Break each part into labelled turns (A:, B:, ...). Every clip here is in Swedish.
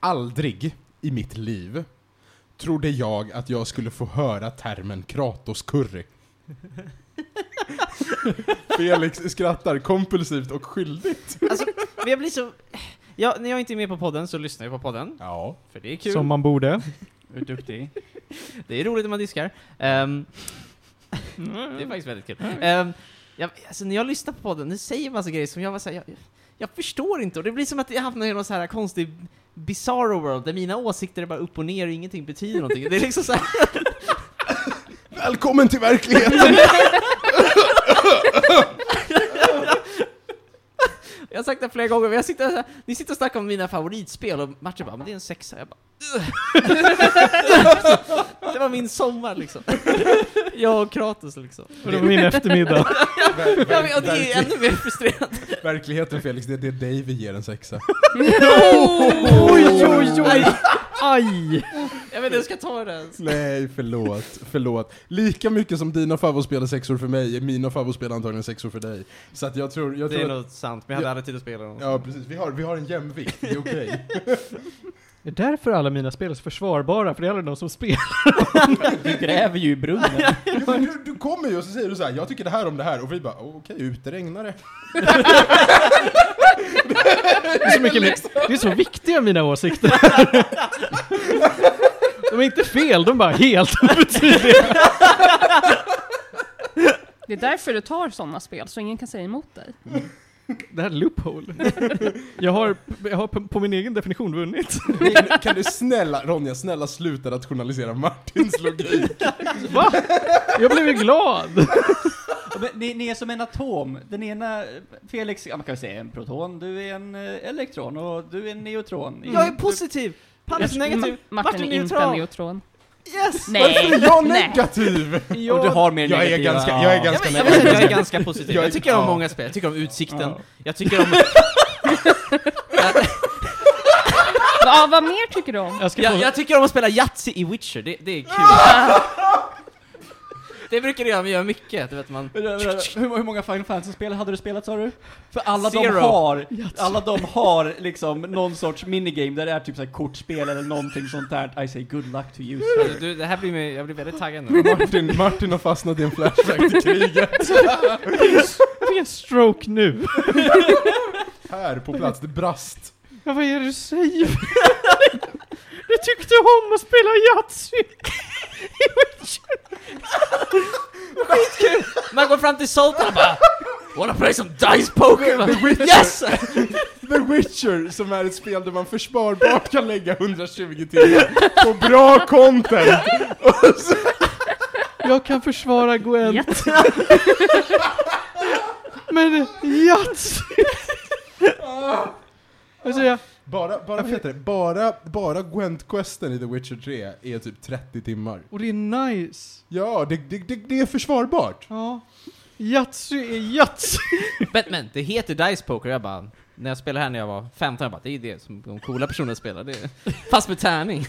A: Aldrig i mitt liv trodde jag att jag skulle få höra termen Kratos-curry. Felix skrattar kompulsivt och skyldigt.
B: Alltså, men jag blir så... Ja, när jag inte är med på podden så lyssnar jag på podden,
A: Ja.
B: för det är kul.
C: Som man borde.
B: Du är duktig. Det är roligt när man diskar. Ehm, det är faktiskt väldigt kul. Ehm, jag, alltså, när jag lyssnar på podden, det säger massa grejer som jag var såhär, jag, jag förstår inte. Och det blir som att jag hamnar i någon så här konstig bizarro world, där mina åsikter är bara upp och ner och ingenting betyder någonting. Det är liksom såhär,
A: Välkommen till verkligheten!
B: jag har sagt det flera gånger, men jag sitter, så här- ni sitter och snackar om mina favoritspel och Martin bara, men det är en sexa. Jag bara, "Ugh." det var min sommar liksom. Jag och Kratos liksom.
C: För det var min eftermiddag.
A: Ver-
B: Ja, men, och det är ju
A: verklig-
B: ännu mer frustrerande.
A: verkligheten Felix, det, det är dig vi ger en sexa.
C: Oj, oj, oj! Oh! Aj!
B: Jag vet inte, jag ska ta det. ens.
A: Nej, förlåt. Förlåt. Lika mycket som dina favoritspel är sexor för mig, är mina favoritspel antagligen sexor för dig. Så att jag tror... Jag
B: Det är
A: tror att,
B: nog sant, men jag hade aldrig tid att spela den.
A: ja, precis. Vi har, vi har en jämvikt. Det är okej.
C: Det är därför alla mina spel är så försvarbara, för det är aldrig någon som spelar.
D: Du gräver ju i brunnen.
A: Jo, men du, du kommer ju och så säger du så här, jag tycker det här om det här, och vi bara, "Åh, okej, ute regnar det.
C: Det är så, mycket mer, det är så viktiga mina åsikter. De är inte fel, de är bara helt obetydliga.
E: Det är därför du tar sådana spel, så ingen kan säga emot dig.
C: Det här är loophole. Jag har, jag har på, på min egen definition vunnit.
A: Kan- Kan du snälla, Ronja, snälla sluta rationalisera Martins logik?
C: Va? Jag blev ju glad!
D: Men Ni, ni är som en atom. Den ena, Felix, ja, man kan väl säga en proton, du är en eh, elektron och du är en neutron.
B: Jag är positiv! Paris negativ,
E: Ma- Martin är inte en neutron.
B: Yes!
E: Nej.
A: Varför är jag
E: nej.
A: negativ?
D: Du, och du har mer
A: Jag är
D: negativa-
A: ganska-
D: ja.
A: jag är ganska-
B: Jag, men, jag, vet, jag är ganska positiv,
A: Jag är-
B: jag tycker om
A: ja.
B: många spel, jag tycker om Utsikten,
D: Ja.
B: jag tycker om...
E: Va, ah, vad mer tycker du om?
C: Jag ska
B: Jag,
C: få,
B: jag tycker om att spela Yatzy i Witcher, det, det är kul. Det brukar jag göra mycket, du vet man...
D: Vänta, vänta, Hur, hur många Final Fantasy-spel hade du spelat sa du? För alla
B: Zero.
D: de har, alla de har liksom någon sorts minigame där det är typ så här kortspel eller någonting sånt där. I say good luck to you sir.
B: Du, det här blir mig, jag blir väldigt taggad nu.
A: Martin, Martin har fastnat i en flashback till kriget.
C: jag fick en stroke nu.
A: Här på plats, det brast.
C: Ja, vad är det du säger? Du tyckte om att spela Yatzy!
B: Man går fram till Sultan och bara... Wanna play some dice poker? Man,
A: The Witcher.
B: yes!
A: The Witcher, som är ett spel där man försvarbart kan lägga 120 timmar på bra content.
C: Jag kan försvara Gwen. Men Yatzy! Vad säger jag?
A: Bara, bara, vad heter det? Bara, bara Gwent-questen i The Witcher 3 är typ 30 timmar.
C: Och det är nice.
A: Ja, det, det, det, det är försvarbart.
C: Ja. Yatzy är Yatzy!
B: Men, men det heter Dice Poker, jag bara... När jag spelade här när jag var 15, jag bara det är ju det som de coola personerna spelar, det är, fast med tärning.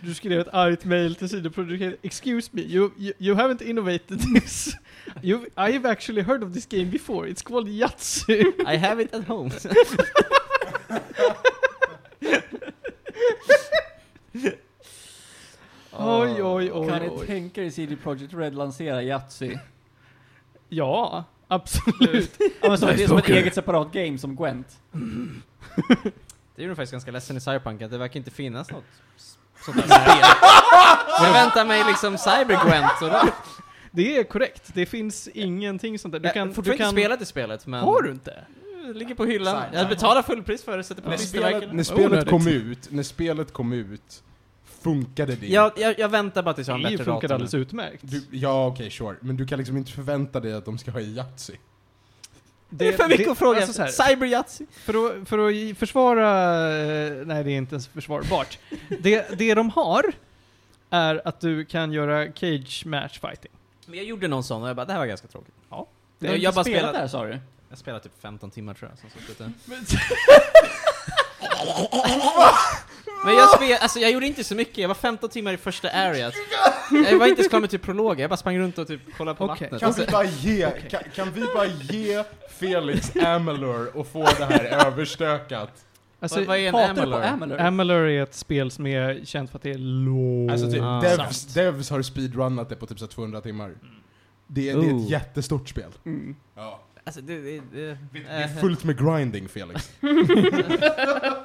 C: Du skrev ett argt mail till sidoproducenten. Excuse me, you, you, you haven't innovated this. You've, I've actually heard of this game before. It's called Yatzy.
B: I have it at home.
C: Oj,
B: Ah.
C: oj, oj.
D: Ah, Kan ni
C: oj.
D: tänka er CD Projekt Red lansera Yatzy?
C: Ja, absolut.
D: Ja, men som, det är som ett eget separat game som Gwent.
B: Det gjorde mig faktiskt ganska ledsen i Cyberpunk, att det verkar inte finnas något s- sånt här spel. Jag väntar mig liksom Cybergwent och då...
C: Det är korrekt. Det finns ingenting sånt där.
D: Äh,
C: Du
B: Jag
C: kan...
B: kan,
C: Du
B: fortfarande
C: kan
B: inte spelat det spelet, men...
C: har du inte?
B: Det ligger på hyllan. Jag betalar fullpris för det, sätter på
A: När spelet,
B: klistermärken.
A: när spelet
C: Onödigt.
A: kom ut, när spelet kom ut, funkade det?
B: Jag, jag, jag väntar bara tills jag har en
C: Det
B: bättre
C: funkar
B: dator.
C: alldeles utmärkt.
A: Du, ja, okej, sure. Men du kan liksom inte förvänta dig att de ska ha i Yatzy.
B: Det är för mycket att fråga.
C: alltså så här,
B: Cyberjazzy.
C: för, att, för att i- försvara... eh, Nej, det är inte ens försvarbart. det, det de har är att du kan göra cage match fighting.
B: Men jag gjorde någon sån och jag bara, det här var ganska tråkigt.
D: Du
B: Jag- jag
D: har inte
B: bara
D: spelat
B: spelat-
D: det här sa du?
B: Jag spelade typ 15 timmar tror jag. Som sagt, det- Men jag spelade, alltså jag gjorde inte så mycket, jag var 15 timmar i första areas. Jag var inte ens klar med typ prologen, jag bara sprang runt och typ kollade på
C: Okej.
B: vattnet.
A: Kan
B: Alltså,
A: vi bara ge, kan, kan vi bara ge Felix Amelor och få det här överstökat?
C: Alltså,
B: Vad, vad är en
D: Hatar du på
B: Amalur?
D: Amalur?
C: Amalur är ett spel som är känt för att det är långsamt.
A: Alltså typ,
B: Ah.
A: devs, devs har speedrunnat det på typ så här 200 timmar. Det, är- det är
B: Ooh.
A: ett jättestort spel.
D: Mm.
A: Ja.
B: Alltså, det, det, det,
A: Det det
B: eh,
A: är fullt med grinding, Felix.
B: jag,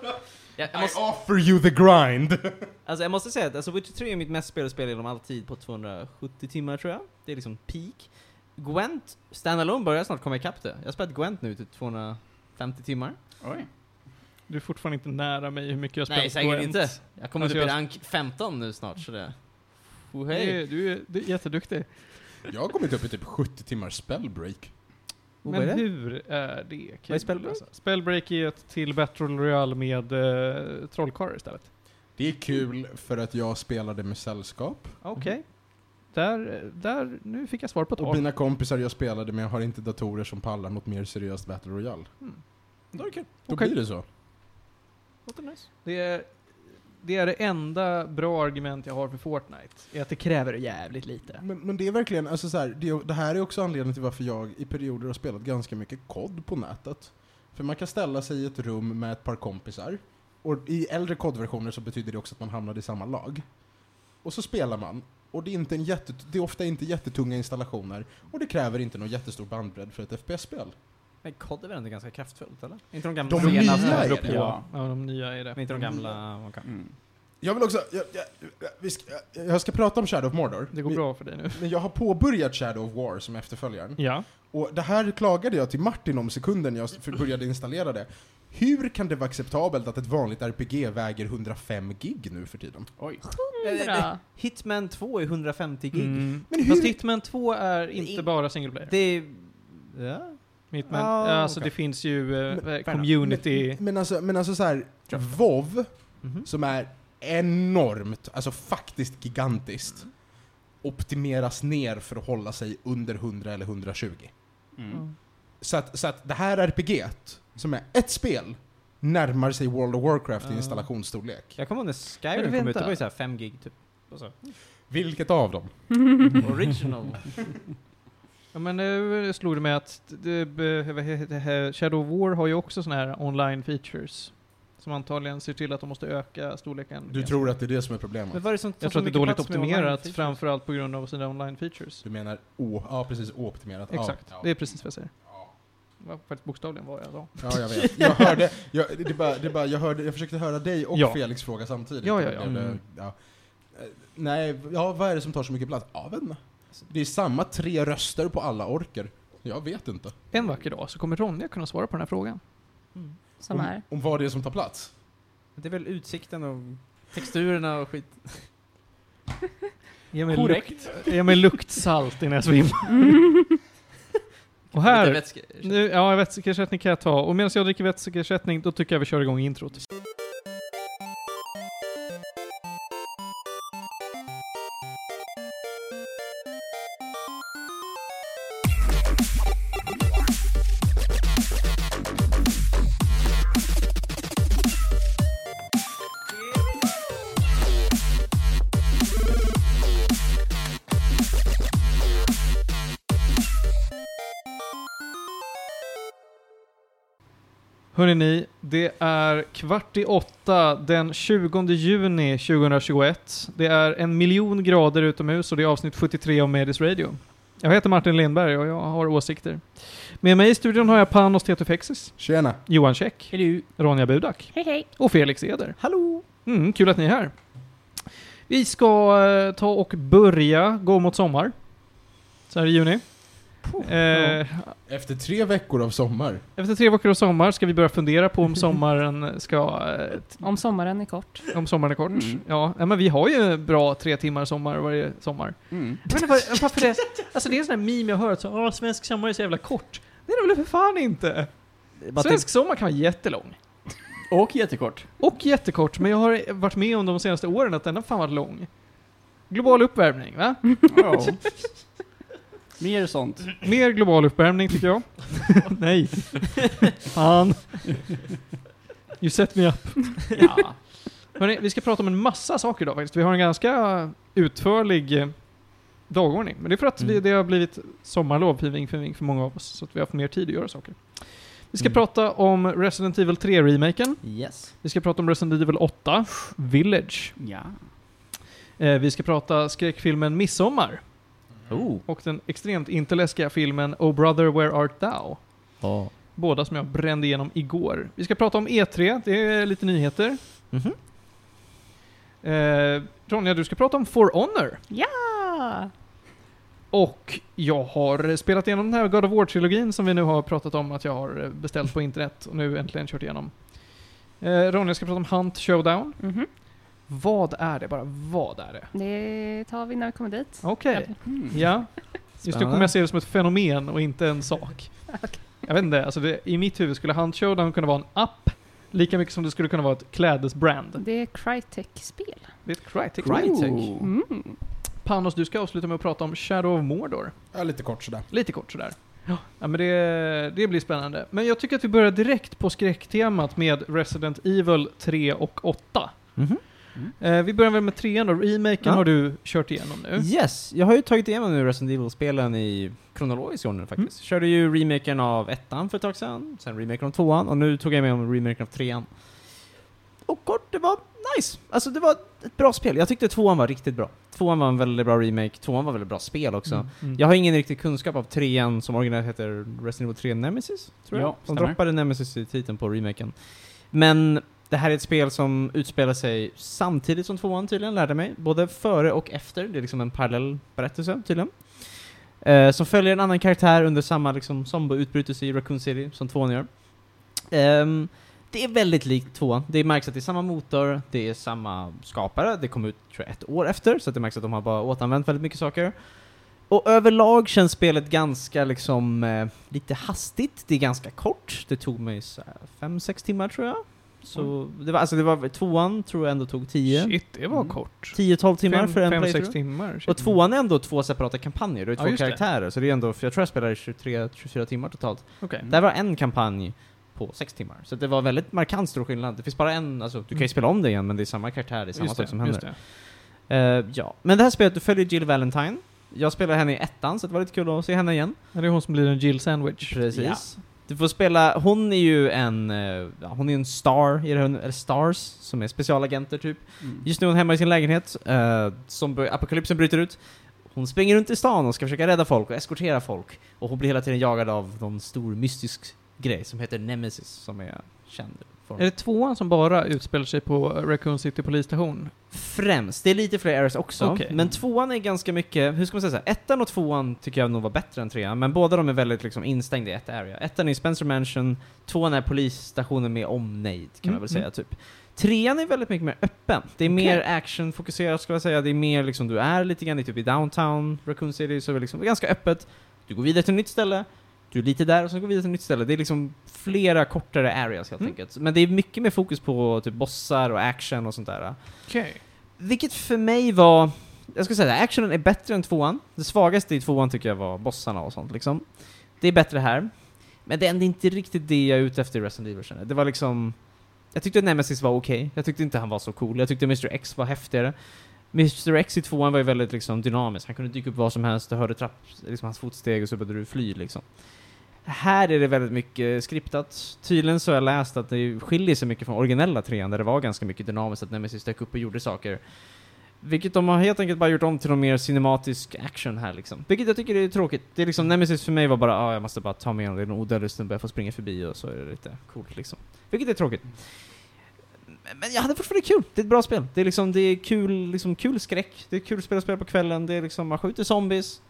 B: jag,
A: I
B: måste,
A: offer you the grind!
B: alltså, jag måste säga att alltså, Witcher 3 är mitt mest spelade spel genom all tid på 270 timmar tror jag. Det är liksom peak. Gwent, standalone börjar snart komma ikapp det. Jag har spelat Gwent nu till 250 timmar.
D: Oj.
C: Du är fortfarande inte nära mig hur mycket jag spelat
B: Nej, säkert
C: Gwent.
B: inte. Jag kommer
C: Alltså,
B: upp i
C: jag-
B: rank 15 nu snart, så det... Oh,
C: Du
B: hej.
C: är, du, är, du är jätteduktig.
A: Jag har kommit upp i typ 70 timmars spellbreak.
B: Vad är
C: Men
B: det?
C: hur är det kul?
B: Vad är Spellbreak?
C: alltså? Spellbreak är ett till Battle Royale med eh, trollkarlar istället.
A: Det är kul för att jag spelade med sällskap.
C: Okej. Där, där, nu fick jag svar på ett
A: Och
C: år.
A: mina kompisar jag spelade med har inte datorer som pallar något mer seriöst Battle Royale.
C: Mm.
A: Då är Hmm. det kul. Då
C: Okej.
A: blir det så.
C: Det är, det är det enda bra argument jag har för Fortnite. Är att det kräver jävligt lite.
A: Men, men det är verkligen, alltså så här, det, det här är också anledningen till varför jag i perioder har spelat ganska mycket kod på nätet. För man kan ställa sig i ett rum med ett par kompisar. Och i äldre kodversioner så betyder det också att man hamnade i samma lag. Och så spelar man. Och det är, inte en jätte, det är ofta inte jättetunga installationer. Och det kräver inte någon jättestor bandbredd för ett FPS-spel.
B: Men COD är väl ändå ganska kraftfullt, eller? Inte de gamla...
A: De
B: senaste-
A: nya
D: är
A: är
D: det.
A: det.
D: Ja.
C: Ja, de nya är det.
B: Men inte de gamla... man kan-
D: Mm.
A: Jag vill också, jag, jag, jag- vi ska, jag- jag ska prata om Shadow of Mordor.
C: Det går
A: Men-
C: bra för dig nu.
A: Men jag har påbörjat Shadow of War som efterföljaren.
C: Ja.
A: Och det här klagade jag till Martin om sekunden jag s- började installera det. Hur kan det vara acceptabelt att ett vanligt RPG väger 105 gig nu för tiden?
D: Oj.
E: Hundra.
B: Hitman 2 är 150 gig.
C: Mm.
A: Men
C: Fast
A: hur-
C: Hitman 2 är inte
B: Det-
C: bara single player.
B: Det är... Ja.
C: Hitman,
A: Ah,
C: alltså
A: okej.
C: det finns ju eh,
A: Men-
C: eh, community.
A: Men, men alltså, men alltså så här, WoW
B: Mhm.
A: som är enormt, alltså faktiskt gigantiskt, optimeras ner för att hålla sig under 100 eller 120.
D: Mm.
A: Så att, så att det här RPG som är ett spel närmar sig World of Warcraft i
B: Ja.
A: installationsstorlek.
B: Jag kommer ihåg när Skyrim
C: Men
B: kom ut,
C: vänta.
B: det var ju såhär 5 gig typ. Och så.
A: Vilket av dem?
C: Mm.
B: Original.
C: Ja, men nu slog det mig att det, be- vad heter det här, Shadow of War har ju också såna här online features. Som antagligen ser till att de måste öka storleken.
A: Du tror att det är det som är problemet?
B: Men var det som,
C: jag tror att det är dåligt optimerat, framförallt på grund av sina online features.
A: Du menar o, ja precis, ooptimerat. Ja.
C: Exakt,
A: Ja.
C: det är precis vad jag säger.
A: Ja.
C: Det var faktiskt bokstavligen vad jag sa.
A: Ja, jag vet. Jag hörde, jag, det är bara, det är bara, jag hörde, jag försökte höra dig och
C: Ja.
A: Felix fråga samtidigt.
C: Ja, ja, ja.
A: Det blev-
C: Mm.
A: ja. Eh, Nej, ja, vad är det som tar så mycket plats? Ja, vet inte. Det är samma tre röster på alla orker. Jag vet inte.
C: En vacker dag så kommer Ronja kunna svara på den här frågan.
E: Som
A: om,
E: är.
A: om vad det är som tar plats.
B: Mm. Det är väl utsikten och texturerna och skit.
C: Ge
B: Korrekt.
C: Lukt, ge mig luktsalt innan jag svimmar. och
B: Lite
C: här,
B: vätska.
C: nu, ja vätskeersättning kan jag ta. Och medan jag dricker vätskeersättning, då tycker jag vi kör igång introt. Hörrni ni, det är kvart i åtta den 20 juni 2021. Det är en miljon grader utomhus och det är avsnitt 73 av Medis Radio. Jag heter Martin Lindberg och jag har åsikter. Med mig i studion har jag Panos Tetofexis,
A: Tjena.
C: Johan Käck, Ronja Budak
E: Hej hej.
C: och Felix Eder.
B: Hallå!
C: Mm, kul att ni är här. Vi ska eh, ta och börja gå mot sommar. Så här i juni. Eh,
A: Efter tre veckor av sommar.
C: efter tre veckor av sommar ska vi börja fundera på om sommaren ska eh,
E: Om sommaren är kort.
C: Om sommaren är kort?
D: Mm.
C: Ja, nej, men vi har ju bra tre timmar sommar varje sommar.
D: Mm.
C: Jag vet inte var- varför det... Alltså det är en sån här meme jag har hört, så Åh, svensk sommar är så jävla kort. Det är det väl för fan inte? Svensk sommar kan vara jättelång.
D: Och jättekort.
C: Och jättekort, men jag har varit med om de senaste åren att den har fan varit lång. Global uppvärmning, va?
D: Ja. Mer sånt.
C: Mer global uppvärmning tycker jag. nej. fan. You set me up.
D: Ja.
C: Hörrni, vi ska prata om en massa saker idag faktiskt. Vi har en ganska utförlig eh, dagordning. Men det är för att vi,
A: Mm.
C: det har blivit sommarlov, hiving, för många av oss. Så att vi har haft mer tid att göra saker. Vi ska
A: Mm.
C: prata om Resident Evil 3-remaken.
B: Yes.
C: Vi ska prata om Resident Evil 8, Village.
D: Ja.
C: Eh, vi ska prata skräckfilmen Midsommar
B: Oh.
C: och den extremt inte läskiga filmen Oh Brother Where Art Thou.
B: Ja.
C: Båda som jag brände igenom igår. Vi ska prata om E3, det är lite nyheter.
B: Mhm.
C: Eh, Ronja, du ska prata om For Honor.
E: Ah.
C: Och jag har spelat igenom den här God of War-trilogin som vi nu har pratat om att jag har beställt på internet och nu äntligen kört igenom. Eh, Ronja ska prata om Hunt Showdown.
E: Mhm.
C: Vad är det? Bara vad är det?
E: Det tar vi när vi kommer dit.
C: Okej.
D: Mm.
C: Ja. Just nu kommer jag se det som ett fenomen och inte en sak. Jag vet inte, alltså det, i mitt huvud skulle Hunt Showdown kunna vara en app lika mycket som det skulle kunna vara ett klädesbrand.
E: Det är Crytek-spel.
C: Det är ett Crytek.
B: Crytek.
E: Mm.
C: Panos, du ska avsluta med att prata om Shadow of Mordor.
A: Ja, lite kort sådär.
C: Lite kort sådär. Ja, men det, det blir spännande. Men jag tycker att vi börjar direkt på skräcktemat med Resident Evil 3 och 8.
D: Mm-hmm.
B: Mhm.
C: Eh, vi börjar väl med 3 då. Remaken
B: Ja.
C: har du kört igenom nu.
B: Yes, jag har ju tagit igenom nu Resident Evil-spelen i kronologisk ordning
C: Mm.
B: faktiskt. Körde ju remaken av ettan för ett tag sedan, sen remaken av tvåan och nu tog jag med om remaken av trean. Och kort, det var nice. Alltså det var ett bra spel. Jag tyckte tvåan var riktigt bra. Tvåan var en väldigt bra remake, tvåan var väldigt bra spel också.
C: Mm, mm.
B: Jag har ingen riktig kunskap av trean som originellt heter Resident Evil 3 Nemesis, tror jag.
D: Ja,
B: De
D: stämmer.
B: droppade Nemesis i titeln på remaken. Men det här är ett spel som utspelar sig samtidigt som tvåan tydligen, lärde mig. Både före och efter, det är liksom en parallell berättelse tydligen. Eh, som följer en annan karaktär under samma liksom zombo-utbrytelse i Raccoon City som tvåan gör. Ehm, det är väldigt likt tvåan. Det märks att det är samma motor, det är samma skapare, det kom ut tror jag, ett år efter, så att det märks att de har bara återanvänt väldigt mycket saker. Och överlag känns spelet ganska liksom, eh, lite hastigt, det är ganska kort. Det tog mig 5-6 timmar tror jag. Så det var, alltså det var, tvåan tror jag ändå tog 10.
C: Mm. Shit, det var
D: Mm.
C: kort.
B: 10-12 timmar
C: Fem-
B: för en
C: fem,
B: playthrough.
C: sex timmar. Shit.
B: Och tvåan är ändå två separata kampanjer, det är
C: Ja,
B: två
C: just det.
B: karaktärer, så det är ändå, för jag tror jag spelade 23-24 timmar totalt.
C: Okej.
B: Mm. Där var en kampanj på sex timmar, så det var väldigt markant stor skillnad. Det finns bara en, alltså du kan ju
C: Mm.
B: spela om det igen men det är samma karaktär, det är samma
C: Just
B: sak
C: det,
B: som
C: just
B: händer. Eh, ja. Men det här spelet, du följer Jill Valentine. Jag spelar henne i ettan, så det var lite kul att se henne igen.
C: det. Det är hon som blir en Jill Sandwich.
B: Precis. Du får spela, hon är ju en, eh, ja, hon är en star, i det här- eller stars, som är specialagenter typ.
D: Mm.
B: Just nu är hon hemma i sin lägenhet, eh, som bör- apokalypsen bryter ut. Hon springer runt i stan och ska försöka rädda folk och eskortera folk. Och hon blir hela tiden jagad av någon stor mystisk grej som heter Nemesis, som är känd. form.
C: Är det tvåan som bara utspelar sig på Raccoon City polisstation?
B: Främst, det är lite fler errors också.
C: Okej.
B: Men tvåan är ganska mycket, hur ska man säga så här? ettan och tvåan tycker jag nog var bättre än trean, men båda de är väldigt liksom instängda i ett area. Ettan är Spencer Mansion, tvåan är polisstationen med omnejd, kan man
C: Mm,
B: väl säga typ. Trean är väldigt mycket mer öppen. Det är mer actionfokuserat skulle jag säga, det är mer liksom, du är lite grann i typ i downtown, Raccoon City, så är det liksom ganska öppet. Du går vidare till ett nytt ställe, du är lite där och sen går vi vidare till ett nytt ställe. Det är liksom flera kortare areas helt
C: Mm.
B: enkelt. Men det är mycket mer fokus på typ bossar och action och sånt där.
C: Okej.
B: Vilket för mig var... Jag skulle säga att actionen är bättre än tvåan. Det svagaste i tvåan tycker jag var bossarna och sånt liksom. Det är bättre här. Men det är ändå inte riktigt det jag är ute efter i Resident Evil känner jag. Det var liksom... Jag tyckte Nemesis var okej. Jag tyckte inte han var så cool. Jag tyckte Mr X var häftigare. Mr X i tvåan var ju väldigt liksom dynamisk. Han kunde dyka upp var som helst. Du hörde trapp, liksom hans fotsteg och så började du fly liksom. Här är det väldigt mycket skriptat. Tydligen så har jag läst att det skiljer sig mycket från originella trean där det var ganska mycket dynamiskt att Nemesis dök upp och gjorde saker. Vilket de har helt enkelt bara gjort om till någon mer cinematisk action här liksom. Vilket jag tycker är tråkigt. Det är liksom, Nemesis för mig var bara ah, jag måste bara ta mig igenom det, det är en odödlig snubbe, jag får springa förbi och så är det lite coolt liksom. Vilket är tråkigt. Men jag hade fortfarande kul, det är ett bra spel. Det är liksom, det är kul, liksom kul skräck, det är kul spel att spela på kvällen, det är liksom, man skjuter zombies,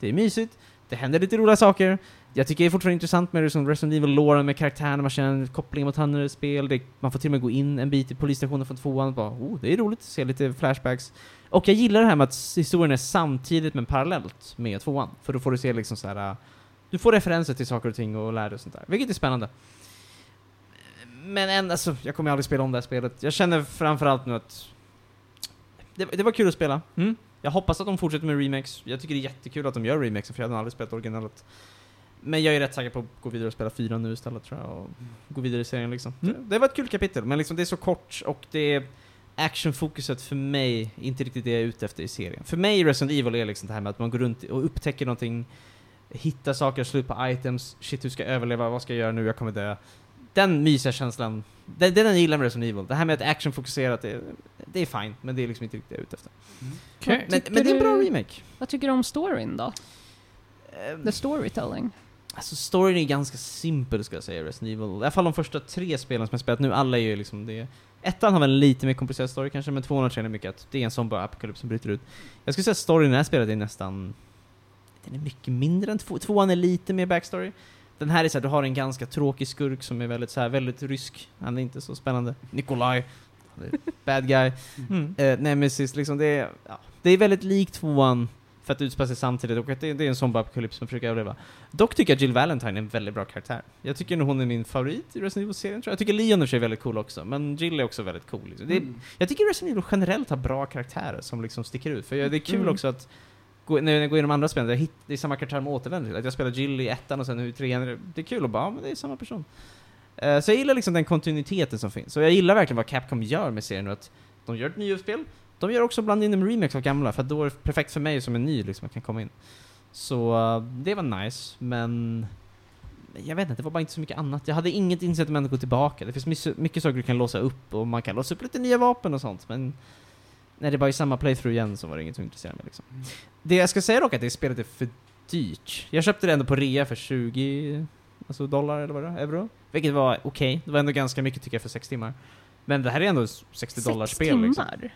B: det är mysigt, det händer lite roliga saker. Jag tycker det är fortfarande intressant med liksom Resident evil låren med karaktärerna, man känner kopplingen mot andra spel, det, man får till och med gå in en bit i polisstationen från tvåan och bara oh, det är roligt, se lite flashbacks. Och jag gillar det här med att historien är samtidigt men parallellt med tvåan, för då får du se liksom så här. äh, du får referenser till saker och ting och lär dig och sånt där, vilket är spännande. Men än, alltså, jag kommer aldrig spela om det här spelet. Jag känner framförallt nu att det, det var kul att spela.
C: Mm.
B: Jag hoppas att de fortsätter med remakes. Jag tycker det är jättekul att de gör remakes för jag hade aldrig spelat originalet. Men jag är rätt säker på att gå vidare och spela fyra nu istället tror jag, och gå vidare i serien liksom.
C: Mm.
B: Det, det var ett kul kapitel, men liksom det är så kort och det är actionfokuset för mig inte riktigt det jag är ute efter i serien. För mig i Resident Evil är liksom det här med att man går runt och upptäcker någonting hitta saker, slut på items, shit hur ska jag överleva, vad ska jag göra nu, jag kommer dö. Den mysiga känslan, den, den jag gillar med Resident Evil. Det här med att actionfokuserat, det, det är fint, men det är liksom inte riktigt det jag är ute efter.
C: Okej.
B: Men, men det är en bra
E: du-
B: remake.
E: Vad tycker du om storyn då?
B: Ehm,
E: The storytelling?
B: Alltså storyn är ganska simpel ska jag säga, Resident Evil. I alla fall de första tre spelen som jag spelat nu, alla är ju liksom det. Ettan har väl en lite mer komplicerad story kanske, men tvåan känner mycket att det är en sån bara apokalyps som bryter ut. Jag skulle säga att storyn i det här spelet är nästan... Den är mycket mindre än två, tvåan är lite mer backstory. Den här är såhär, du har en ganska tråkig skurk som är väldigt så här, väldigt rysk. Han är inte så spännande. Nikolaj. han är Bad guy.
C: Mm.
B: Eh, Nemesis, liksom det är, ja, det är väldigt likt tvåan för att utspela sig samtidigt och att det, det är en sån apokalyps som försöker överleva. Dock tycker jag Jill Valentine är en väldigt bra karaktär. Jag tycker nog hon är min favorit i Resident Evil-serien tror jag. Jag tycker Leon i och för sig är väldigt cool också, men Jill är också väldigt cool. Liksom. Det,
D: Mm.
B: jag tycker Resident Evil generellt har bra karaktärer som liksom sticker ut. För jag- det är kul
E: Mm.
B: också att gå, när jag går igenom andra spel, där jag hitt- det är samma karaktär man återvänder till. Att jag spelar Jill i ettan och sen nu i trean. det- Det är kul att bara, ja, men det är samma person. Eh, så jag gillar liksom den kontinuiteten som finns. Och jag gillar verkligen vad Capcom gör med serien nu. Att de gör ett nyuppspel, de gör också bland in en remix av gamla, för att då är det perfekt för mig som är ny liksom, att kan komma in. Så eh, det var nice, men... Jag vet inte, det var bara inte så mycket annat. Jag hade inget incitament att gå tillbaka. Det finns mycket, mycket saker du kan låsa upp och man kan låsa upp lite nya vapen och sånt, men... När det bara är samma playthrough igen så var det inget som intresserade mig liksom. Det jag ska säga dock är att det spelet är för dyrt. Jag köpte det ändå på rea för 20 alltså dollar eller vad det var, euro. Vilket var okej. Det var ändå ganska mycket tycker jag för 6 timmar. Men det här är ändå 60 dollar
E: Sex
B: spel liksom.
E: timmar?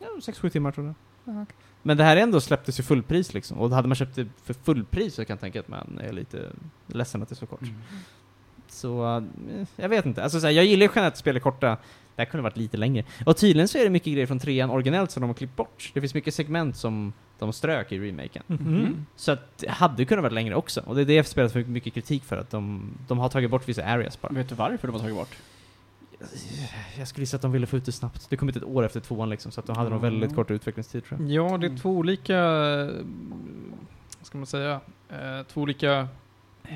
B: Ja, 6-7 timmar tror jag.
E: Ja, okej.
B: Men det här ändå släpptes ju fullpris liksom. Och hade man köpt det för fullpris så kan jag tänka att man är lite ledsen att det är så kort.
D: Mm.
B: Så, eh, jag vet inte. Alltså, så här, jag gillar ju generellt att spel är korta. Det här kunde varit lite längre. Och tydligen så är det mycket grejer från trean originellt som de har klippt bort. Det finns mycket segment som de strök i remaken.
C: Mhm.
B: Så att det hade kunnat varit längre också. Och det är det spelet får mycket kritik för, att de, de har tagit bort vissa areas bara.
D: Vet du varför de har tagit bort?
B: Jag skulle gissa att de ville få ut det snabbt. Det kom ut ett år efter tvåan liksom, så att de hade nog väldigt
D: Mm.
B: kort utvecklingstid tror jag.
C: Ja, det är
D: Mm.
C: två olika, eh, vad ska man säga, eh, två olika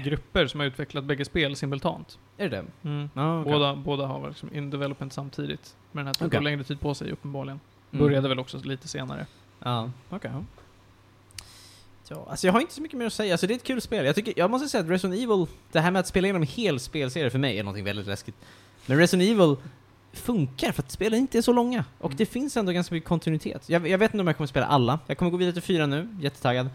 C: grupper som har utvecklat bägge spel simultant.
B: Är det det?
C: Mm.
B: Ja, okej.
C: Båda, båda har varit liksom in development samtidigt. Men den här tog
B: Okej.
C: längre tid på sig uppenbarligen.
B: Mm.
C: Började väl också lite senare.
B: Ja, okej. ja. Ja, alltså jag har inte så mycket mer att säga, alltså det är ett kul spel. Jag, tycker, jag måste säga att Resident Evil, det här med att spela igenom en hel spelserie för mig är någonting väldigt läskigt. Men Resident Evil funkar för att spelen inte är så långa. Och det finns ändå ganska mycket kontinuitet. Jag, jag vet inte om jag kommer spela alla. Jag kommer gå vidare till fyra nu, jättetaggad.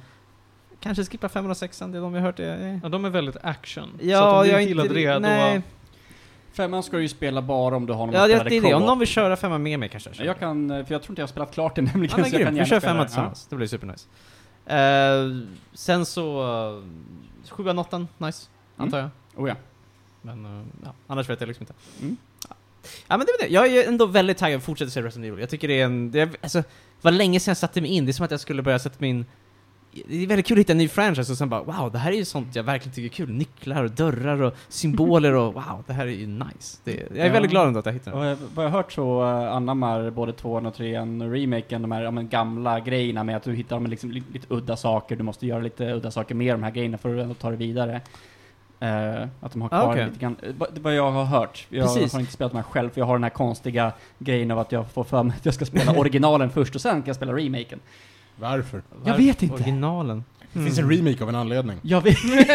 B: Kanske skippa femman och sexan, det är de jag hört. Jag,
C: Ja, de är väldigt action. så att
B: Ja,
C: om du
B: jag
C: inte
B: är
C: gillade
B: inte...
C: det,
B: nej.
C: då...
D: Femman ska du ju spela bara om du har någon
B: Ja,
D: att
B: det,
D: spela
B: det är
D: co-op.
B: det. Om någon vill köra femman med mig kanske jag
D: Ja,
B: kör.
D: Jag kan, eh, för jag tror inte jag har spelat klart det nämligen.
B: Ja, men
D: så jag
B: grymt,
D: kan
B: vi
D: gärna
B: kör
D: spela
B: femman
D: det.
B: tillsammans. Det blir supernice. Uh, sen så... Uh, sjuan, åttan, nice.
D: Mm.
B: Antar jag.
D: Ja. Oh, ja.
B: Men eh, ja, annars vet jag liksom inte.
D: Mm.
B: Ja men det var det. Jag är ändå väldigt taggad att fortsätta se Resident Evil. Jag tycker det är en... Det är, alltså, det var länge sedan jag satte mig in. Det är som att jag skulle börja sätta mig in... Det är väldigt kul att hitta en ny franchise och sen bara wow, det här är ju sånt jag verkligen tycker är kul. Nycklar och dörrar och symboler och wow, det här är ju nice. Det, jag är
D: Ja.
B: väldigt glad ändå att jag hittade
D: Och
B: det.
D: eh, vad jag har hört så eh, anammar både tvåan och trean och remaken de här ja, men, gamla grejerna med att du hittar ja, men, liksom, li- lite udda saker, du måste göra lite udda saker med de här grejerna för att ändå ta det vidare. Eh, att de har
B: Ah,
D: kvar
B: okej.
D: lite grann, eh, vad- det är vad jag har hört. Jag
B: Precis.
D: har inte spelat de här själv, för jag har den här konstiga grejen av att jag får för mig att jag ska spela originalen först och sen kan jag spela remaken.
A: Varför?
D: Jag vet inte.
B: Originalen.
C: Mm.
D: Mm.
A: Det finns en remake av en anledning.
D: Jag vet.
E: Mm.
D: Men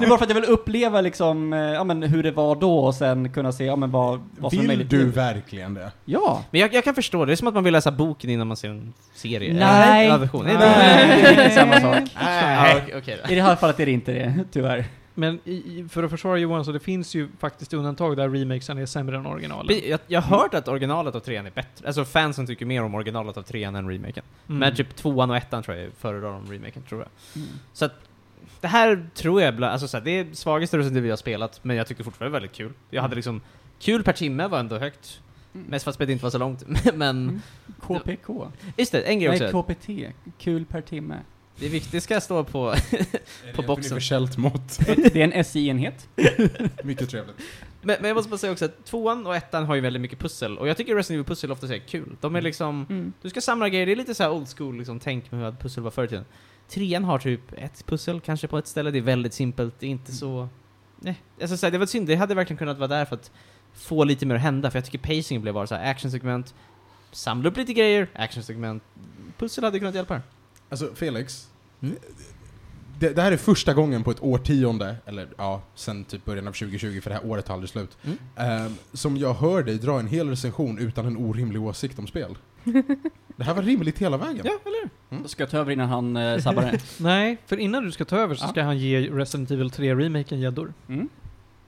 D: Det är bara för att jag vill uppleva liksom, eh, ja, men hur det var då och sen kunna se ja, men vad, vad som är
A: Vill
D: möjligt.
A: du
D: nu.
A: verkligen det?
D: Ja!
B: Men jag, jag kan förstå det. Det är som att man vill läsa boken innan man ser en serie.
D: Nej.
B: Eller en version. Är det-
D: Nej, det är inte samma sak.
B: Ja, okej, okej då.
D: I det här fallet är det inte det, tyvärr.
C: Men i, i- för att försvara Johan, så det finns ju faktiskt undantag där remakesen är sämre än originalet.
B: Precis, Jag, jag har hört att originalet av trean är bättre. Alltså fansen tycker mer om originalet av trean än remaken.
C: Mm.
B: Men typ tvåan och ettan tror jag föredrar om remaken, tror jag.
D: Mm.
B: Så att, det här tror jag, bland- alltså så här, det är svagaste Resident Evil jag har spelat, men jag tycker fortfarande väldigt kul. Jag hade liksom, kul per timme var ändå högt.
D: Mm.
B: Mest för att spelet inte var så långt. men,
D: Mm. KPK?
B: just det, en grej
D: Nej,
B: också.
D: KPT. Kul per timme.
B: Det är viktigt, det ska stå på...
A: Är
B: På
A: det ett
B: boxen.
A: universellt mått?
D: Det är en SI-enhet.
A: Mycket trevligt.
B: Men, men jag måste bara säga också att tvåan och ettan har ju väldigt mycket pussel, och jag tycker Resident Evil-pussel ofta är kul. De är liksom...
E: Mm.
B: Du ska samla grejer, det är lite så här old school liksom, tänk med hur ett pussel var förr i tiden. Trean har typ ett pussel kanske på ett ställe, det är väldigt simpelt, det är inte så... Nej, alltså, så här, det var synd, det hade verkligen kunnat vara där för att få lite mer att hända, för jag tycker pacingen blev bara så här actionsegment, samla upp lite grejer, actionsegment. Pussel hade kunnat hjälpa här.
A: Alltså, Felix.
B: Mm.
F: det, det här är första gången på ett årtionde, eller ja, sen typ början av 2020 för det här året tar aldrig slut,
B: Mm.
F: ehm, som jag hör dig dra en hel recension utan en orimlig åsikt om spel. det här var rimligt hela vägen.
B: Ja, eller
A: Då ska jag ta över innan han eh, sabbar den.
C: Nej, för innan du ska ta över så
A: Ja.
C: ska han ge Resident Evil 3-remaken gäddor.
A: Mm.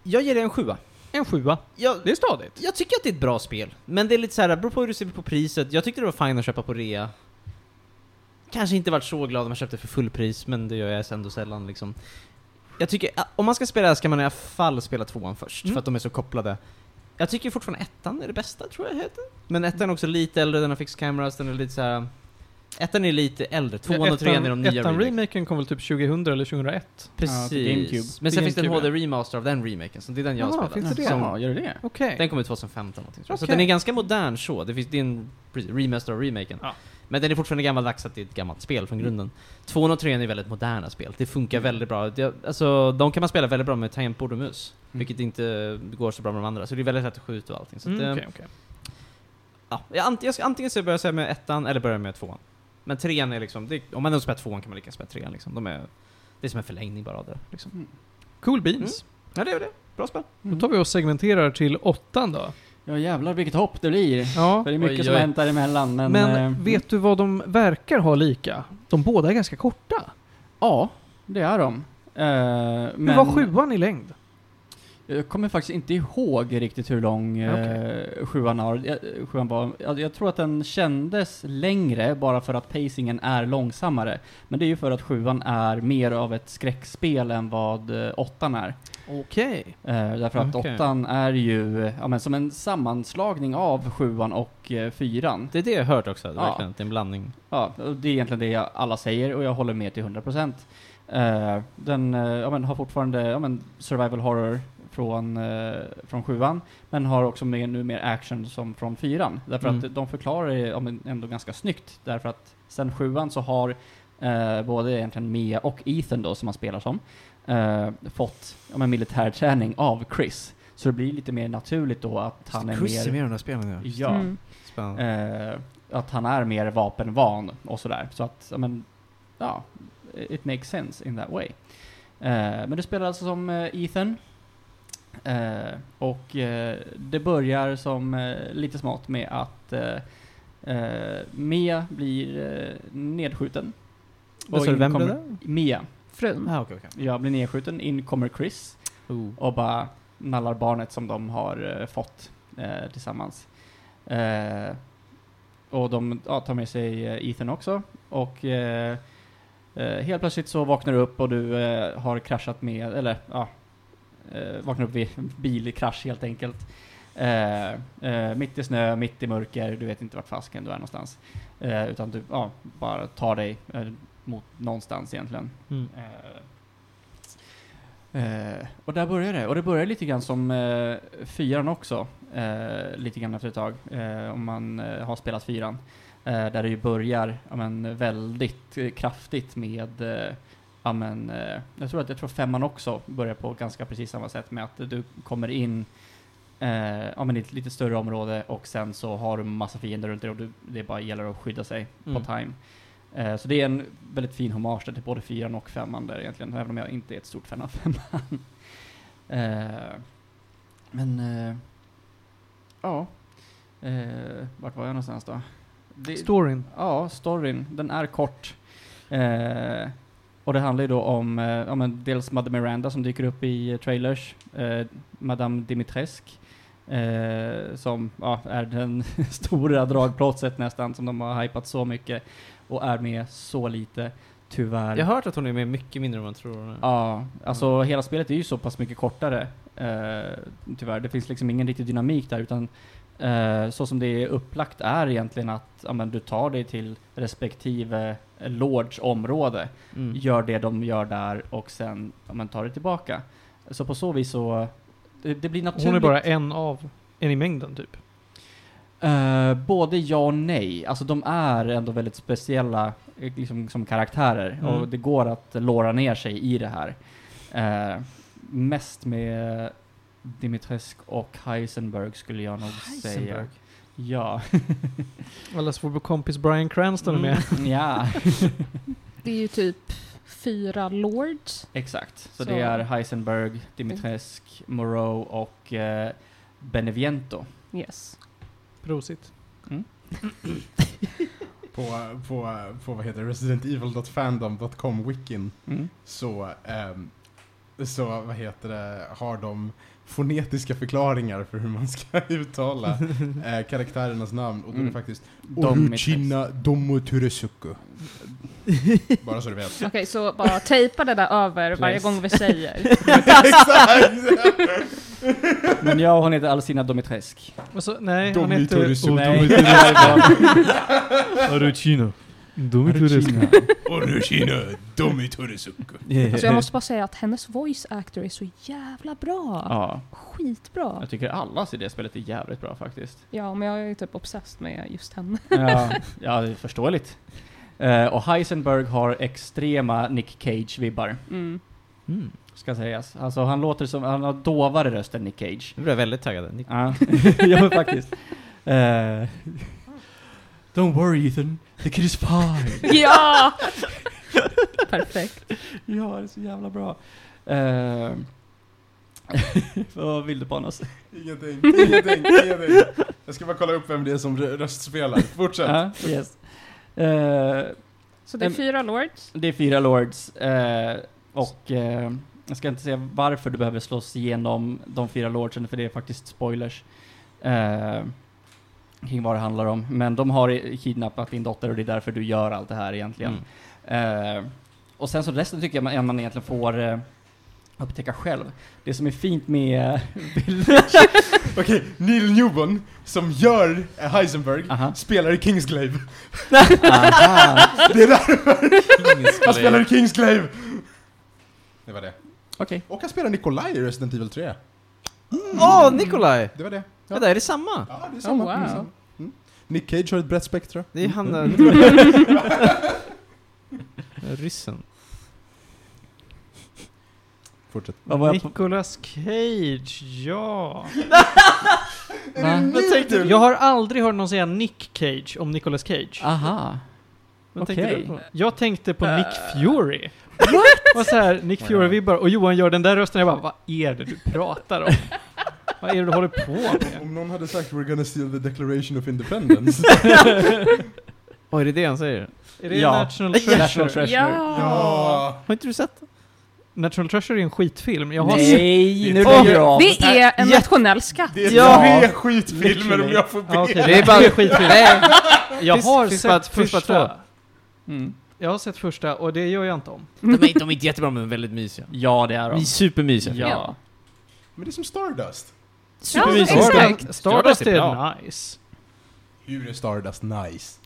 B: Jag ger det en sjua.
C: En sjua.
B: Jag,
C: Det är stadigt.
B: jag tycker att det är ett bra spel, men det är lite så här, beror på hur du ser på priset. Jag tyckte det var fint att köpa på rea. Kanske inte varit så glad om jag köpte för fullpris, men det gör jag ändå sällan liksom. Jag tycker, ä, om man ska spela det här ska man i alla fall spela tvåan först,
C: Mm.
B: för att de är så kopplade. Jag tycker fortfarande ettan är det bästa, tror jag heter. Men ettan är också lite äldre, den har fixed cameras, den är lite så här. Ettan är lite äldre, tvåan och trean är de nya
C: Ettan
B: remakes.
C: remaken kom väl typ 2000 eller 2001?
A: Ja, till GameCube.
B: Precis. Men sen finns det en
C: GameCube,
B: HD-remaster av den remaken, så det är den jag
C: Jaha,
B: har spelat.
C: finns det det?
B: Som-
A: Jaha, gör du det?
C: Okej.
B: den kom ut 2015 någonting, tror jag. Så
C: Okej.
B: den är ganska modern så. Det, finns, det är en precis, remaster av remaken.
C: Ja.
B: Men den är fortfarande gammaldags, att det är ett gammalt spel från grunden. 2 och 3 är väldigt moderna spel. Det funkar väldigt bra. Det, alltså, de kan man spela väldigt bra med tangentbord och mus.
A: Mm.
B: Vilket inte går så bra med de andra. Så det är väldigt lätt att skjuta och allting. Så att,
C: Mm,
B: eh,
C: okej, okej.
B: ja, jag, ant- jag ska antingen så börjar jag säga med ettan eller börjar med tvåan. Men trean är liksom, det, om man ändå spelar tvåan kan man lika gärna spela trean liksom. De är, det är som en förlängning bara av det. Liksom.
C: Cool beans.
B: Ja, det är det. Bra spel.
A: Mm.
C: Då tar vi och segmenterar till åttan då.
A: Ja jävlar vilket hopp det blir.
C: Ja.
A: För det är mycket
B: Oj,
A: som
B: oj.
A: har hänt däremellan. Men,
C: Men
A: eh,
C: vet du vad de verkar ha lika? De båda är ganska korta.
A: Ja, det är de. Eh, men
C: Hur var sjuan i längd?
A: Jag kommer faktiskt inte ihåg riktigt hur lång eh, sjuan, har, eh, sjuan var. Jag, jag tror att den kändes längre bara för att pacingen är långsammare. Men det är ju för att sjuan är mer av ett skräckspel än vad eh, åttan är.
C: Okej.
A: Eh, därför att
B: Okej.
A: åttan är ju eh, ja, men som en sammanslagning av sjuan och eh, fyran.
B: Det är det jag har hört också.
A: Ja.
B: Verkligen, att det är en blandning.
A: Ja, och det är egentligen det jag alla säger och jag håller med till 100%. procent. den eh, ja, men har fortfarande ja, men survival horror från, eh, från sjuan, men har också mer, nu mer action som från fyran. Därför
B: Mm.
A: att de förklarar det ja, men ändå ganska snyggt, därför att sen sjuan så har eh, både egentligen Mia och Ethan då, som man spelar som, eh, fått ja, men militärträning av Chris. Så det blir lite mer naturligt då att han är
B: Chris
A: mer...
B: är med i de där spelen nu.
A: Ja.
E: Mm.
B: Spännande.
A: Eh, att han är mer vapenvan och sådär. Så att, ja men, ja, it makes sense in that way. Eh, men du spelar alltså som eh, Ethan. Eh, och eh, det börjar som eh, lite smått med att eh, eh, Mia blir eh, nedskjuten.
B: Vad sa
A: Och
B: du,
A: in
B: vem
A: kommer-
B: blev det?
A: Mia.
E: Frun.
B: Ah, okej, okej.
A: Jag blir nedskjuten, in kommer Chris och bara nallar barnet som de har eh, fått eh, tillsammans. Eh, och de ja, tar med sig eh, Ethan också och eh, eh, helt plötsligt så vaknar du upp och du eh, har kraschat med, eller ja, eh, vaknar upp vid en bilkrasch helt enkelt. Eh, eh, mitt i snö, mitt i mörker, du vet inte vart fasken du är någonstans. Eh, utan du ja, bara tar dig eh, mot någonstans egentligen.
B: Mm.
A: Eh, eh, och där börjar det. Och det börjar lite grann som eh, fyran också. Eh, lite grann efter ett tag. Eh, om man eh, har spelat fyran. Eh, där det ju börjar ja, men, väldigt eh, kraftigt med eh, Ja, men, eh, jag, tror att, jag tror femman också börjar på ganska precis samma sätt med att du kommer in eh, ja, men i ett lite större område och sen så har du massa fiender runt dig och du, det bara gäller att skydda sig
B: Mm.
A: på time. Eh, så det är en väldigt fin hommage där till både fyran och femman där egentligen, även om jag inte är ett stort fan av femman. eh, men, eh, ja. Eh, vart var jag någonstans då? Det-
C: Storyn.
A: Ja, storyn. Den är kort. Eh, och det handlar ju då om, eh, ja, men dels Madame Miranda som dyker upp i eh, trailers, eh, Madame Dimitrescu, eh, som ja, är den stora dragplåtset nästan, som de har hypat så mycket och är med så lite, tyvärr.
B: Jag har hört att hon är med mycket mindre än man tror hon är.
A: Ja, alltså hela spelet är ju så pass mycket kortare. Eh, tyvärr, det finns liksom ingen riktig dynamik där utan eh, så som det är upplagt är egentligen att ja, men du tar dig till respektive lords område,
B: Mm.
A: gör det de gör där och sen ja, men, tar det tillbaka. Så på så vis så, det, det blir naturligt.
C: Hon är bara en av, en i mängden typ.
A: Eh, både ja och nej. Alltså de är ändå väldigt speciella eh, liksom, som karaktärer
C: Mm.
A: och det går att låra ner sig i det här. Eh, mest med Dimitrescu och Heisenberg skulle jag nog säga. Ja.
B: Mm.
C: Allas vår kompis Brian Cranston är med.
A: ja.
E: Det är ju typ fyra lords.
D: Exakt.
E: Så-
D: Så, det är Heisenberg, Dimitrescu, Moreau och eh, Beneviento.
E: Yes.
C: Prosit.
A: På, på, på vad heter det, residentevil.fandom.com wikin
D: Mm.
A: så, ehm, så vad heter det, har de fonetiska förklaringar för hur man ska uttala eh, karaktärernas namn. Och då är det
D: Mm.
A: faktiskt
D: Domitrescu.
A: Oruchina Domoturesuku. Bara så du vet.
E: Okej, så bara tejpa det där över varje
D: Please.
E: gång vi säger.
D: Men jag och hon heter Alcina Domitrescu.
C: Och så, Alltså, nej, han heter...
A: Domiturisu.
D: Nej.
C: Arucino.
D: Arucina.
A: Oruchina Domoturesuku.
E: Alltså jag måste bara säga att hennes voice actor är så jävla bra.
D: Ja,
E: Skitbra.
D: jag tycker allas i det spelet är jävligt bra faktiskt.
E: Ja, men jag är ju typ obsessed med just henne.
D: ja, ja, det är förståeligt. Eh, och Heisenberg har extrema Nick Cage-vibbar,
E: Mm.
B: Mm.
D: ska sägas. Alltså han låter som, han har dovare röst än Nick Cage.
B: Nu blir jag väldigt taggad. Ni-
D: Ja, ja men faktiskt. Eh, Don't worry Ethan, the kid is fine.
E: Ja! Perfekt.
D: ja, det är så jävla bra. Eh, Vad vill du på oss?
A: Ingenting, ingenting, ingenting. Jag ska bara kolla upp vem det är som rö- röstspelar. Fortsätt.
D: Ja, yes. Eh,
E: Så det är
D: Em-
E: fyra lords.
D: Det är fyra lords eh, och eh, jag ska inte säga varför du behöver slåss igenom de fyra lordsen för det är faktiskt spoilers eh, kring vad det handlar om. Men de har i- kidnappat din dotter och det är därför du gör allt det här egentligen.
B: Mm.
D: Eh, och sen så resten tycker jag man, man egentligen får eh, upptäcka själv. Det som är fint med...
A: Okej, Neil Newborn som gör eh, Heisenberg
D: Aha.
A: spelar i Kingsglaive.
D: Aha.
A: Det är därför han spelar i
B: Kingsglaive.
A: Kingsglaive. Det var det.
D: Okej.
A: Och han spelar Nikolaj i Resident Evil 3.
B: Åh, Nikolaj!
A: Det var det. Ja,
B: Ja, det är det samma.
A: ja det är samma.
E: Oh, wow.
A: det är samma. Mm. Nick Cage har ett brett spektra.
B: Det är han där. Ryssen.
A: Fortsätt.
D: Vad var jag på?
C: Nicolas Cage, ja.
D: Va?
C: Jag, tänkte, jag har aldrig hört någon säga Nick Cage om Nicolas Cage.
D: Aha.
C: Vad tänkte
D: Ah, okej.
C: du på? Jag tänkte på Nick Fury. Vad så här, Nick Fury-vibbar och Johan gör den där rösten. Jag bara, vad är det du pratar om? Vad är det du håller på med?
A: Om någon hade sagt “We're gonna steal the Declaration of Independence”
B: Oj, är det det han säger?
C: Är det
D: Ja.
C: National Treasure?
D: National Treasure.
E: Ja!
A: Ja!
B: Har inte du sett den?
C: National Treasure är en skitfilm. Jag har sett
D: Nej, nu
A: Åh,
D: lägger du av.
E: Det är en
B: Jätte-
E: nationell skatt.
A: Det är
D: Ja.
A: tre skitfilmer om jag får be.
C: Ja, okej,
B: Det är bara-
C: tre skitfilmer. Jag
B: Finns-
C: har
B: finns
C: sett
B: bara- finns bara
C: första.
B: två.
D: Mm.
C: Jag har sett första och det gör jag inte om.
B: De är, de är inte jättebra, men väldigt mysiga.
D: Ja, det är de.
B: Supermysiga.
D: Ja.
A: Men det är som Stardust.
E: Supermysiga.
B: Ja,
E: Exakt.
B: exakt.
C: Stardust
B: bra.
C: är nice.
A: Hur är Stardust nice?
E: Mysigt.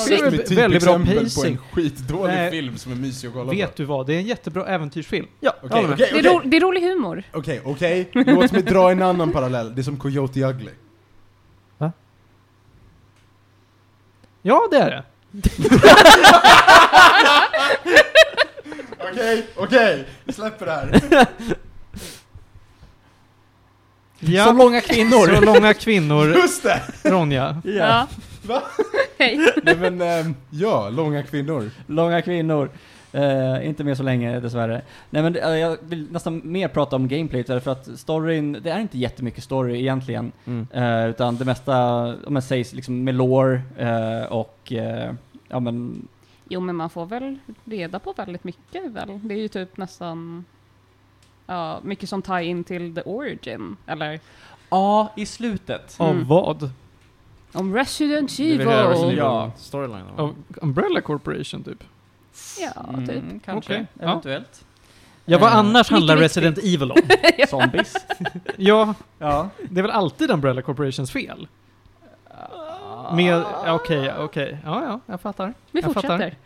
A: Stardust är ett
C: Väldigt bra
A: typexempel på en
C: pacing.
A: skitdålig
C: Nej.
A: film som är mysig att kolla
C: Vet
A: på.
C: du vad? Det är en jättebra äventyrsfilm.
B: Ja, jag
A: Okej,
B: håller med.
A: okej,
E: Det är,
A: okej.
E: ro, det är rolig humor.
A: Okej, okej. Låt mig dra en annan parallell. Det är som Coyote Ugly.
C: Ja, det är det.
A: Okej, okej. Vi släpper det här.
C: Ja.
D: Så långa kvinnor.
C: Så långa kvinnor,
A: Just det!
C: Ronja.
E: Ja.
A: Va?
E: Hej.
A: Nej men, ehm, ja, långa kvinnor.
D: Långa kvinnor. Eh, inte med så länge dessvärre. Nej men eh, jag vill nästan mer prata om gameplayet därför att storyn, det är inte jättemycket story egentligen.
B: Mm.
D: Eh, utan det mesta, om man sägs liksom med lore eh, och eh, ja men
E: Jo, men man får väl reda på väldigt mycket väl. Det är ju typ nästan ja, mycket som tar in till the origin. Eller
D: Ja, i slutet.
C: Av
E: Mm.
C: vad?
E: om Resident
B: Du vill höra Resident
E: Evil.
D: Ja.
B: Evil storyline? va?
C: Av Umbrella Corporation typ.
E: Ja, typ.
D: Mm, kanske.
C: Okej, ja.
D: Eventuellt.
C: Ja, vad
D: Eh,
C: annars handlar
E: mycket
C: Resident Evil om?
D: Zombies.
C: ja,
D: ja.
C: det är väl alltid Umbrella Corporations fel? Med, ja, okej, okej. Ja, ja, jag fattar.
E: Vi
C: Jag fattar.
E: fortsätter.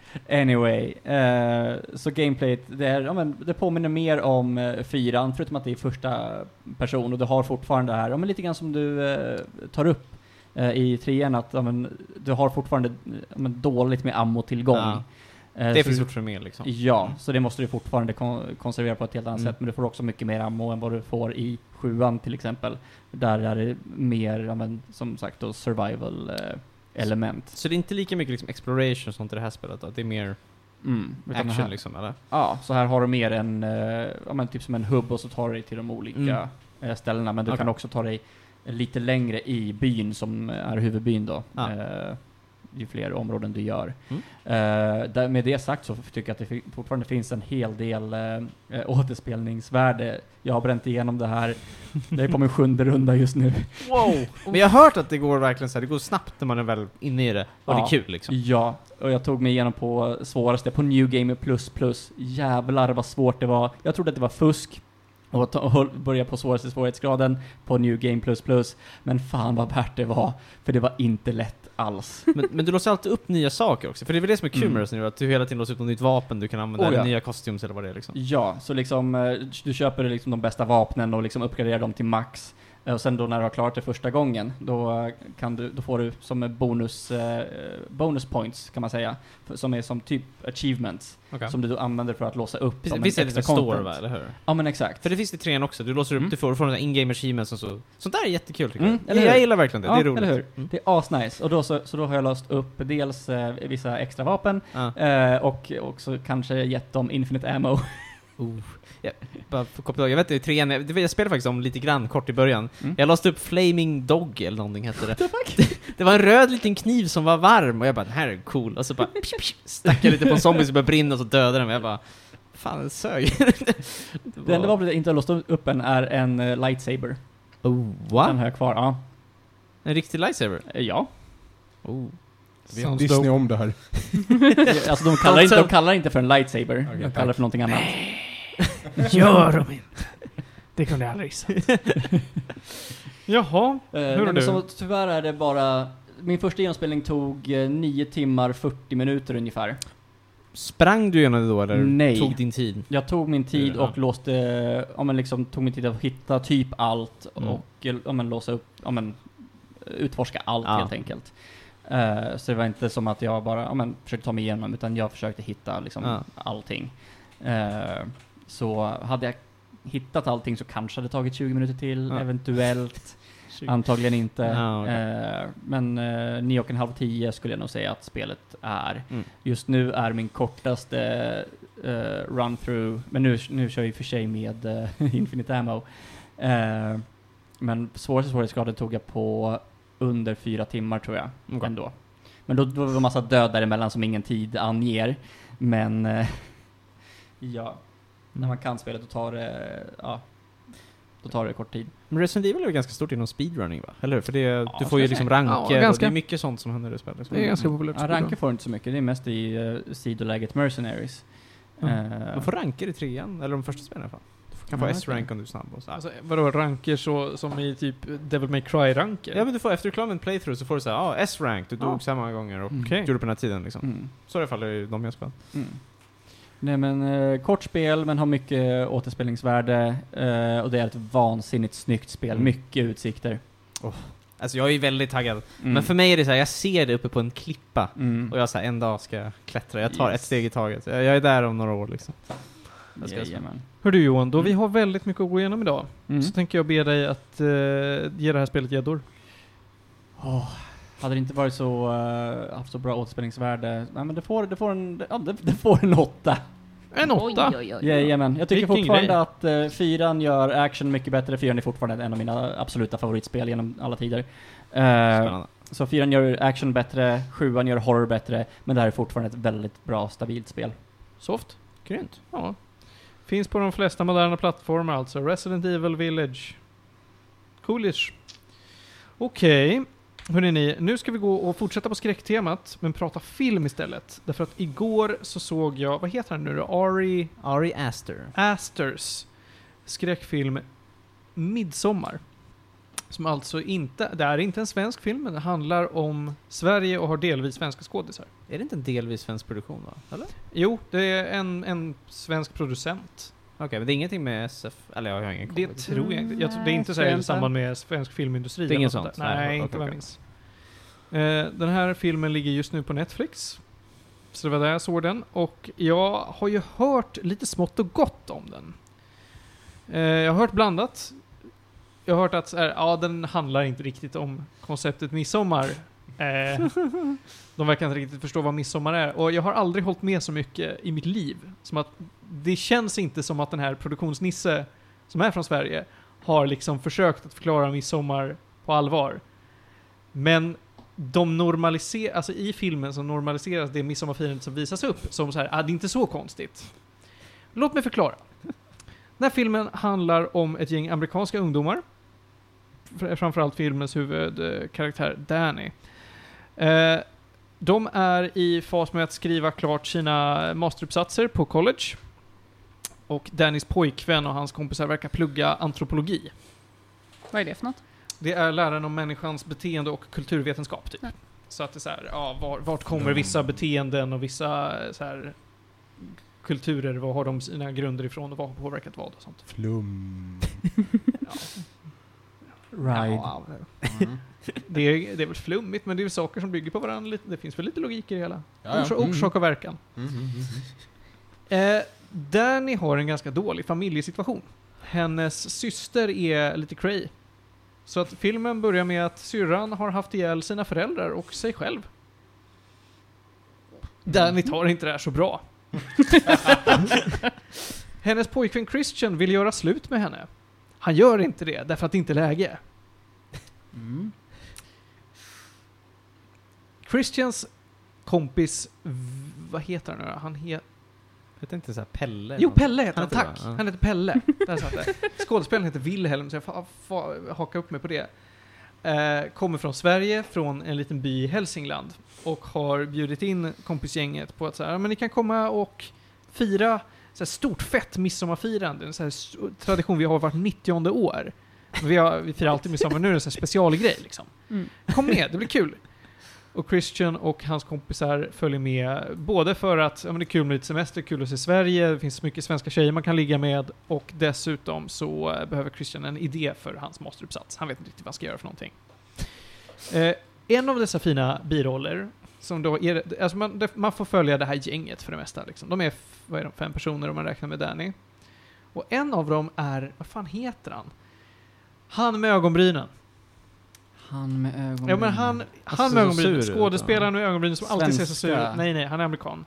D: Anyway, eh, så gameplayet, det, är, ja, men, det påminner mer om eh, fyran, förutom att det är första person och du har fortfarande det här, ja, men lite grann som du eh, tar upp eh, i trean, att ja, men, du har fortfarande eh, ja, men, dåligt med ammotillgång.
B: Ja.
D: Eh,
B: Det
D: så
B: finns
D: du-
B: gjort för mer liksom.
D: Ja, så det måste du fortfarande kon- konservera på ett helt annat
B: Mm.
D: sätt, men du får också mycket mer ammo än vad du får i sjuan till exempel. Där är det mer, ja, men, som sagt, då, survival eh, element.
B: Så det är inte lika mycket liksom exploration och sånt i det här spelet? Då? Det är mer
A: Mm, utan
B: action
A: här,
B: liksom, eller?
A: Ja, så här har du mer en, eh, ja, men typ som en hubb och så tar du dig till de
B: Mm.
A: olika eh, ställena. Men du
B: Okej.
A: kan också ta dig lite längre i byn som är huvudbyn då.
B: Ja.
A: Eh, ju fler områden du gör.
B: Mm.
A: Eh, där, med det sagt så tycker jag att det fi- fortfarande finns en hel del eh, eh, återspelningsvärde. Jag har bränt igenom det här. Jag är på min sjunde runda just nu.
B: Wow! Men jag har hört att det går verkligen så här, det går snabbt när man är väl inne i det, och det är
A: Ja.
B: kul liksom.
A: Ja, och jag tog mig igenom på svåraste, på New Game plus plus. Jävlar vad svårt det var. Jag trodde att det var fusk och ta- och höll- började på svåraste svårighetsgraden på New Game plus plus. Men fan vad värt det var, för det var inte lätt alls.
B: Men, men du låser alltid upp nya saker också, för det är väl det som är kul med
A: Mm.
B: Resident Evil, att du hela tiden låser upp något nytt vapen du kan använda,
A: Oh,
B: eller
A: ja.
B: nya kostyms eller vad det är liksom.
A: Ja, så liksom eh, du köper liksom de bästa vapnen och liksom uppgraderar dem till max. Eh, Och sen då när du har klarat det första gången, då, eh, kan du, då får du som en bonus, eh, bonus points kan man säga. F- Som är som typ achievements,
B: Okay.
A: som du då använder för att låsa upp som
B: Visst,
A: en
B: visst är det
A: extra
B: lite store,
A: content.
B: va, eller hur?
A: Ja men exakt.
B: För det finns det i trean också, du låser upp,
A: Mm.
B: du får från in-game achievements och så. Sånt där är jättekul tycker
A: Mm,
B: jag.
A: eller
B: jag
A: hur?
B: gillar verkligen det, det är
A: Ja,
B: roligt.
A: eller hur?
B: Mm.
A: Det är asnice. Och då så, så då har jag låst upp dels eh, vissa extra vapen
B: Ja.
A: eh, och också kanske gett dem infinite ammo.
B: Oh. Jag, bara för att koppla ihåg, jag vet inte, i trean, jag, det var- jag spelade faktiskt om lite grann kort i början.
A: Mm.
B: Jag låste upp Flaming Dog eller någonting hette det. det. Det var en röd liten kniv som var varm och jag bara den här är cool. Och så bara psh, psh, stack jag lite på en zombie som började brinna och så dödade den mig. Jag bara Fan, den sög.
A: Det enda vapnet jag inte har låst upp än är en eh, lightsaber.
B: Oh,
A: Den
B: what?
A: har jag kvar, ja.
B: En riktig lightsaber?
A: Eh, Ja.
B: Oh.
G: Vet Disney om det här?
A: Alltså de kallar, inte, de kallar inte för en lightsaber,
G: Okej,
A: de
G: tack.
A: kallar det för någonting annat.
C: Gör de inte! Det kunde jag aldrig gissa. Jaha.
A: Eh,
C: Hur
A: nej,
C: är
A: men
C: du?
A: så, tyvärr är det bara... Min första genomspelning tog eh, 9 timmar 40 minuter ungefär.
B: Sprang du igenom det då eller
A: Nej.
B: tog din tid?
A: Jag tog min tid
B: Ja.
A: och låste, ja men liksom tog min tid att hitta typ allt
B: Mm.
A: och eh, ja men låsa upp, ja men eh, utforska allt
B: Ja.
A: helt enkelt. Eh, så det var inte som att jag bara, ja men försökte ta mig igenom utan jag försökte hitta liksom
B: Ja.
A: allting. Eh, så hade jag hittat allting så kanske det tagit 20 minuter till,
B: Ja.
A: eventuellt. Antagligen inte.
B: Ja, okej.
A: Eh, men eh, nio och en halv tio skulle jag nog säga att spelet är.
B: Mm.
A: Just nu är min kortaste eh, run-through, men nu, nu kör jag i och för sig med eh, Infinite Ammo. Eh, men svåraste svårighetsgraden tog jag på under fyra timmar tror jag,
B: Okej.
A: ändå. Men då, då var det en massa död däremellan som ingen tid anger. Men eh, ja, när man kan spelet då tar det, ja, då tar det kort tid.
B: Men Resident Evil är väl ganska stort inom speedrunning va? Eller hur? För det, du får
A: skulle
B: ju
A: jag
B: liksom
A: säga.
B: ranker
C: Ja,
B: och
C: ganska.
B: det är mycket sånt som händer i spelet. Liksom.
C: Det är ganska populärt.
A: Ja, ranker får du inte så mycket, det är mest i eh, sidoläget Mercenaries.
C: Ja.
A: Eh,
B: Man får ranker i trean, eller de första spelen i alla fall. Du kan få
A: Ja,
B: S-rank om du är snabb och så.
C: Alltså, vadå ranker så, som i typ Devil May Cry-ranker?
B: ja men du får, efter du klarar en playthrough så får du säga ah, S-rank, du dog
A: Ja.
B: så här många gånger och
A: Mm.
C: Okej.
B: gjorde på den här tiden liksom.
A: mm.
B: Så i alla fall är det de jag spelat.
A: Mm. Nej men eh, kort spel men har mycket återspelningsvärde eh, och det är ett vansinnigt snyggt spel,
B: Mm.
A: mycket utsikter.
B: Alltså jag är ju väldigt taggad.
A: Mm.
B: Men för mig är det så här, jag ser det uppe på en klippa.
A: mm.
B: Och jag säger en dag ska jag klättra, jag tar
A: Yes.
B: ett steg i taget. Jag, jag är där om några år liksom. jag ska
A: Jajamän.
C: Hör du Johan, då vi har väldigt mycket att gå igenom idag.
A: Mm.
C: Så tänker jag be dig att eh, ge det här spelet gäddor.
A: Åh, Hade det inte varit så, eh, haft så bra återspelningsvärde, nej men det får, det får en, ja, det, det får en åtta.
C: En åtta!
E: Oj, oj, oj.
A: Jajamän. Jag tycker
C: Vilken
A: fortfarande
C: grej.
A: att eh, fyran gör action mycket bättre, fyran är fortfarande en av mina absoluta favoritspel genom alla tider. Eh,
B: Spännande.
A: Så fyran gör action bättre, sjuan gör horror bättre, men det här är fortfarande ett väldigt bra, stabilt spel.
C: Soft.
B: Grymt.
C: Ja. Finns på de flesta moderna plattformar alltså. Resident Evil Village. Coolish. Okej. Hörrni, nu ska vi gå och fortsätta på skräcktemat, men prata film istället. Därför att igår så såg jag, vad heter han nu då? Ari
B: Ari Aster.
C: Asters skräckfilm Midsommar. Som alltså inte, det är inte en svensk film, men det handlar om Sverige och har delvis svenska skådisar.
B: Är det inte en delvis svensk produktion va? Eller?
C: Jo, det är en, en svensk producent.
B: Okej, men det är ingenting med SF? Eller jag har ingen koll.
C: Det tror jag inte. Jag tror, det är inte så här
E: Nej,
C: i samband med svensk filmindustri.
B: Det är
C: eller
B: inget
C: något
B: sånt?
C: där. Nej,
B: Nej, okej,
C: inte vad jag
B: okej.
C: minns. Eh, Den här filmen ligger just nu på Netflix. Så det var där jag såg den. Och jag har ju hört lite smått och gott om den. Eh, Jag har hört blandat. Jag har hört att så här, ja, den handlar inte riktigt om konceptet midsommar. Eh, de verkar inte riktigt förstå vad midsommar är. Och jag har aldrig hållit med så mycket i mitt liv. Som att det känns inte som att den här produktionsnisse som är från Sverige har liksom försökt att förklara midsommar på allvar. Men de normaliserar, alltså i filmen så normaliseras det midsommarfirandet som visas upp som så här, ah, det är inte så konstigt. Låt mig förklara. Den här filmen handlar om ett gäng amerikanska ungdomar. Fr- Framförallt filmens huvudkaraktär Danny. Eh, de är i fas med att skriva klart sina masteruppsatser på college. Och Dannys pojkvän och hans kompisar verkar plugga antropologi.
E: Vad är det för något?
C: Det är läran om människans beteende och kulturvetenskap, typ.
E: Ja.
C: Så att det är så här, ja, var, vart kommer
A: Mm.
C: vissa beteenden och vissa eh, så här, kulturer, var har de sina grunder ifrån och vad har påverkat vad och sånt.
A: Flum.
C: Ja, det, är, det är väl flummigt, men det är väl saker som bygger på varandra. lite. Det finns väl lite logik i det hela.
A: Ja, ja.
C: Orsa- Orsak och verkan.
A: Mm, mm, mm, mm.
C: Eh, Danny har en ganska dålig familjesituation. Hennes syster är lite cray. Så att filmen börjar med att syrran har haft ihjäl sina föräldrar och sig själv. Danny tar inte det här så bra. Hennes pojkvän Christian vill göra slut med henne. Han gör inte det, därför att det inte är läge.
D: Mm.
C: Christians kompis, v- vad heter han nu då? Han heter...
B: Heter inte så här Pelle?
C: Jo, Pelle heter han,
B: Han
C: tack!
B: heter det, va? Ja.
C: Han heter Pelle. Där satt det. Skådespelaren heter Wilhelm, så jag får, får haka upp mig på det. Eh, kommer från Sverige, från en liten by i Hälsingland. Och har bjudit in kompisgänget på att så här, "Ja, men ni kan komma och fira så här stort fett midsommarfirande. En så här s- tradition vi har vart 90 år. Men Vi, har, vi firar alltid midsommar, nu är det en sån här specialgrej liksom.
E: Mm.
C: Kom med, det blir kul. Och Christian och hans kompisar följer med, både för att ja, men det är kul med lite semester, kul att se Sverige, det finns mycket svenska tjejer man kan ligga med och dessutom så eh, behöver Christian en idé för hans masteruppsats. Han vet inte riktigt vad han ska göra för någonting. Eh, en av dessa fina biroller, som då är, alltså man, det- man får följa det här gänget för det mesta. Liksom. De är, f- vad är de, fem personer om man räknar med Danny. Och en av dem är, vad fan heter han? Han med ögonbrynen.
D: Han med ögonen.
C: Ja men han, han
B: ser
C: med
B: så
C: ögonbrynen.
B: sur ut,
C: Skådespelaren med ögonbrynen som alltid ser så sur
D: Svenska.
C: ut. Nej, nej, han är amerikan.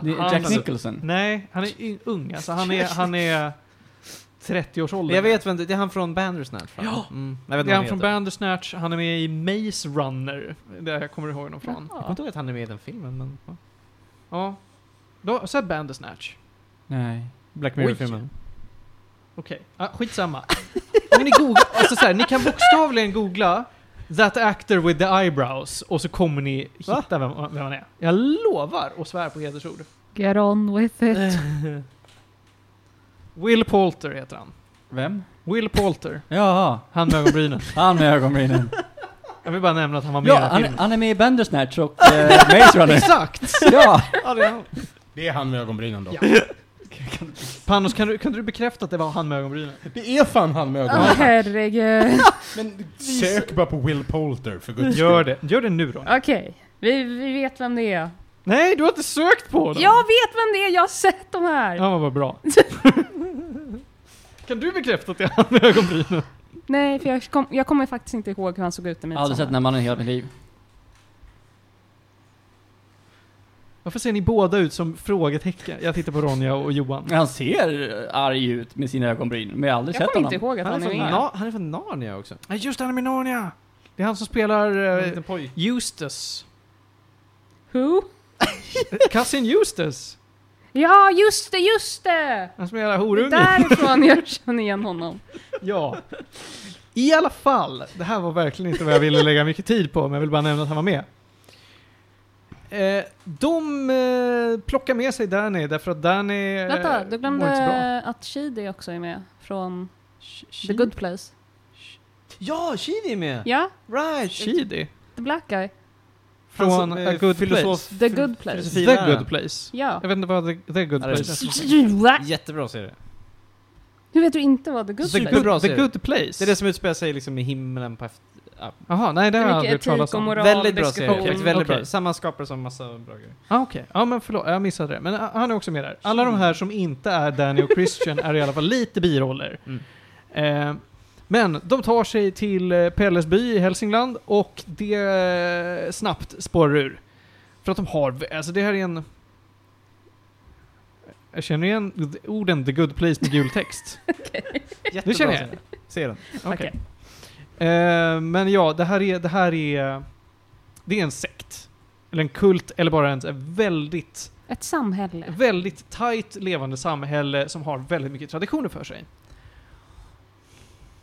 D: Det är
C: Han- Alltså-
D: Jack Nicholson.
C: Nej, han är y- ung alltså. Han är, han är 30 års ålder.
B: Jag vet vem det det är han från Bandersnatch va?
C: Ja!
B: Mm. Jag vet
C: Det
B: inte
C: är
B: vad
C: han från
B: heter.
C: Bandersnatch, han är med i Maze Runner. Där jag kommer ihåg honom från.
B: Jag kommer inte ihåg att han är med i den filmen men... ja.
C: Ja. Då har sett Bandersnatch.
D: Nej.
B: Black
C: Oj.
B: Mirror-filmen.
C: Okej, ah, skitsamma. Om ni, googlar, alltså så här, ni kan bokstavligen googla That actor with the eyebrows och så kommer ni hitta vem, vem han är. Jag lovar och svär på hedersord.
E: Get on with it.
C: Will Poulter heter han.
D: Vem?
C: Will Poulter.
D: Jaha,
C: Han med ögonbrynen.
D: han med ögonbrynen.
C: Jag vill bara nämna att han var med
D: ja,
C: i den här
D: han,
C: filmen.
D: han är med i Bandersnatch och eh, Maze Runner.
C: Exakt!
D: ja!
C: Ja, det är han.
A: Det är han med ögonbrynen då.
C: Ja. Panos, kan du, kan du bekräfta att det var han med ögonbrynen?
A: Det är fan han med
E: Åh
A: ögonbrynen.
E: herregud.
A: Men sök bara på Will Poulter för guds
C: Gör
A: skull.
C: det. Gör det nu då.
E: Okej, vi, vi vet vem det är.
C: Nej, du har inte sökt på honom!
E: Jag vet vem det är, jag har sett de här!
C: Ja, men vad bra. kan du bekräfta att det är han med ögonbrynen?
E: Nej, för jag, kom, jag kommer faktiskt inte ihåg hur han såg ut i
D: Jag
E: mitt
D: har aldrig sett den här mannen i hela mitt liv.
C: Varför ser ni båda ut som frågetecken? Jag tittar på Ronja och Johan.
D: Han ser eh, arg ut med sina ögonbryn, men jag har aldrig
E: Jag
D: sett
E: kommer inte
D: honom.
E: ihåg att
B: Han är,
E: han
B: från
E: är med.
B: Na- han är från Narnia också.
C: Nej, just det, han är med i Narnia! Det är han som spelar
D: Eh,
B: En
C: uh,
B: liten pojke.
C: Eustace.
E: Who?
C: Eh, Cousin Eustace!
E: Ja, just det, just det!
C: Han som är jävla
E: Det är
C: horunge.
E: därifrån jag känner igen honom.
C: Ja. I alla fall, det här var verkligen inte vad jag ville lägga mycket tid på, men jag vill bara nämna att han var med. Eh, de eh, plockar med sig Danny därför att Danny eh,
E: Vänta, du
C: mår inte så bra.
E: glömde att Shidi också är med från The Good Place.
B: Ja, Chidi är med!
E: Ja,
B: Right!
C: Shidi.
E: The Black Guy.
C: Från
B: Han som, eh,
C: A Good
B: filosof-
C: Place.
E: The Good Place.
B: filosofi-
C: The
B: filologiläraren.
C: Good Place.
E: Ja.
C: Jag vet inte vad The, the Good
B: Ja, det är
C: Place är.
B: Jättebra serie.
E: Hur vet du inte vad The Good
C: The
E: Place
B: Superbra
C: Good, the
B: serie.
C: good Place?
B: Det är det som utspelar sig liksom i himlen på efter... Ja.
C: Jaha, nej det har jag
E: Mycket
C: aldrig hört
E: etik
C: talas
E: och
C: om.
E: moral. Bra
B: Väldigt bra
E: diskussion.
B: serie. faktiskt. Väldigt
C: Okej.
B: bra. Samma skapare som massa bra grejer.
C: Ah, Okej, ja men förlåt, jag missade det. Men ah, han är också med där. Alla de här som inte är Danny och Christian är i alla fall lite biroller.
B: Mm.
C: Eh, Men de tar sig till eh, Pelles by i Hälsingland och det eh, snabbt spårar ur. För att de har, vä- alltså det här är en... Jag känner igen orden The Good Place med gul text.
B: Jättebra
C: Nu känner jag.
B: scen. Ser den.
C: Okej. Eh, men ja, det här är... Det här är... Det är en sekt. Eller en kult, eller bara en så här väldigt
E: Ett samhälle.
C: väldigt tajt levande samhälle som har väldigt mycket traditioner för sig.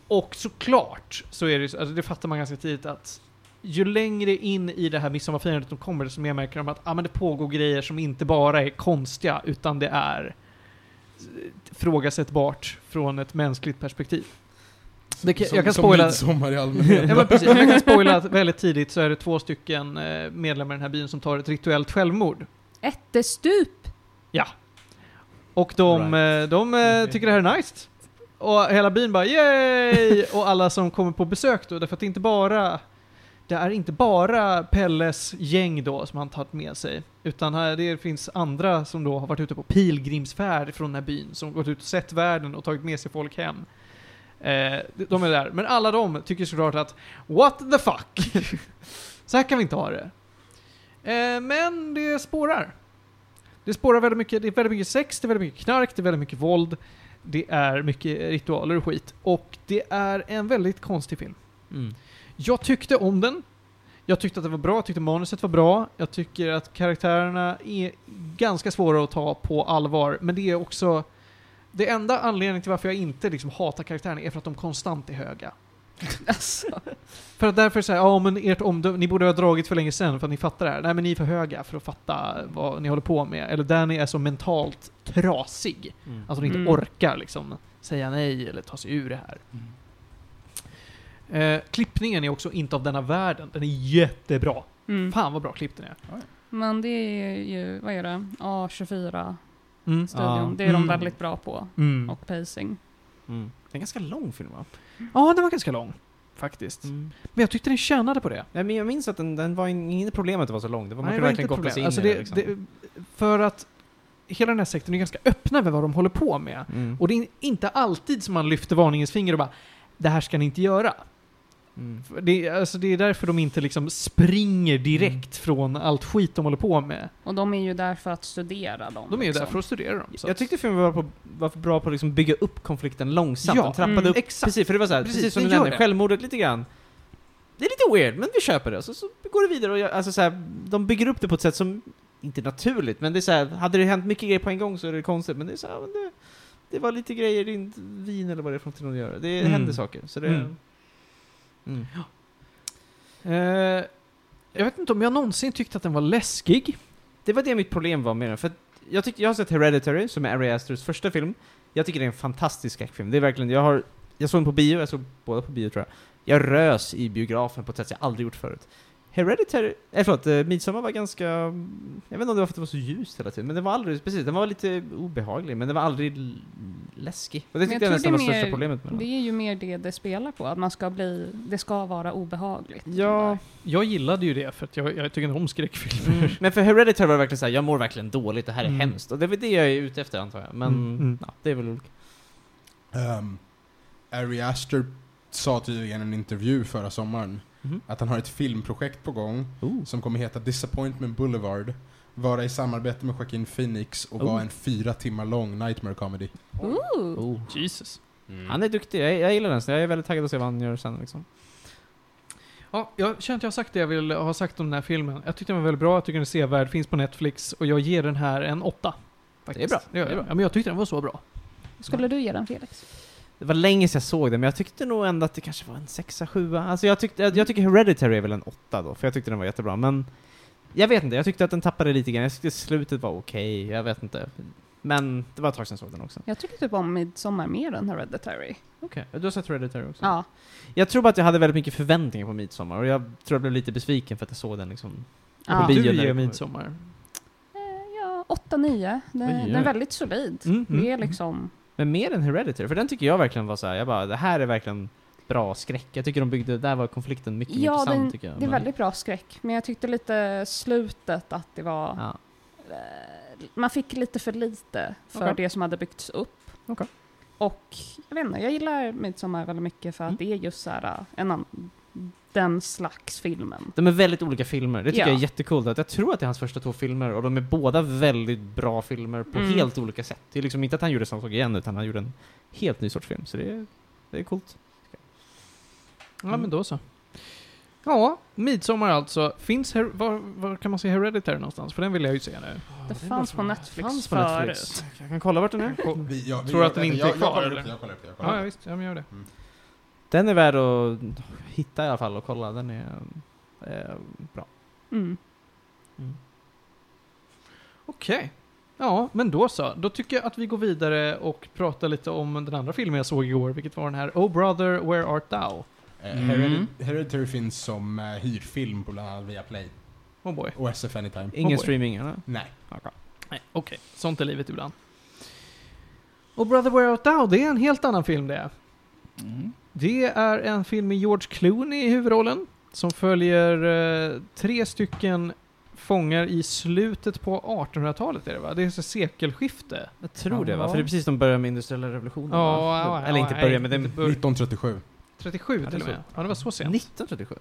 C: Och såklart så är det ju så- alltså det fattar man ganska tidigt att ju längre in i det här midsommarfirandet de kommer desto mer märker de att ah, men det pågår grejer som inte bara är konstiga utan det är eh, frågasättbart från ett mänskligt perspektiv. Det kan-
A: som,
C: jag kan
A: som
C: spoila-
A: midsommar i
C: Ja,
A: allmänhet.
C: men precis. Jag kan spoila att väldigt tidigt så är det två stycken eh, medlemmar i den här byn som tar ett rituellt självmord.
E: Ättestup!
C: Och de, eh, de eh, tycker det här är nice. Och hela byn bara yay! Och alla som kommer på besök då, därför att det är inte bara det är inte bara Pelles gäng då som han tagit med sig, utan här, det finns andra som då har varit ute på pilgrimsfärd från den här byn, som gått ut och sett världen och tagit med sig folk hem. Eh, de är där. Men alla de tycker såklart att what the fuck? Så här kan vi inte ha det. Eh, men det spårar. Det spårar väldigt mycket. Det är väldigt mycket sex, det är väldigt mycket knark, det är väldigt mycket våld. Det är mycket ritualer och skit. Och det är en väldigt konstig film.
B: Mm.
C: Jag tyckte om den. Jag tyckte att det var bra, jag tyckte manuset var bra. Jag tycker att karaktärerna är ganska svåra att ta på allvar. Men det är också... Det enda anledningen till varför jag inte liksom hatar karaktärerna är för att de konstant är höga.
E: Alltså,
C: För att därför säga, ja men ert omdöme, ni borde ha dragit för länge sedan för att ni fattar det här. Nej men ni är för höga för att fatta vad ni håller på med. Eller Danny är så mentalt trasig.
B: Mm.
C: Att hon inte
E: Mm.
C: orkar liksom säga nej eller ta sig ur det här.
B: Mm.
C: Eh, klippningen är också inte av denna världen. Den är jättebra.
E: mm.
C: Fan vad bra klippt den är.
E: Men det är ju, vad är det, A24-studion.
C: Mm.
B: Ja.
E: Det är de
C: Mm.
E: väldigt bra på.
C: Mm.
E: Och pacing.
B: Mm. Det är en ganska lång film va?
C: Ja, den var ganska lång. Faktiskt.
B: Mm.
C: Men jag tyckte den tjänade på det.
B: Nej, men jag minns att den, den var in, inget problem att det var så lång. Det var, man
C: Nej,
B: kunde verkligen koppla
C: problem.
B: sig in
C: Alltså
B: i
C: det,
B: det, liksom.
C: det, för att hela den här sektorn är ganska öppna med vad de håller på med.
B: Mm.
C: Och det är inte alltid som man lyfter varningens finger och bara det här ska ni inte göra.
B: Mm.
C: För Det, är- alltså det är därför de inte liksom springer direkt
B: Mm.
C: från allt skit de håller på med.
E: Och de är ju där för att studera dem.
C: De är ju
E: liksom.
C: där för att studera dem. så
B: Jag
C: att-
B: tyckte filmen var, på, var för bra på att liksom bygga upp konflikten långsamt.
C: Ja,
B: den trappade
E: mm,
B: upp.
C: exakt.
B: Precis, för det var så här,
C: Precis,
B: precis, som
C: den
B: du
C: gör
B: nämnde,
C: det.
B: självmordet lite grann. Det är lite weird, men vi köper det. Och Så, så går det vidare och jag, alltså så här, de bygger upp det på ett sätt som, inte naturligt, men det är så här, hade det hänt mycket grejer på en gång så är det konstigt, men det är så här, men det, det var lite grejer, det är inte vin eller vad det är för någonting de gör. Det
C: Mm.
B: händer saker. Så det,
C: Mm.
B: mm.
C: Eh, jag vet inte om jag någonsin tyckte att den var läskig.
B: det var det mitt problem var med den, för att jag, tyckte, jag har sett Hereditary, som är Ari Asters första film. Jag tycker det är en fantastisk skräckfilm. Det är verkligen, jag har, jag såg den på bio, jag såg båda på bio tror jag. Jag rös i biografen på ett sätt jag aldrig gjort förut. Hereditary, nej förlåt, eh, Midsommar var ganska, jag vet inte om det var för att det var så ljust hela tiden, men den var aldrig, precis, den var lite obehaglig, men den var aldrig l- läskig. Och det
E: Men jag
B: tyckte jag, nästan
E: tror det
B: var
E: är mer-
B: största problemet med
E: Det
B: den.
E: är ju mer det det spelar på, att man ska bli, det ska vara obehagligt.
B: Ja,
C: Jag gillade ju det för att jag, jag tycker inte om skräckfilmer.
B: mm. men för Hereditary var det verkligen såhär, jag mår verkligen dåligt, det här är
C: Mm.
B: hemskt. Och det är väl det jag är ute efter antar jag, men
C: Mm, mm.
B: Ja, det är väl olika.
A: Ehm, Ari Aster sa tydligen i en intervju förra sommaren
B: Mhm.
A: att han har ett filmprojekt på gång
B: Oh.
A: som kommer heta Disappointment Boulevard, vara i samarbete med Joaquin Phoenix och
B: Oh.
A: vara en fyra timmar lång nightmare comedy.
E: Ooh.
B: Oh.
C: Jesus.
B: Han är duktig, jag, jag gillar den, så jag är väldigt taggad att se vad han gör sen liksom.
C: Ja, jag känner att jag har sagt det jag vill ha sagt om den här filmen. Jag tyckte den var väldigt bra, jag tycker den är sevärd, finns på Netflix och jag ger den här en åtta. faktiskt.
B: Det är bra.
C: Det gör
B: Det är
C: jag.
B: bra.
C: Ja, men jag tyckte den var så bra.
E: Skulle du ge den Felix?
B: Det var länge sedan jag såg den, men jag tyckte nog ändå att det kanske var en sexa, sjua. Alltså jag, tyckte, jag, jag tycker Hereditary är väl en åtta då, för jag tyckte den var jättebra, men jag vet inte, jag tyckte att den tappade lite grann. Jag tyckte slutet var okej, jag vet inte. Men det var ett tag sedan jag såg den också.
E: Jag tycker typ om Midsommar mer än Hereditary.
B: Okej, du har sett Hereditary också?
E: Ja.
B: Jag tror bara att jag hade väldigt mycket förväntningar på Midsommar, och jag tror jag blev lite besviken för att jag såg den liksom.
E: Ja.
B: bio när
C: Du ger
B: det-
C: midsommar.
E: Eh, ja 8-9. Den,
B: Oj,
E: den
B: oj.
E: är väldigt solid.
C: Mm, mm,
E: det är
C: mm.
E: liksom...
B: Men mer än Hereditary, för den tycker jag verkligen var så här, jag bara, det här är verkligen bra skräck. Jag tycker de byggde, där var konflikten mycket mer
E: ja,
B: intressant
E: den,
B: tycker jag.
E: det är
B: men-
E: väldigt bra skräck. Men jag tyckte lite slutet att det var...
B: Ja.
E: eh, Man fick lite för lite för
B: Okej.
E: det som hade byggts upp.
B: Okej.
E: Och jag vet inte, jag gillar Midsommar väldigt mycket
B: Mm.
E: för att det är just så här, eh, en annan, den slags filmen.
B: De är väldigt olika filmer. Det tycker
E: Ja.
B: jag är jättekult. att Jag tror att det är hans första två filmer och de är båda väldigt bra filmer på
E: Mm.
B: helt olika sätt. Det är liksom inte att han gjorde samma sak igen utan han gjorde en helt ny sorts film. Så det är, det är coolt.
C: Ja, men då så. Ja, Midsommar alltså. Finns her- var, var kan man se Hereditary någonstans? För den vill jag ju se nu.
E: Det fanns på Netflix
B: Fanns på
E: förut.
B: Netflix. Jag kan kolla vart den är.
A: Vi, ja, vi
C: Tror du
A: gör-
C: att den inte
A: jag,
C: är kvar,
A: Jag kollar upp
C: eller?
A: det, jag kollar upp det. Jag kollar
C: Ja, ja,
A: upp
C: visst. Ja, men gör det.
B: Den är värd att hitta i alla fall och kolla. Den är eh, bra.
E: Mm.
C: Okej. Ja, men då så. Då tycker jag att vi går vidare och pratar lite om den andra filmen jag såg igår, vilket var den här Oh Brother Where Art Thou?
A: det. Eh,
D: Mm.
A: Heredit- Hereditary finns som eh, hyrfilm på bland annat Viaplay
C: Oh boy.
A: och SF Anytime.
B: Ingen
C: Oj.
B: streaming, eller?
A: Nej.
C: Nej, okej. Sånt är livet ibland. Och Brother Where Art Thou, det är en helt annan film det.
D: Mm.
C: Det är en film med George Clooney i huvudrollen som följer eh, tre stycken fångar i slutet på 1800-talet är det va? Det är så sekelskifte.
B: Jag tror det, va?
C: Ja.
B: För det är precis de börjar med industriella revolutionen,
C: Ja,
B: va?
C: ja, ja,
B: Eller inte
C: ja,
B: börjar, men det
C: inte
B: är
C: bör-
A: 1937.
C: 37
B: Ja, det
C: till
B: är
C: och med.
B: så.
C: Ja, det var så sent.
B: 1937.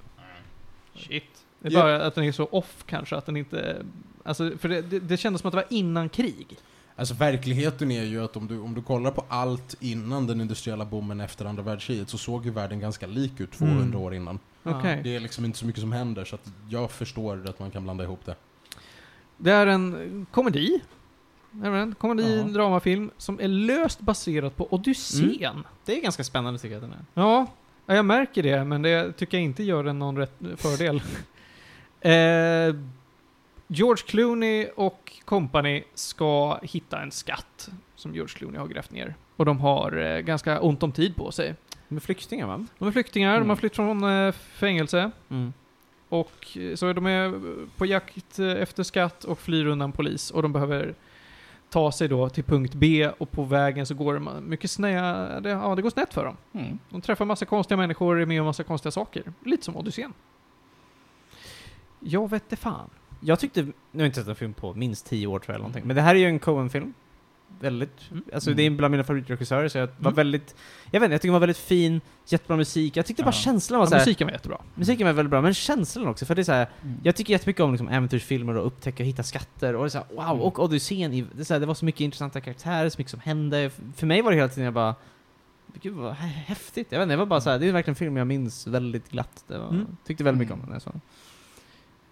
C: Shit. Det är
A: Ja.
C: bara att den är så off kanske, att den inte... Alltså, för det, det, det kändes som att det var innan krig.
A: Alltså verkligheten är ju att om du, om du kollar på allt innan den industriella bommen efter andra världskriget så såg ju världen ganska lik ut 200
B: Mm.
A: år innan.
C: Okej.
A: Det är liksom inte så mycket som händer så att jag förstår att man kan blanda ihop det.
C: Det är en komedi. Är det En komedi,
B: Ja.
C: en dramafilm som är löst baserad på Odysseen.
B: Det är ganska spännande tycker jag den är.
C: Ja, ja, jag märker det, men det tycker jag inte gör den någon rätt fördel. eh, George Clooney och company ska hitta en skatt som George Clooney har grävt ner. Och de har eh, ganska ont om tid på sig.
B: Med flyktingar, va?
C: De är flyktingar, de
B: Mm.
C: har flytt från eh, fängelse. Och eh, så de är på jakt eh, efter skatt och flyr undan polis och de behöver ta sig då till punkt B och på vägen så går det ma- mycket snea, det, ja det går snett för dem.
D: Mm.
C: De träffar massa konstiga människor och är med om massa konstiga saker. Lite som Odysseen. Jag vet inte fan.
B: Jag tyckte, nu har jag inte sett en film på minst tio år tror jag, eller någonting. men det här är ju en Coen-film. Väldigt,
C: Mm.
B: alltså
D: Mm.
B: det är bland mina favoritregissörer, så jag var
C: Mm.
B: väldigt, jag vet inte, jag tycker den var väldigt fin, jättebra musik, jag tyckte bara
D: Ja.
B: känslan var
C: Ja,
B: så här,
C: musiken var jättebra.
B: musiken var väldigt bra, men känslan också, för det är så här,
D: Mm.
B: jag tycker jättemycket om liksom äventyrsfilmer och upptäcka och hitta skatter och det är så här, wow,
D: Mm.
B: och Odysseen, i- det, är så här, det var så mycket intressanta karaktärer, så mycket som hände. F- För mig var det hela tiden jag bara, gud vad hä- häftigt. Jag vet inte, jag var bara så här, det är verkligen en film jag minns väldigt glatt. Det var,
C: Mm.
B: Tyckte väldigt mycket om
D: Mm.
B: den när jag såg den.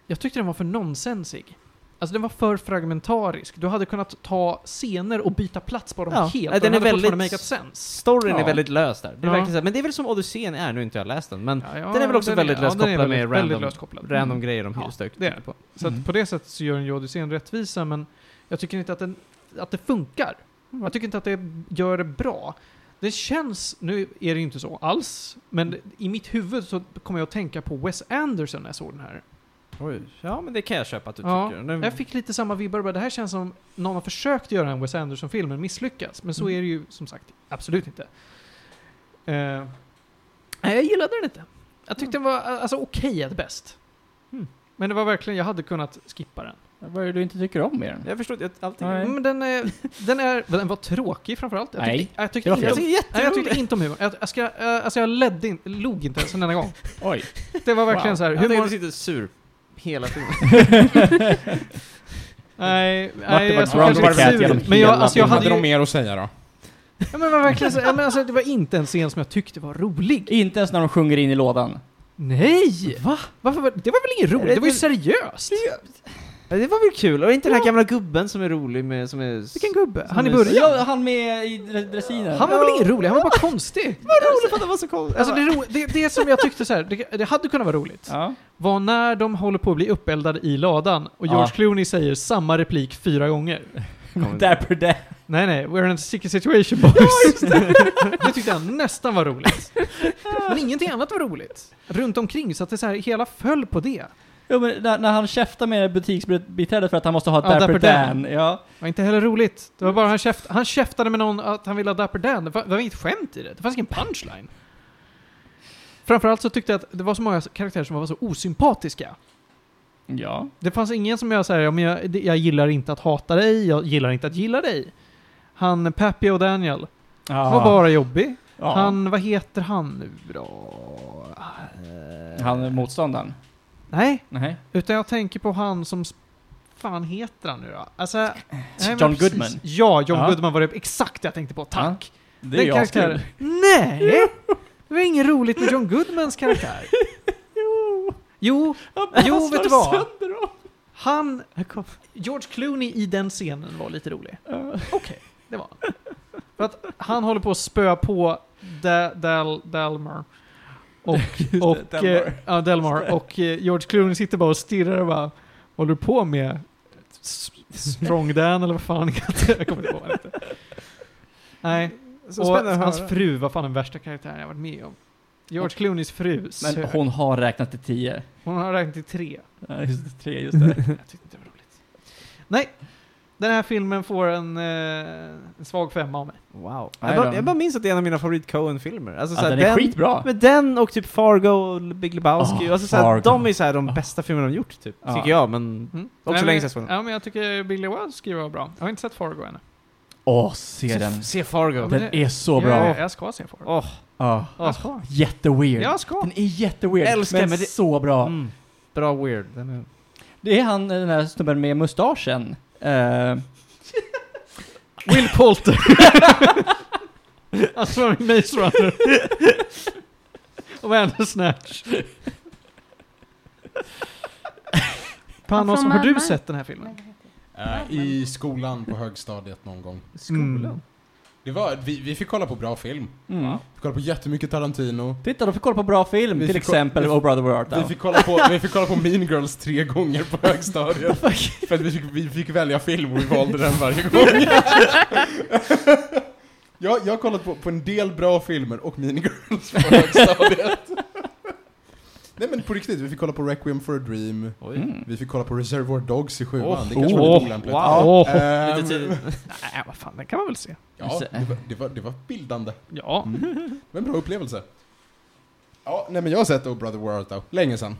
C: Jag tyckte den var för nonsensig. Alltså den var för fragmentarisk. Du hade kunnat ta scener och byta plats på dem
B: Ja,
C: helt.
B: nej,
C: och
B: den är
C: hade fortfarande
B: väldigt-
C: makeat sense.
B: Storyn är
D: Ja.
B: väldigt lös där. Det är
C: Ja.
B: verkligen så här, men det är väl som Odysseen är, nu har inte jag läst den, men
C: Ja, ja,
B: Mm. den är väl också väldigt löst
C: den är
B: kopplad med
C: väldigt-
B: random-
C: väldigt löst kopplad.
B: random grejer de
C: Ja,
B: hyrstök.
C: det är det.
B: på.
C: Så
D: Mm.
C: att på det sättet så gör den ju Odysseen rättvisa, men jag tycker inte att, den, att det funkar.
B: Mm.
C: Jag tycker inte att det gör det bra. Det känns, nu är det ju inte så alls, men i mitt huvud så kommer jag att tänka på Wes Anderson när jag såg den här.
B: Oj. Ja, men det kan jag köpa att du
C: Ja,
B: tycker. Den-
C: Jag fick lite samma vibbar, bara, det här känns som någon har försökt göra en Wes Anderson-film men misslyckats. Men så
B: Mm.
C: är det ju som sagt absolut inte. Eh, nej, jag gillade den inte. Jag tyckte den var alltså, okej att bäst.
B: Mm.
C: Men det var verkligen, jag hade kunnat skippa den.
D: Vad är det du inte tycker om med den?
B: jag förstår inte, allting.
D: Nej.
C: Mm, Men den, är, den, är, den var tråkig framförallt. Jag
D: Nej,
C: tyckte, jag tyckte,
D: det var
C: inte,
D: fel.
B: Jag
C: jag,
B: tycker
C: nej, jag
B: jätteroligt.
C: tyckte inte om humorn. Jag, jag, ska, eh, alltså jag ledde in, log inte ens en enda gång.
D: Oj.
C: Det var verkligen så här,
B: Jag tänkte
C: humor,
B: du sitter sur hela tiden.
C: Nej,
D: Martin
C: nej
D: var
C: alltså,
D: drunk
C: kanske
D: cat
C: inte
D: genom
C: sur. Men jag,
D: hela
C: alltså, jag
D: filmen.
C: hade ju,
A: mer att säga då?
C: ja, men var verkligen så, ja, men alltså, det var inte en scen som jag tyckte var rolig.
D: Inte ens när de sjunger in i lådan.
C: Nej! Va? Varför var, det var väl inget roligt? Det var ju
B: Det-
C: seriöst!
B: Ja, Eh, det var väl kul? Och inte den här gamla gubben som är rolig med, som är...
C: Vilken gubbe? Han i
B: Som är-
C: början?
D: Ja, han med i dre- dressinen.
C: Han var väl ingen rolig? Han var bara konstig.
B: Vad roligt för att det var så konstigt!
C: Alltså det, ro, det, det som jag tyckte så här, det, det hade kunnat vara roligt.
D: Ja.
C: var när de håller på att bli uppeldade i ladan och George
D: Ja.
C: Clooney säger samma replik fyra gånger.
D: Dapper Dap.
C: Nej, nej, we're in a sticky situation boys. det. tyckte jag nästan var roligt. Men ingenting annat var roligt. Runt omkring, så att det så här, hela föll på det.
D: Ja, men när, när han käftar med butiksbiträdet för att han måste ha
C: Ja,
D: Dapper,
C: Dapper
D: Dan. Ja.
C: Det var inte heller roligt. Det var bara han, käft, han käftade med någon att han ville ha Dapper Dan. Det var, det var inget skämt i det. Det fanns ingen punchline. Framförallt så tyckte jag att det var så många karaktärer som var så osympatiska.
D: ja.
C: Det fanns ingen som jag säger, ja, men jag, det- jag gillar inte att hata dig, jag gillar inte att gilla dig. Han Pappy och Daniel.
D: Ja.
C: Var bara jobbig.
D: Ja. Han,
C: Han, vad heter han nu då? Eh,
D: är motståndaren?
C: Nej,
D: Nej.
C: utan jag tänker på han som... sp- fan heter han nu då? Alltså, nej, men
D: John
C: precis.
D: Goodman.
C: Ja, John
D: Ja.
C: Goodman var det exakt det jag tänkte på. Tack!
D: Det är ju askul.
C: Nej! Det var inget roligt med John Goodmans karaktär. jo. Jo, jo vet du vad? Han... George Clooney i den scenen var lite rolig. Okej, det var han. För att han håller på att spöa på Da- Dal, Dalmar. Och, och,
D: Delmar.
C: eh, Ja, Delmar. Och eh, George Clooney sitter bara och stirrar och bara Håller du på med S- Strong Dan eller vad fan han heter? Jag kommer inte ihåg vad han heter. Nej.
A: Så
C: och
A: spännande att
C: hans
A: höra.
C: fru var fan den värsta karaktären jag varit med om. George Clooneys fru.
D: Men
C: sög.
D: hon har räknat till tio.
C: Hon har räknat till tre.
D: Ja, just det, tre, just det.
C: Jag tyckte inte det var roligt. Nej, den här filmen får en, eh, en svag femma av mig.
B: Wow.
D: Nej
B: Jag bara,
D: då.
B: jag bara minns att det är en av mina favorit Coen-filmer. Alltså,
D: Ja,
B: såhär,
D: den är skitbra!
B: Men den och typ Fargo och Big Lebowski,
D: Ah,
B: alltså såhär,
D: Fargo.
B: de är såhär de
D: Ah.
B: bästa filmerna de gjort typ,
D: Ja.
B: tycker jag, men
C: Mm.
B: Också
C: Nej,
B: länge
C: men-
B: sedan jag såg den.
C: Ja, men jag tycker Billy Wazowski var bra. Jag har inte sett Fargo ännu.
D: Åh, se
B: se,
D: den.
B: se Fargo.
C: Ja, men-
D: Den är så
C: Jag,
D: bra.
C: jag ska se Fargo.
B: Åh,
D: Ja.
C: Jag ska.
D: Jätteweird.
C: Jag ska.
D: Den är jätteweird,
B: Älskar,
D: men,
B: men det-
D: så bra.
B: mm, bra weird. Den är...
D: Det är han, den här snubben med mustaschen. Eh,
C: Will Poulter.
B: Alltså,
C: Han som var med i Maze Runner. Och Bandersnatch. Panos,
E: Från
C: har du
E: mamma.
C: sett den här filmen?
A: Eh, I skolan på högstadiet någon gång.
C: Skolan.
A: Det var, vi, vi fick kolla på bra film.
D: mm.
A: Vi kollade på jättemycket Tarantino.
D: Titta, de fick kolla på bra film.
A: Vi
D: Till
A: fick ko-
D: exempel
A: vi-
D: Oh Brother Where Art Thou.
A: Vi fick, kolla på, vi fick kolla på Mean Girls tre gånger på högstadiet. För att vi fick, vi fick välja film och vi valde den varje gång. jag, jag har kollat på, på en del bra filmer och Mean Girls på högstadiet. Nej men på riktigt, vi fick kolla på Requiem for a Dream.
B: Oj.
D: Mm.
A: Vi fick kolla på Reservoir Dogs i sjuan.
B: Oh,
A: det kanske var
C: oh,
A: lite olämpligt.
B: wow.
C: Åh,
A: Ehm,
B: Lite tidigt.
C: Nej, vad fan, den kan man väl se? Mm.
A: ja det, var, det, var, det var bildande.
C: Ja.
A: Det var en bra upplevelse. Ja, nej men jag har sett Oh Brother Where Art Thou, länge sedan.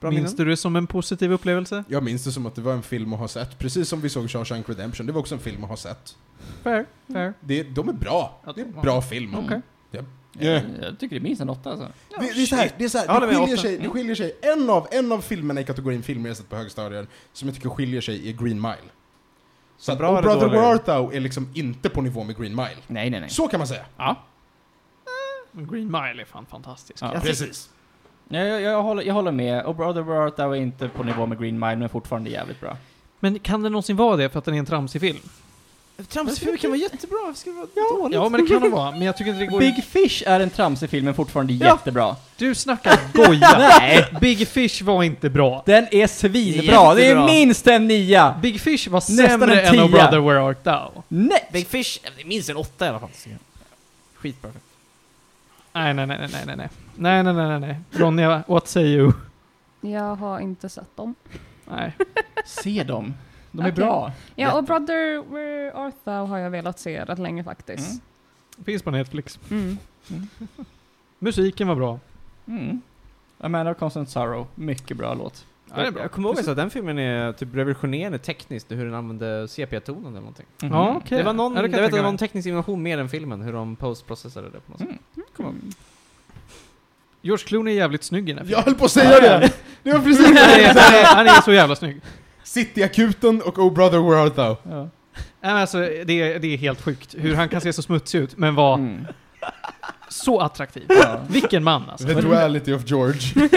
B: Bra
C: Minns
B: minnen.
C: du det som en positiv upplevelse?
A: Jag minns det som att det var en film att ha sett, precis som vi såg Shawshank Redemption, det var också en film att ha sett.
C: Fair, fair.
A: Det, de är bra, det är en bra film.
D: Mm.
C: Okej.
A: Ja.
D: Jag, jag tycker det är minst en åtta alltså.
A: Det, det är så här, det, är så
B: Ja,
A: här,
B: det
A: det,
B: var
A: skiljer
B: åtta.
A: sig, det skiljer sig, en av, en av filmerna i kategorin filmer jag sett på högstadiet som jag tycker skiljer sig är Green Mile. Så att
B: bra
A: Oh
B: är det
A: Brother
B: dåliga.
A: Where Art Thou är liksom inte på nivå med Green Mile.
D: Nej, nej, nej.
A: Så kan man säga.
D: Ja.
C: Green Mile är fan fantastisk.
D: Ja.
C: Ja.
B: Jag tyck-
A: Precis.
D: Nej, jag, jag, håller, jag håller med. Och Brother Where Art Thou är inte på nivå med Green Mile, men fortfarande jävligt bra.
C: Men kan den någonsin vara det för att den är en tramsig film?
B: Tramsfilmer kan vara jättebra, varför ska det vara dåligt?
C: Ja, men det kan den vara. Men jag tycker inte det går...
D: Big Fish är en tramsig film, men fortfarande
C: Ja.
D: jättebra.
C: Du snackar goja! Nej! Big Fish var inte bra.
D: Den är svinbra! Det är
B: Jättebra.
D: minst en nia!
C: Big Fish var
D: Nästan
C: sämre
D: en
C: än Oh
D: tia.
C: Brother Where Art Thou.
D: Nej!
B: Big Fish, eh, det är minst en åtta i alla fall. Så- Skitbra.
C: Nej, nej, nej, nej, nej, nej, nej. Nej, nej, nej, nej, nej. Ronja, what say you?
D: Mm.
E: Jag har inte sett dem.
C: Nej.
D: Se dem. De är
E: Okej.
D: bra.
E: Ja, och Brother Where Art Thou har jag velat se rätt länge faktiskt.
C: Finns på Netflix.
E: Mm.
C: Musiken var bra.
D: Mm. A Man of Constant Sorrow. Mycket bra låt.
C: Ja, det är bra.
B: Jag kommer ihåg att den filmen är typ revolutionerande tekniskt, hur den använde sepia-tonen eller någonting.
D: Mhm.
C: Ja, okej.
B: Det var någon,
C: Ja,
B: jag
C: det kan
B: vet
C: jag
B: att det
C: tänka
B: var
C: mig.
B: en teknisk innovation mer än filmen, hur de postprocessade det på något sätt.
D: Mm.
B: Kommer
C: George Clooney är jävligt snygg i den här
A: Jag höll på att säga det! Det var
D: Mm.
A: precis det
C: filmen.
A: jag
C: Han är- Han är så jävla snygg.
A: Cityakuten och Oh Brother Where Art Thou.
D: Ja.
C: Nej, men Alltså, det, är, det är helt sjukt hur han kan se så smutsig ut, men var
D: Mm.
C: så attraktiv.
D: Ja.
C: Vilken man alltså.
A: The duality of George.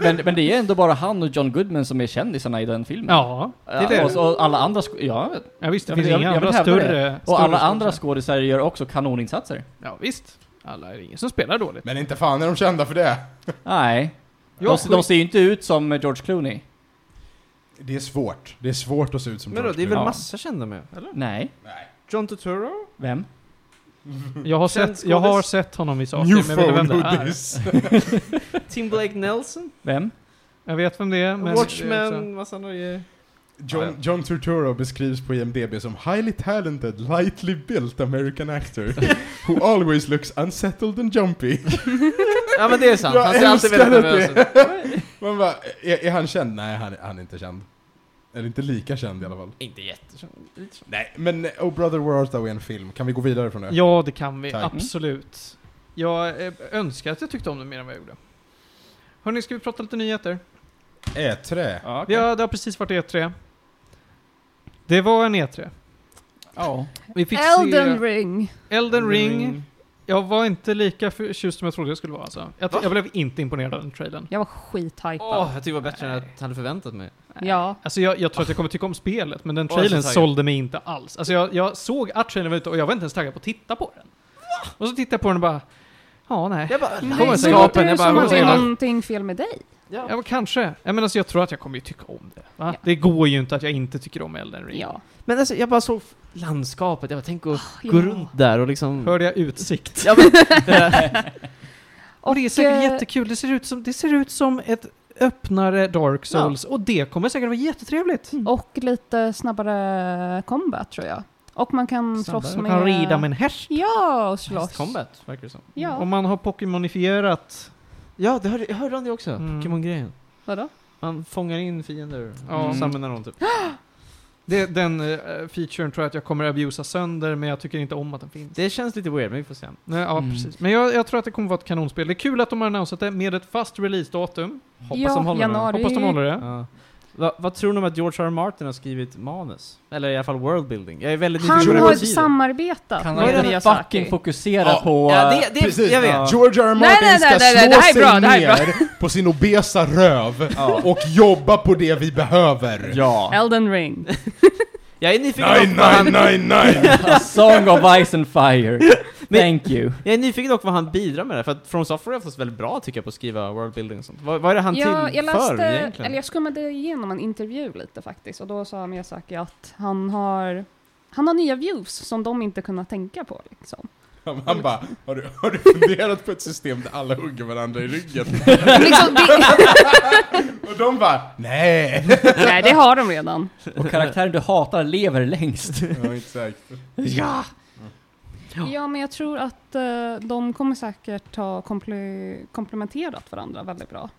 D: Men, men det är ändå bara han och John Goodman som är kändisarna i den filmen.
C: Ja, det är det.
D: Och, så- och alla andra sk- ja,
C: Ja, visst, det
D: Jag
C: finns
D: vill-
C: inga
D: jag vill
C: andra
D: hävda
C: större...
D: och
C: större
D: alla andra
C: skådespelare.
D: skådisar gör också kanoninsatser.
C: Ja, visst. Alla är det ingen som spelar dåligt.
A: Men inte fan är de kända för det.
D: Nej.
C: Ja,
D: De, de ser ju inte ut som George Clooney.
A: Det är svårt. Det är svårt att se ut som
B: Men då,
A: George
B: det är väl
D: Ja.
B: massa kända med? Eller?
D: Nej.
A: Nej.
B: John Turturro?
D: Vem?
C: jag, har
B: Känd
C: sett, jag har
B: skådis.
C: sett honom i saker, men
A: New
C: jag vet inte vem
A: phone,
C: det
A: who
C: är.
A: this?
B: Tim Blake Nelson?
D: Vem?
C: Jag vet vem det är, men...
B: Watchmen? Massa andra grejer.
A: John, John Turturro beskrivs på IMDB som highly talented, lightly built American actor who always looks unsettled and jumpy.
B: Ja men det är sant,
A: Jag
B: han ser alltid
A: älskar
B: väldigt
A: att
B: nervös ut.
A: Man bara, är, är han känd? Nej, han, han är inte känd. Eller inte lika känd i alla fall.
B: Inte jätte... lite så.
A: Nej, men eh, Oh Brother Where Art Thou är en film. Kan vi gå vidare från det?
C: Ja, det kan vi.
A: Tack.
C: Absolut. Jag eh, önskar att jag tyckte om den mer än vad jag gjorde. Hörni, ska vi prata lite nyheter?
A: Ä-trä.
D: Ja,
C: Vi har, det har precis varit E3. Det var en E3.
D: ja.
C: Vi fick
E: Elden
C: se
E: ring!
C: Elden Ring. Jag var inte lika förtjust som jag trodde jag skulle vara alltså. Jag,
B: Va?
C: jag blev inte imponerad av den trailern.
E: Jag var skithypad.
B: Åh, jag tyckte det var bättre än jag hade förväntat mig.
E: Ja.
C: Alltså jag, jag tror att jag kommer tycka om spelet, men den
B: Åh, jag är så
C: trailern
B: taggad.
C: sålde mig inte alls. Alltså jag, jag såg att trailern var ute och jag var inte ens taggad på att titta på den. Och så tittade jag på den och bara, ja nej.
B: Jag bara...
E: Men
C: kommer
E: det
C: en
E: ser
C: skapen,
E: inte
B: jag
E: ut
B: bara-
E: som att det är
B: Ja.
E: någonting fel med dig.
B: Ja.
C: Ja, men kanske. Jag menar, så jag tror att jag kommer ju tycka om det. Va?
E: Ja.
C: Det går ju inte att jag inte tycker om Elden Ring.
E: Ja. Ah,
B: Men alltså, jag bara såg f- landskapet. Jag bara, tänk att
E: ja.
B: gå runt där och liksom...
C: Hörde jag utsikt?
B: Ja, men, det där-
C: Och, det är
E: Och,
C: säkert
E: eh,
C: jättekul. Det ser, ut som, det ser ut som ett öppnare Dark Souls och det kommer säkert vara jättetrevligt.
B: Mm.
E: Och lite snabbare combat tror jag. Och man kan slåss
C: Man
E: med...
C: kan rida med en häst.
E: Ja, och slåss.
B: Combat, verkar det som.
E: Ja.
C: Om man har Pokémonifierat.
B: Ja, det hörde, jag hörde om det också.
C: Mm.
B: Pokémon-grejen.
E: Vadå?
B: Man fångar in fiender.
C: Ja.
D: Mm.
B: och Samlar dem typ.
C: Det, den uh, featuren tror jag att jag kommer abusa sönder, men jag tycker inte om att den finns.
B: Det känns lite weird, men vi får se.
C: Nej, ja,
D: Mm.
C: precis. Men jag, jag tror att det kommer vara ett kanonspel. Det är kul att de har annonsat det med ett fast releasedatum.
B: Hoppas
E: ja,
B: de håller den.
E: januari.
C: Hoppas de håller det.
B: Ja. Va, vad tror ni om att George R. R. Martin har skrivit manus? Eller i alla fall worldbuilding? Jag är väldigt
E: Han
B: nyfiken på
E: har
B: vad det betyder.
E: samarbetat
D: Kan
E: med
B: han-
D: han
E: Miyazaki.
D: fucking fokusera
A: Ja,
D: på...
B: Ja, det, det,
A: Precis.
B: jag vet.
D: Ja.
A: George R. R. Martin
E: Nej, nej, nej,
A: ska
E: nej, nej,
A: slå
E: det här är
A: sig
E: bra, det här är bra.
A: ner på sin obesa röv och jobba på det vi behöver.
D: Ja.
E: Elden ring.
B: Jag är nyfiken
A: Nej,
B: dock vad
A: nej,
B: han,
A: nej, nej!
D: A Song of Ice and Fire. Thank you.
B: jag är nyfiken dock vad han bidrar med det, för att From Software är oftast väldigt bra tycker jag på att skriva worldbuilding och sånt. Vad, vad är det han
E: Ja,
B: tillför
E: jag läste,
B: egentligen?
E: eller jag skummade igenom en intervju lite faktiskt och då sa Miyazaki att han har, han har nya views som de inte kunnat tänka på liksom.
A: Han bara, har du, har du funderat på ett system där alla hugger varandra i ryggen?
E: liksom det,
A: Och de bara, nej!
E: nej, det har de redan.
D: Och karaktären du hatar lever längst.
A: Ja, exakt.
D: ja!
E: Ja, men jag tror att eh, de kommer säkert ha komple- komplementerat varandra väldigt bra.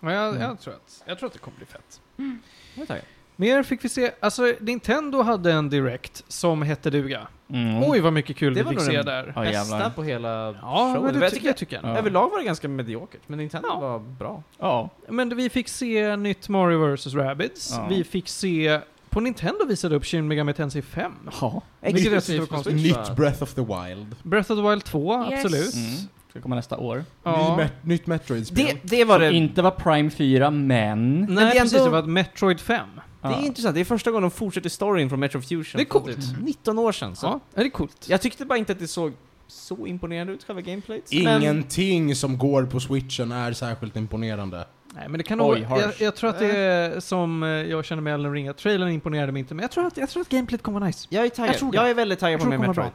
C: Ja, jag,
B: Mm.
C: jag, tror att, jag tror att det kommer bli fett.
E: Mm.
B: Jag är taggad.
C: Mer fick vi se, alltså Nintendo hade en Direct som hette duga.
D: Mm.
C: Oj vad mycket kul
B: Det
C: vi
B: var
C: fick
B: nog
C: se
B: den-
C: där.
D: Ja,
B: Bästa
D: jävlar.
B: på hela
C: Ja,
B: showen.
C: men det,
B: jag
C: ty-
B: tycker,
C: jag tycker jag.
D: Ja.
B: Överlag var det ganska mediokert, men Nintendo
C: Ja.
B: var bra.
D: Ja.
C: Men vi fick se nytt Mario vs. Rabbids.
D: Ja.
C: Vi fick se, på Nintendo visade upp Shin Megami Tensei 5.
D: Ja.
C: Vilket jag
B: Exklusivt
C: tyckte var
B: på
C: konstigt.
B: Switch, va?
A: Nytt Breath of the Wild.
C: Breath of the Wild 2,
E: Yes.
C: absolut.
D: Mm. Ska komma nästa år.
C: Ja.
A: Ny met- nytt Metroid-spel.
B: Det, det var det.
D: Som inte var Prime 4, men...
C: Nej,
B: Men det är
C: precis.
B: ändå-
C: Det var ett Metroid 5.
B: Det är
D: Ja.
B: intressant, det är första gången de fortsätter storyn från Metro Fusion.
C: Det är
B: från
C: coolt.
B: typ 19 år sedan. Så.
C: Ja, det är coolt.
B: Jag tyckte bara inte att det såg så imponerande ut, själva gameplayt. Men
A: Ingenting som går på switchen är särskilt imponerande.
C: Nej, men det kan
D: Oj,
C: nog...
D: harsh.
C: Jag, jag tror att det är som eh, jag känner med Elden Ring, att trailern imponerade mig inte, men jag tror att, jag tror att gameplayt kommer vara nice.
B: jag är taggad.
C: Jag tror
B: Jag,
C: det.
B: är väldigt taggad
C: Jag
B: på
C: tror
B: mer
C: det kommer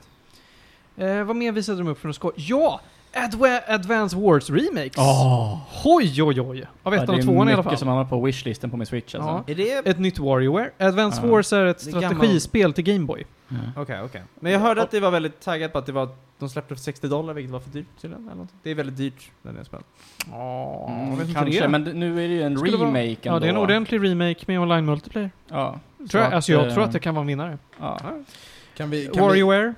B: Metroid.
C: Eh, vad mer visade de upp för något skoj? Ja! Adwa- Advance Wars Remakes!
D: Åh.
C: Oj, oj, oj! Av ettan och tvåan i alla
D: mycket
C: fall.
D: som hamnar på wishlisten på min Switch alltså.
C: Ja.
B: Är det... Okej,
C: Ett nytt Warriorware. Advance
D: Ja.
C: Wars är ett
B: Det är gammal-
C: strategispel till Gameboy.
B: okej. Men jag hörde att det var väldigt taggat på att det var... De släppte för 60 dollar, vilket var för dyrt tydligen. Eller något. Det är väldigt dyrt, den jag spelar.
C: Ja,
D: Mm, kanske, men nu är det ju en
C: Skulle vara-
D: remake ändå.
C: Ja, det är en ordentlig remake med online multiplayer.
D: Ja. Så
C: Tror jag,
D: att,
C: alltså jag
D: eh,
C: tror att det kan vara en vinnare.
D: Ja.
A: Kan vi, kan vi,
C: Warriorware,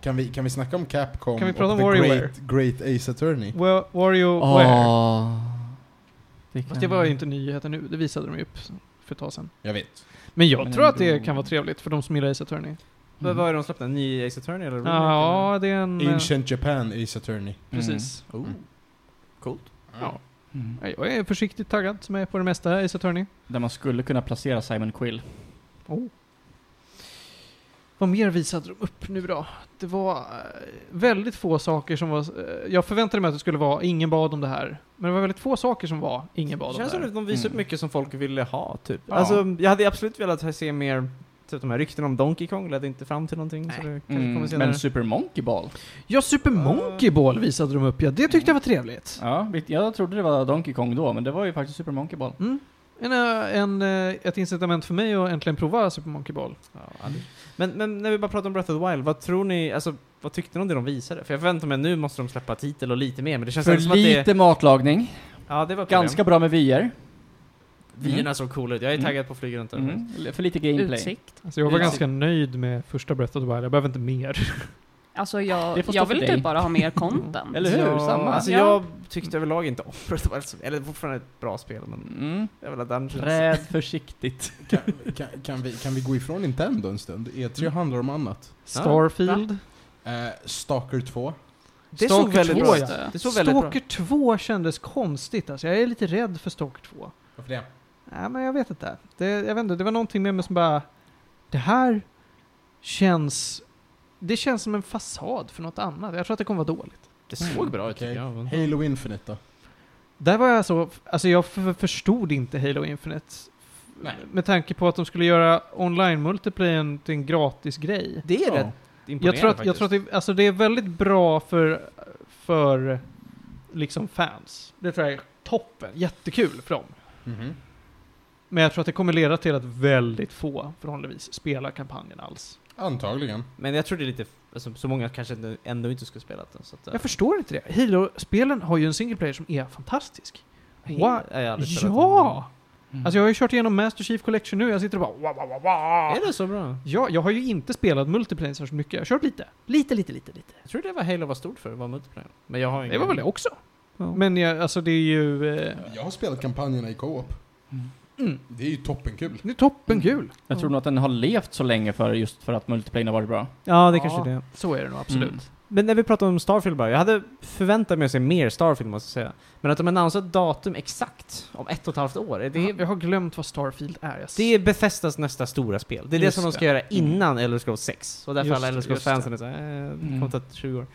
A: kan vi, kan vi snacka om Capcom
C: Kan vi prata
A: och
C: om
A: The
C: WarioWare?
A: great, great Ace Attorney?
C: Wa- Warriorware.
D: Åh.
C: Ah. Fast det var ju inte nyheten nu, det visade de ju upp för ett tag sedan.
A: Jag vet.
C: Men jag
D: Men
C: tror att det
D: ändå-
C: kan vara trevligt för de som gillar Ace Attorney.
B: Vad- Vad är det de släppte? En ny Ace Attorney eller? remake,
C: Ja, det är en...
D: Mm.
C: eh,
A: Ancient Japan Ace Attorney. Mm.
C: Precis.
B: eller? Oh. Coolt.
C: Ja. Jag är försiktigt taggad som jag är på det mesta Ace Attorney.
D: Där man skulle kunna placera Simon Quill.
C: Oh. Vad mer visade de upp nu då? Det var eh, väldigt få saker som var... eh, Jag förväntade mig att det skulle vara ingen bad om det här. Men det var väldigt få saker som var ingen bad om
B: Känns
C: det
B: som
C: här.
B: att de visar upp
D: Mm.
B: mycket som folk ville ha, typ.
D: Ja.
B: Alltså, jag hade absolut velat se mer... Typ de här ryktena om Donkey Kong ledde inte fram till någonting, så det kanske kommer senare.
D: Men Super Monkey Ball?
C: Ja, Super Monkey Ball visade de upp ja. Det tyckte jag var trevligt.
D: Ja, vi- jag trodde det var Donkey Kong då, men det var ju faktiskt Super Monkey Ball.
C: Mm. En, eh, en, eh, ett incitament för mig att äntligen prova Super Monkey Ball.
B: Ja, aldrig. men, men när vi bara pratar om Breath of the Wild, vad tror ni, alltså vad tyckte ni om det de visade? För jag förväntar mig nu måste de släppa titel och lite mer, men det känns
D: För
B: ändå som att
D: lite
B: det...
D: matlagning,
B: Ja, det var problem.
D: ganska bra med VR.
H: Vyerna såg coola ut. Jag är
I: Mm.
H: taggad på att flyga runt där.
I: Mm. För lite gameplay.
E: Utsikt.
C: Alltså jag var
I: Ja.
C: ganska nöjd med första Breath of the Wild, jag behöver inte mer.
E: Alltså
I: Det
E: jag,
I: får stå
E: jag
I: för
E: vill
I: dig.
E: typ bara ha mer content.
I: Eller hur?
H: Ja,
I: Samma.
H: Alltså
E: Ja.
H: jag tyckte överlag inte om Breath of the Wild som- Eller fortfarande ett bra spel, men
I: Mm.
H: jag vill ha Dungeons.
I: Träd försiktigt.
A: Kan, kan, kan, vi, kan vi gå ifrån Nintendo en stund? E3
D: Mm.
A: handlar om annat.
C: Starfield.
A: Eh, Stalker 2.
H: Det såg
C: Stalker
H: väldigt
C: 2,
H: bra ut.
E: Just
C: ja.
E: det.
H: Det såg väldigt bra
C: Stalker 2 kändes konstigt alltså. Jag är lite rädd för Stalker 2.
A: Varför det?
C: Nej, men jag vet inte. Det, jag vet inte. Det var någonting med mig som bara... Det här känns... Det känns som en fasad för något annat. Jag tror att det kommer vara dåligt.
H: Det såg bra ut
A: Okej.
H: tycker jag. men-
A: Halo Infinite då?
C: Där var jag så... Alltså jag f- förstod inte Halo Infinite.
A: Nej.
C: Med tanke på att de skulle göra online multiplayer till en gratis grej.
H: Det är
A: Ja.
H: rätt imponerande
C: Jag tror att, jag
H: faktiskt.
C: tror att det, alltså det är väldigt bra för, för liksom fans. Det tror jag är toppen. Jättekul för dem.
A: Mhm.
C: Men jag tror att det kommer leda till att väldigt få förhållandevis spelar kampanjen alls.
A: Antagligen.
H: Men jag tror det är lite, alltså, så många kanske ändå- ändå inte skulle spela den. Så att, eh,
C: Jag förstår inte det. Halo-spelen har ju en single player som är fantastisk.
H: he-
C: What?
H: jag har aldrig spelat
C: Ja! Alltså jag har ju kört igenom Master Chief Collection nu, jag sitter och bara wow, wow, wow,
H: den. Är
C: wow.
H: det så bra?
C: Ja, jag har ju inte spelat multiplayer särskilt mycket. Jag har kört lite. Lite, lite, lite, lite.
H: Jag tror det var Halo var stort för, var multiplayer. Men jag har ingen
C: Det var väl det också.
H: Ja.
C: Men jag, alltså det är ju... Eh,
A: Jag har spelat kampanjerna i co-op.
C: Mm.
A: Det är ju toppenkul.
C: det är toppenkul.
I: Jag tror nog att den har levt så länge för just för att multiplayer har varit bra.
B: Ja, det
C: Ja.
B: kanske det.
C: Så är det nog absolut.
I: Mm.
B: Men när vi pratar om Starfield bara, jag hade förväntat mig att se mer Starfield måste jag säga. Men att de annonserat datum exakt om ett och ett halvt år, är
C: Det
B: det,
C: är, jag har glömt vad Starfield är. Jag
B: det är Bethesdas nästa stora spel. Det är
C: Just Mm.
B: det som de ska göra innan Elder Scrolls 6. Och därför
C: Just
B: alla Elder
C: det, just
B: Scrolls-fansen
C: det. Mm.
B: är såhär, eh, det
I: Mm.
B: kommer ta 20 år.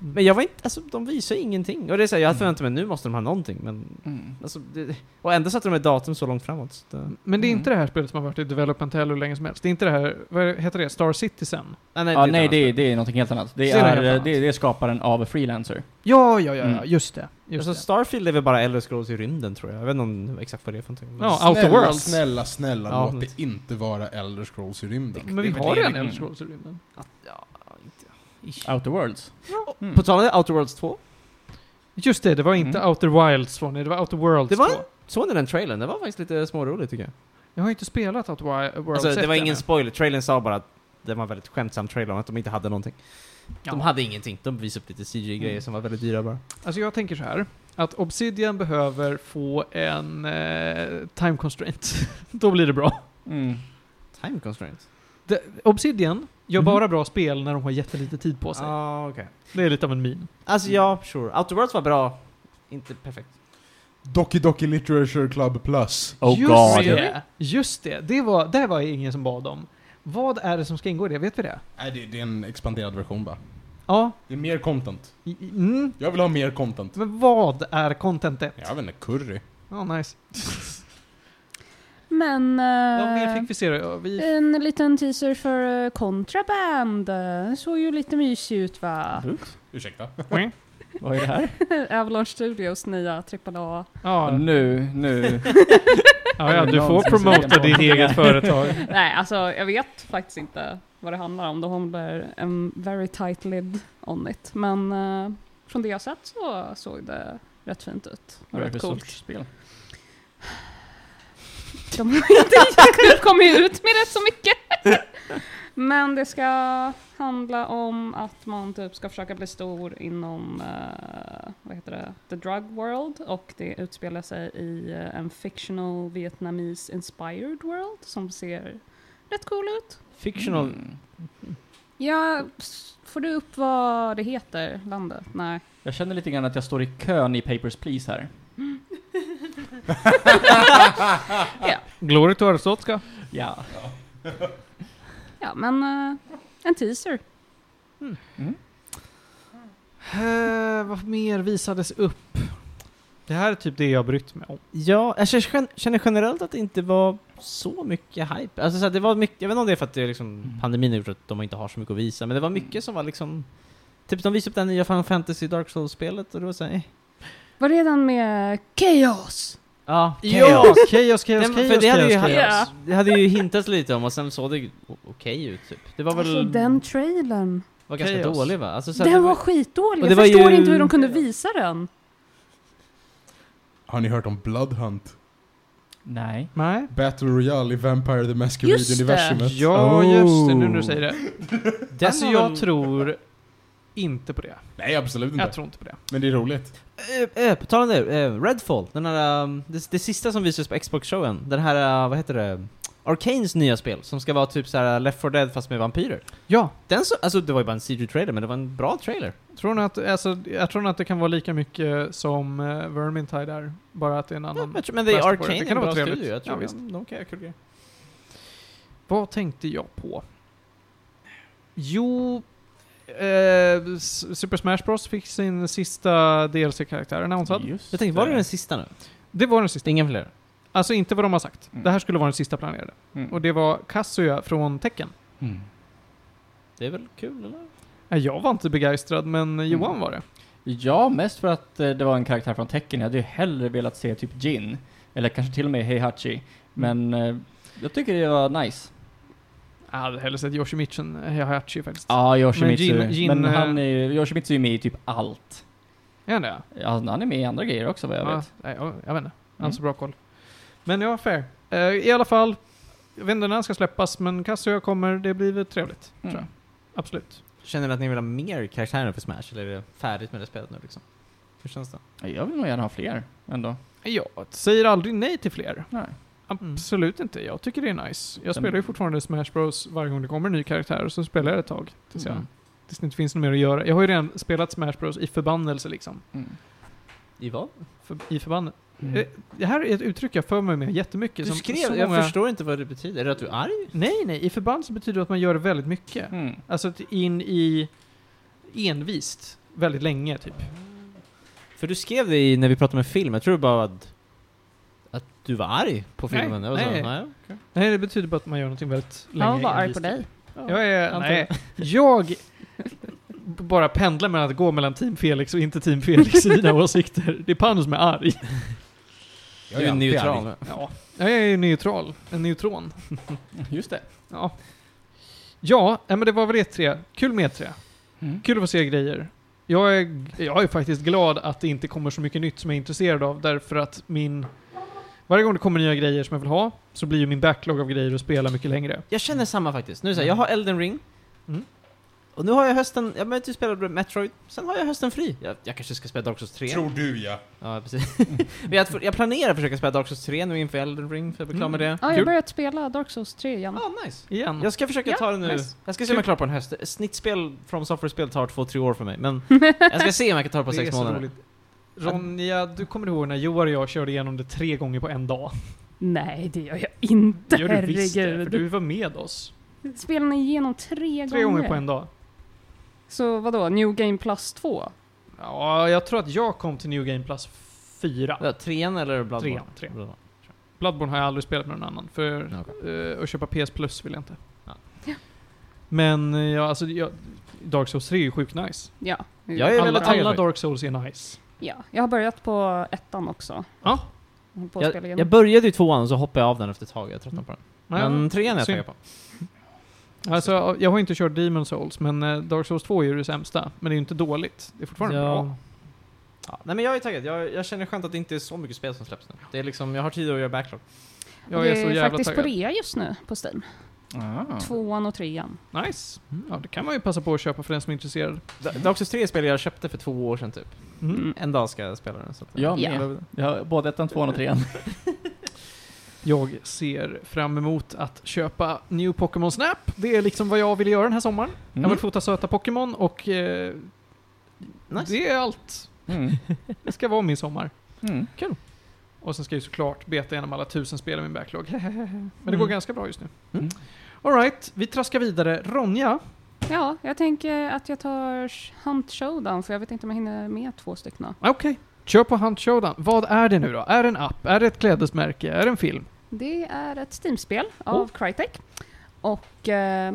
B: Men jag var inte, alltså de visar ju ingenting. Och det är såhär, jag hade förväntat mig nu måste de ha någonting, men
C: Mm.
B: alltså, det, Och ändå satte de ett datum så långt framåt. Så det,
C: Men det är
I: Mm.
C: inte det här spelet som har varit i development hell hur länge som helst. Det är inte det här, vad heter det, Star Citizen?
B: nej,
I: Ja,
B: ett
I: nej,
B: annat
I: det, är-
B: spel.
I: det är någonting helt annat. Det
C: Det är något
I: är,
C: helt annat.
I: Det, det är skaparen av Freelancer.
C: Ja, ja, ja, ja,
I: Mm.
C: just det. Just
B: Alltså
C: det.
B: Starfield är väl bara Elder Scrolls i rymden tror jag. Jag vet inte om exakt vad det är för någonting.
C: Ja, Outer
A: Snälla,
C: Worlds.
A: snälla, snälla,
B: Ja,
A: låt
B: men-
A: det inte vara Elder Scrolls i rymden.
C: Men vi
H: det är
C: har
H: väl
C: redan
I: det-
C: Elder Scrolls i rymden.
H: Ja, inte- ish.
I: Outer Worlds. Mm.
B: På tal om det, Outer Worlds 2.
C: Just det, det var inte
I: Mm.
C: Outer Wilds 2, nej, det var Outer Worlds
B: Det var
C: 2.
B: en- Såg ni den trailern? Den var faktiskt lite smårolig tycker jag.
C: Jag har inte spelat Outer Wi- Worlds
B: Alltså, det var
C: 1
B: ingen
C: ännu.
B: spoiler, trailern sa bara att det var en väldigt skämtsam trailer om att de inte hade någonting. De
C: Ja.
B: hade ingenting, de visade upp lite CG-grejer som var väldigt dyra bara.
C: Alltså jag tänker så här, att Obsidian behöver få en eh, time constraint. Då blir det bra.
I: Mm.
B: Time constraint?
C: Det- Obsidian gör
B: Mhm.
C: bara bra spel när de har jättelite tid på sig.
B: Ah, okej.
C: Det är lite av en min.
B: Alltså ja, sure. Outer Worlds var bra, inte perfekt.
A: Doki Doki Literature Club Plus.
I: Oh
C: just
I: god.
C: det! Just det, det var, det var ju ingen som bad om. Vad är det som ska ingå i det? Vet vi det?
A: Nej, det, det är en expanderad version bara.
C: Ja.
A: Det är mer content.
C: i- i- Mm.
A: Jag vill ha mer content.
C: Men vad är contentet?
A: Jag vet inte, curry.
C: Ja, nice.
E: Men... eh,
C: Vad mer fick vi se då? Ja, Vi...
E: En liten teaser för eh, Contraband. Eh, Såg ju lite mysig ut va?
I: Mm.
A: Ursäkta.
I: Vad är det här?
E: Avalanche Studios nya AAA.
C: Ja,
I: Nu, nu.
C: ja, ja, du får promota ditt eget företag.
E: Nej, alltså jag vet faktiskt inte vad det handlar om. De håller en very tight lid on it. Men eh, från det jag sett så såg det rätt fint ut. Och
I: Vad är det för
E: rätt coolt.
I: sorts spel?
E: De har inte kommit ut med rätt så mycket. Men det ska handla om att man typ ska försöka bli stor inom, eh, vad heter det, the drug world och det utspelar sig i eh, en fictional Vietnamese inspired world som ser rätt cool ut.
B: Fictional...
I: Mm.
E: Ja, s- får du upp vad det heter, landet? Nej.
I: Jag känner lite grann att jag står i kön i Papers, Please här.
C: Glory to Arsotska.
I: Ja.
E: Ja, men eh, en teaser.
C: Eh, vad mer visades upp? Det här är typ det jag brytt mig om.
B: Ja, alltså jag känner- känner generellt att det inte var så mycket hype. Alltså så här, det var mycket, jag vet inte om det är för att det är liksom,
I: Mm.
B: pandemin har gjort att de inte har så mycket att visa, men det var mycket som var liksom... Typ de visade upp det här nya Final Fantasy Dark Souls-spelet och det var eh. såhär...
E: Var redan med Chaos!
B: Ja,
C: Chaos, chaos, chaos,
B: Den,
C: chaos,
B: för det, hade ju,
C: chaos,
E: Ja.
C: chaos.
B: det hade ju hintats lite om och sen såg det o- okej ut typ. Det var väl
E: Alltså den trailern.
B: var ganska
C: Chaos.
B: dålig va? Alltså, så att
E: Den
B: det
E: var skitdålig,
B: Och
E: jag
B: det var
E: förstår
B: ju-
E: inte hur de kunde visa den.
A: Har ni hört om Bloodhunt?
D: Nej.
C: Nej.
A: Battle Royale i Vampire the
E: Just det.
A: Masquerade-universumet.
C: Ja,
D: Oh.
C: just det. Nu när du säger det.
B: Den
C: alltså,
B: har
C: jag
B: väl-
C: tror inte på det.
A: Nej, absolut inte.
C: Jag tror inte på det.
A: Men det är roligt.
B: Eh, eh, På tal om det, eh, Redfall. Den här, ehm, det, det sista som visades på Xbox-showen. Den här, eh, vad heter det? Arcanes nya spel som ska vara typ så här Left 4 Dead fast med vampyrer.
C: Ja.
B: Den så, alltså det var ju bara en CG-trailer men det var en bra trailer.
C: Tror ni att, alltså, jag tror nog att det kan vara lika mycket som uh, Vermintide är, bara att det är en annan...
B: Men, men det är
C: Masterboard.
B: Arcane,
C: Det
B: det en
C: kan vara
B: bra
C: trevligt.
B: studio. Jag tror
C: Ja,
B: de-
C: visst.
B: de kan göra kul grejer.
C: Vad tänkte jag på? Jo, eh, S- Super Smash Bros fick sin sista DLC-karaktär annonsad.
D: Just
B: Jag tänkte, var det den sista nu?
C: Det var den sista.
B: Ingen fler?
C: Alltså inte vad de har sagt.
D: Mm.
C: Det här skulle vara den sista planerade.
D: Mm.
C: Och det var Kazuya från Tekken.
D: Mm.
B: Det är väl kul eller?
C: Nej, Eh, Jag var inte begeistrad, men
D: Mm.
C: Johan var det.
D: Ja, mest för att eh, det var en karaktär från Tekken. Jag hade ju hellre velat se typ Jin. Eller kanske till och med Heihachi. Men eh, jag tycker det var nice.
C: Jag hade hellre sett Yoshimitsu än Heihachi faktiskt.
D: Ja, Yoshimitsu.
C: Men
D: Men,
C: Jin- Jin,
D: han är, ju- Yoshimitsu är med i typ allt.
C: Är han det?
D: Ja, han är med i andra grejer också vad jag
C: Ja,
D: vet.
C: nej, jag, jag vet inte. Jag har
D: Mm.
C: inte så bra koll. Men ja, fair. Eh, I alla fall, jag vet inte när den ska släppas, men Kazuya kommer. Det blir väl trevligt,
D: Mm.
C: tror jag. Absolut.
B: Känner ni att ni vill ha mer karaktärer för Smash eller är det färdigt med det spelet nu liksom? Hur känns det?
D: Ja, Jag vill nog gärna ha fler ändå.
C: Jag säger aldrig nej till fler.
D: Nej.
C: Mm. Absolut inte. Jag tycker det är nice. Jag
D: Den-
C: spelar ju fortfarande Smash Bros varje gång det kommer en ny karaktär, och så spelar jag ett tag. Tills, jag,
D: Mm.
C: tills det inte finns något mer att göra. Jag har ju redan spelat Smash Bros i förbannelse liksom.
D: Mm.
B: I vad?
C: För, I förbannelse.
D: Mm.
C: Eh, Det här är ett uttryck jag för mig med jättemycket.
B: Du
C: som
B: skrev,
C: så
B: jag
C: många-
B: förstår inte vad det betyder. Är det att du är arg?
C: Nej, nej. I förbannelse betyder det att man gör väldigt mycket.
D: Mm.
C: Alltså att in i envist väldigt länge typ.
B: För du skrev det i, när vi pratade med film, jag tror bara att, att du var arg på
C: Nej,
B: filmen. Jag var så,
C: nej.
B: okej.
C: Nej, det betyder bara att man gör någonting väldigt länge.
E: Jag var arg på
C: envist. typ.
E: dig.
C: Jag är,
B: antar
C: nej, jag b- bara pendlar mellan att gå mellan Team Felix och inte Team Felix i mina åsikter. Det är Panos som är arg.
B: Du är neutral.
C: Ja. Jag är ju neutral. En neutron.
D: Just det.
C: Ja. Ja, nej, men det var väl E3. Kul med E3. Kul att få se grejer. Jag är, jag är faktiskt glad att det inte kommer så mycket nytt som jag är intresserad av, därför att min... Varje gång det kommer nya grejer som jag vill ha, så blir ju min backlog av grejer att spela mycket längre.
B: Jag känner samma faktiskt. Nu är det så här, jag har Elden Ring.
C: Mm.
B: Och nu har jag hösten, jag behöver inte spela Metroid. Sen har jag hösten fri. Jag, jag kanske ska spela Dark Souls 3.
A: Tror du ja.
B: Ja, precis. Men jag, jag planerar att försöka spela Dark Souls 3 nu inför Elden Ring, för jag blir klar med det.
E: Ja,
C: Kul.
E: jag började spela Dark Souls 3 igen.
B: Ja, nice.
C: Igen.
B: Jag ska försöka
E: Ja,
B: ta det nu.
E: nice.
B: Jag ska se om jag är klar på en höst. Snittspel från software-spel tar två, tre år för mig. Men jag ska se om jag kan ta det på
C: Det är
B: sex
C: så
B: månader.
C: roligt. Ronja, du kommer ihåg när Joar och jag körde igenom det tre gånger på en dag?
E: Nej, det gör jag inte.
C: Det gör du visst det, för
E: Herregud.
C: du var med oss.
E: Spelar ni igenom tre,
C: Tre gånger på en dag.
E: Så vadå, New Game Plus 2?
C: Ja, jag tror att jag kom till New Game Plus 4.
B: Ja, trean eller Bloodborne?
C: Trean, trean.
B: Bloodborne.
C: Bloodborne har jag aldrig spelat med någon annan, för
B: Ja, okej.
C: eh, att köpa PS Plus vill jag inte.
B: Ja.
E: Ja.
C: Men eh, ja, alltså, jag, Dark Souls 3 är ju sjukt nice.
E: Ja.
B: Jag är
C: Alla,
B: väldigt taggad
C: alla
B: faktiskt.
C: Dark Souls är nice.
E: Ja, jag har börjat på ettan också.
C: Ja.
E: Jag håller på att spela
B: Jag,
E: igenom.
B: jag började i tvåan och så hoppade jag av den efter ett tag. Jag tröttnade på den. Men trean är jag
C: synd.
B: taggad på.
C: Alltså, jag har inte kört Demon Souls, men eh, Dark Souls 2 är ju det sämsta. Men det är ju inte dåligt. Det är fortfarande bra.
B: Ja, nej men jag är taggad. Jag, jag känner skönt att det inte är så mycket spel som släpps nu. Det är liksom, jag har tid att göra backlog.
C: Jag
E: det
C: är så jävla
E: faktiskt på
C: taggad.
E: rea just nu på Steam.
D: Ah.
E: Tvåan och trean.
C: Nice.
B: Mm.
C: Ja, det kan man ju passa på att köpa för den som är intresserad.
B: Da- Dark Souls 3 spel jag köpte för två år sedan typ.
C: Mm.
B: En dag ska jag spela den. Så att,
D: Jag
E: Ja.
D: med. Ja, både ettan, tvåan och trean.
C: Jag ser fram emot att köpa New Pokémon Snap. Det är liksom vad jag vill göra den här sommaren. Jag
D: Mm.
C: vill fota söta Pokémon och eh,
B: Nice.
C: det är allt.
D: Mm.
C: Det ska vara min sommar.
D: Mm.
C: Och sen ska jag ju såklart beta igenom alla tusen spel i min backlog. Men det går
B: Mm.
C: ganska bra just nu.
D: Mm.
C: Alright, vi traskar vidare. Ronja,
E: Ja, jag tänker att jag tar Hunt Showdown för jag vet inte om jag hinner med två stycken.
C: okej. Kör på Hunt Showdown. Vad är det nu då? Är det en app? Är det ett klädesmärke? Är det en film?
E: Det är ett Steam-spel av
C: Oh.
E: Crytek. Och eh,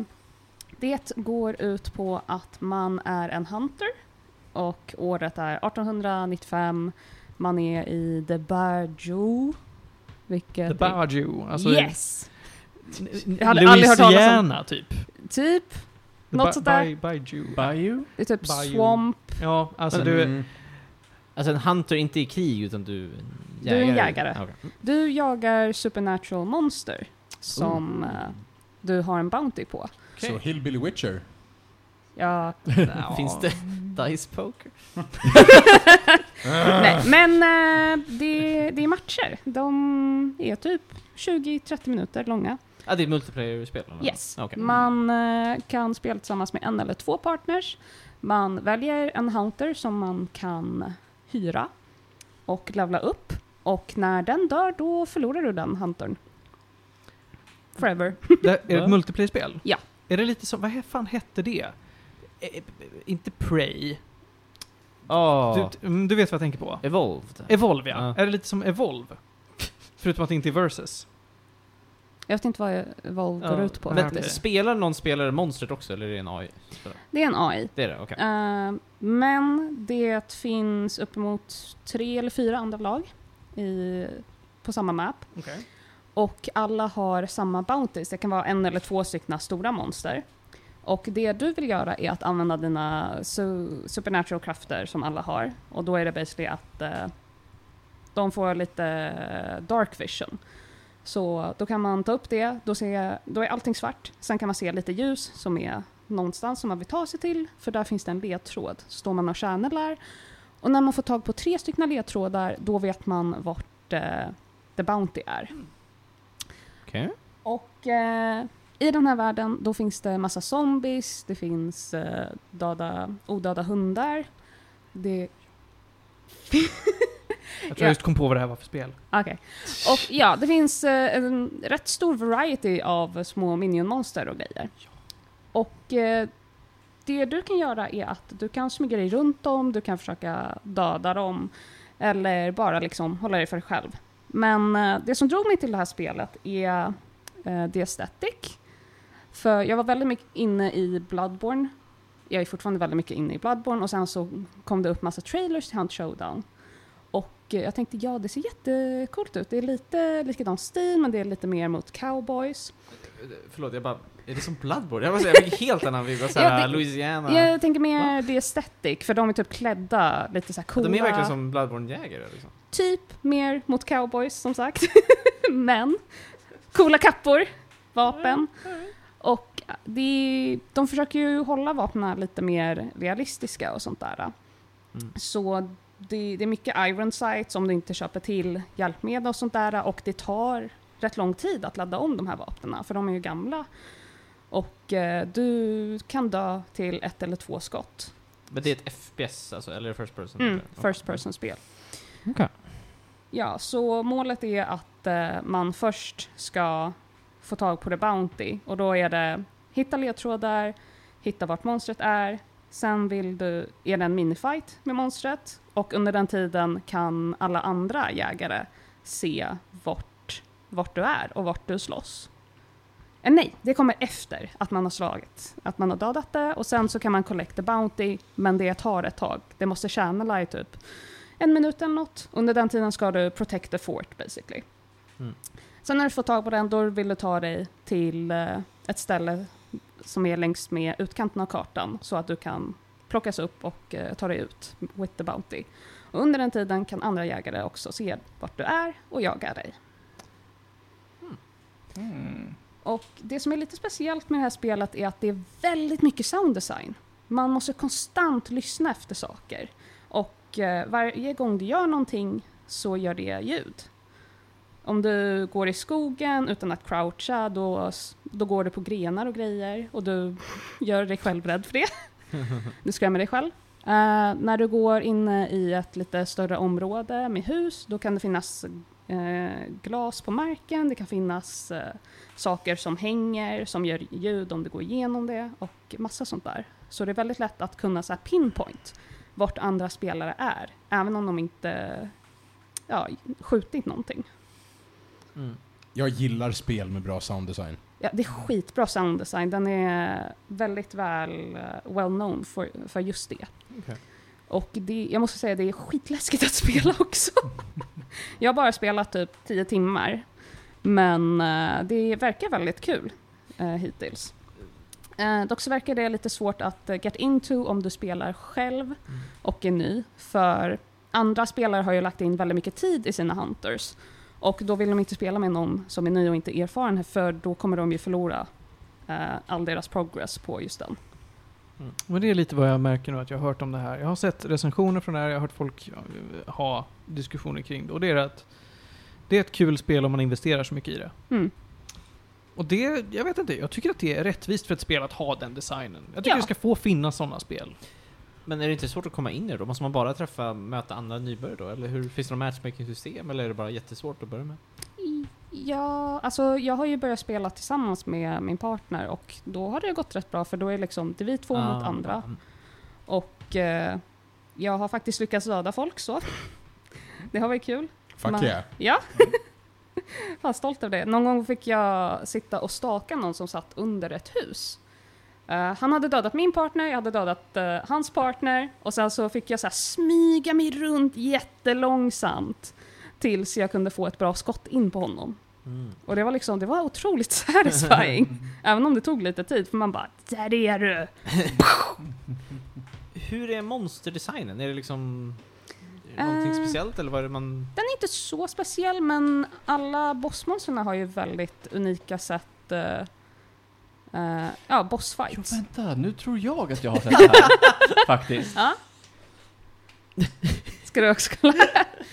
E: det går ut på att man är en hunter och året är 1895. Man är i The Barjo. Vilket...
C: The Baju. Alltså
E: yes!
C: Jag
E: Jag hade aldrig hört talas om-
C: typ.
E: Typ. Något sånt där.
C: Baju.
D: Bayou?
E: Det är typ
C: Bayou.
E: Swamp.
C: alltså
D: mm.
C: Ja, alltså du...
B: Alltså en hunter, inte i krig, utan du...
E: Du är en jägare.
B: Okej.
E: Du jagar supernatural monster som eh, du har en bounty på.
B: Okej.
A: Så Hillbilly Witcher.
E: Ja,
B: Finns det dice poker?
E: nej. Men eh, det, det är matcher. De är typ 20-30 minuter långa.
B: Ja, det är multiplayer-spel? eller?
E: Yes.
B: Okej.
E: Man eh, kan spela tillsammans med en eller två partners. Man väljer en hunter som man kan hyra och levla upp. Och när den dör, då förlorar du den huntern. Forever.
C: Det är det ett multiplayer-spel?
E: Ja.
C: Är det lite som, vad he- fan hette det? Eh, eh, Inte Prey.
B: Ah,
C: Du, mm, du vet vad jag tänker på?
B: Evolved?
C: Evolve ja.
B: Ja.
C: Är det lite som Evolve? Förutom att det inte är Versus.
E: Jag vet inte vad Evolve
C: Ja,
E: går ut på.
C: men-
B: Men
E: faktiskt.
B: spelar någon spelare monstret också, eller är det en AI?
E: Det är en AI.
B: Det är det, okej.
E: Eh, men det finns uppemot tre eller fyra andra lag i, på samma map.
C: Okej.
E: Och alla har samma bounties. Det kan vara en eller två stycken stora monster. Och det du vill göra är att använda dina su- supernatural krafter som alla har. Och då är det basically att eh, de får lite eh, dark vision. Så då kan man ta upp det, då, ser, då är allting svart. Sen kan man se lite ljus som är någonstans som man vill ta sig till, för där finns det en ledtråd. Så står man och kärnelar. Och när man får tag på tre stycken ledtrådar, då vet man vart eh, the bounty är.
B: Okej.
E: Och eh, i den här världen då finns det massa zombies, det finns eh, döda, odöda hundar. Det,
C: Jag tror jag just kom på vad det här var för spel.
E: okej. Och ja, det finns eh, en rätt stor variety av små minionmonster och grejer. Och eh, det du kan göra är att du kan smyga dig runt dem, du kan försöka döda dem eller bara liksom hålla dig för dig själv. Men eh, det som drog mig till det här spelet är eh, the aesthetic. För jag var väldigt mycket inne i Bloodborne. Jag är fortfarande väldigt mycket inne i Bloodborne och sen så kom det upp massa trailers till Hunt Showdown. Och eh, jag tänkte ja, det ser jättecoolt ut. Det är lite likadan stil men det är lite mer mot cowboys.
B: Förlåt, jag bara... Är det som Bloodborne? Jag, måste, jag fick helt annan vibb, såhär
E: Ja, det-
B: Louisiana.
E: Jag tänker mer the aesthetic för de är typ klädda lite så här
B: Ja,
E: coola.
B: De är verkligen som Bloodborne-jägare liksom.
E: Typ mer mot cowboys som sagt. men coola kappor, vapen. Och det, de försöker ju hålla vapnen lite mer realistiska och sånt där. Mm. Så det, det är mycket iron sights om du inte köper till hjälpmedel och sånt där. Och det tar rätt lång tid att ladda om de här vapnena, för de är ju gamla. Och eh, du kan dö till ett eller två skott.
B: Men det är ett FPS alltså, eller first person?
E: Mm,
B: eller?
E: first person-spel.
B: Okej.
E: Ja, så målet är att eh, man först ska få tag på The Bounty och då är det hitta ledtrådar, hitta vart monstret är, sen vill du, är det en minifight med monstret och under den tiden kan alla andra jägare se vart, vart du är och vart du slåss. Eh, nej, det kommer efter att man har slagit, att man har dödat det och sen så kan man collect the bounty, men det tar ett tag. Det måste tjäna i typ en minut eller något. Under den tiden ska du protect the fort basically.
B: Mm.
E: Sen när du får tag på den, då vill du ta dig till eh, ett ställe som är längst med utkanten av kartan så att du kan plockas upp och eh, ta dig ut with the bounty. Och under den tiden kan andra jägare också se vart du är och jaga dig.
C: Hmm.
E: Och det som är lite speciellt med det här spelet är att det är väldigt mycket sounddesign. Man måste konstant lyssna efter saker. Och eh, varje gång du gör någonting så gör det ljud. Om du går i skogen utan att croucha, då, då går du på grenar och grejer och du gör dig själv rädd för det. Du skrämmer dig själv. Eh, när du går inne i ett lite större område med hus, då kan det finnas eh, glas på marken, det kan finnas eh, saker som hänger, som gör ljud om du går igenom det och massa sånt där. Så det är väldigt lätt att kunna så här pinpoint vart andra spelare är, även om de inte ja, skjutit någonting.
B: Mm.
A: Jag gillar spel med bra sounddesign.
E: Ja, det är skitbra sounddesign. Den är väldigt väl eh, well known för, för just det.
B: Okej.
E: Och det, jag måste säga, det är skitläskigt att spela också. jag har bara spelat typ 10 timmar, men eh, det verkar väldigt kul eh, hittills. Eh, dock så verkar det lite svårt att eh, get into om du spelar själv och är ny, för andra spelare har ju lagt in väldigt mycket tid i sina hunters. Och då vill de inte spela med någon som är ny och inte erfaren, för då kommer de ju förlora eh, all deras progress på just den.
C: Men det är lite vad jag märker nu att jag har hört om det här. Jag har sett recensioner från det här, jag har hört folk ja, ha diskussioner kring det. Och det är att det är ett kul spel om man investerar så mycket i det.
E: Mm.
C: Och det, jag vet inte, jag tycker att det är rättvist för ett spel att ha den designen. Jag tycker
E: Ja.
C: det ska få finnas sådana spel.
J: Men är det inte svårt att komma in i det då? Måste man bara träffa, möta andra nybörjare då? Eller hur, finns det något matchmaking-system eller är det bara jättesvårt att börja med?
E: Ja, alltså jag har ju börjat spela tillsammans med min partner och då har det gått rätt bra för då är liksom, det är vi två mot
J: Ah,
E: andra.
J: mm.
E: Och eh, jag har faktiskt lyckats döda folk så. Det har varit kul.
A: Fuck
E: Man-
A: yeah.
E: Ja. Fan stolt över det. Någon gång fick jag sitta och staka någon som satt under ett hus. Eh, han hade dödat min partner, jag hade dödat eh, hans partner och sen så fick jag så här smyga mig runt jättelångsamt tills jag kunde få ett bra skott in på honom.
J: mm.
E: Och det var liksom, det var otroligt satisfying.
C: Mm.
E: Även om det tog lite tid för man bara “Där är du!”
J: Hur är monsterdesignen? Är det liksom... Är det någonting
E: Eh.
J: speciellt eller vad är det man...
E: Den är inte så speciell, men alla bossmonsterna har ju väldigt unika sätt eh, eh, ja,
D: Jo,
E: bossfights.
D: vänta, nu tror jag att jag har sett det här. Faktiskt.
E: Ja. Ska du också kolla?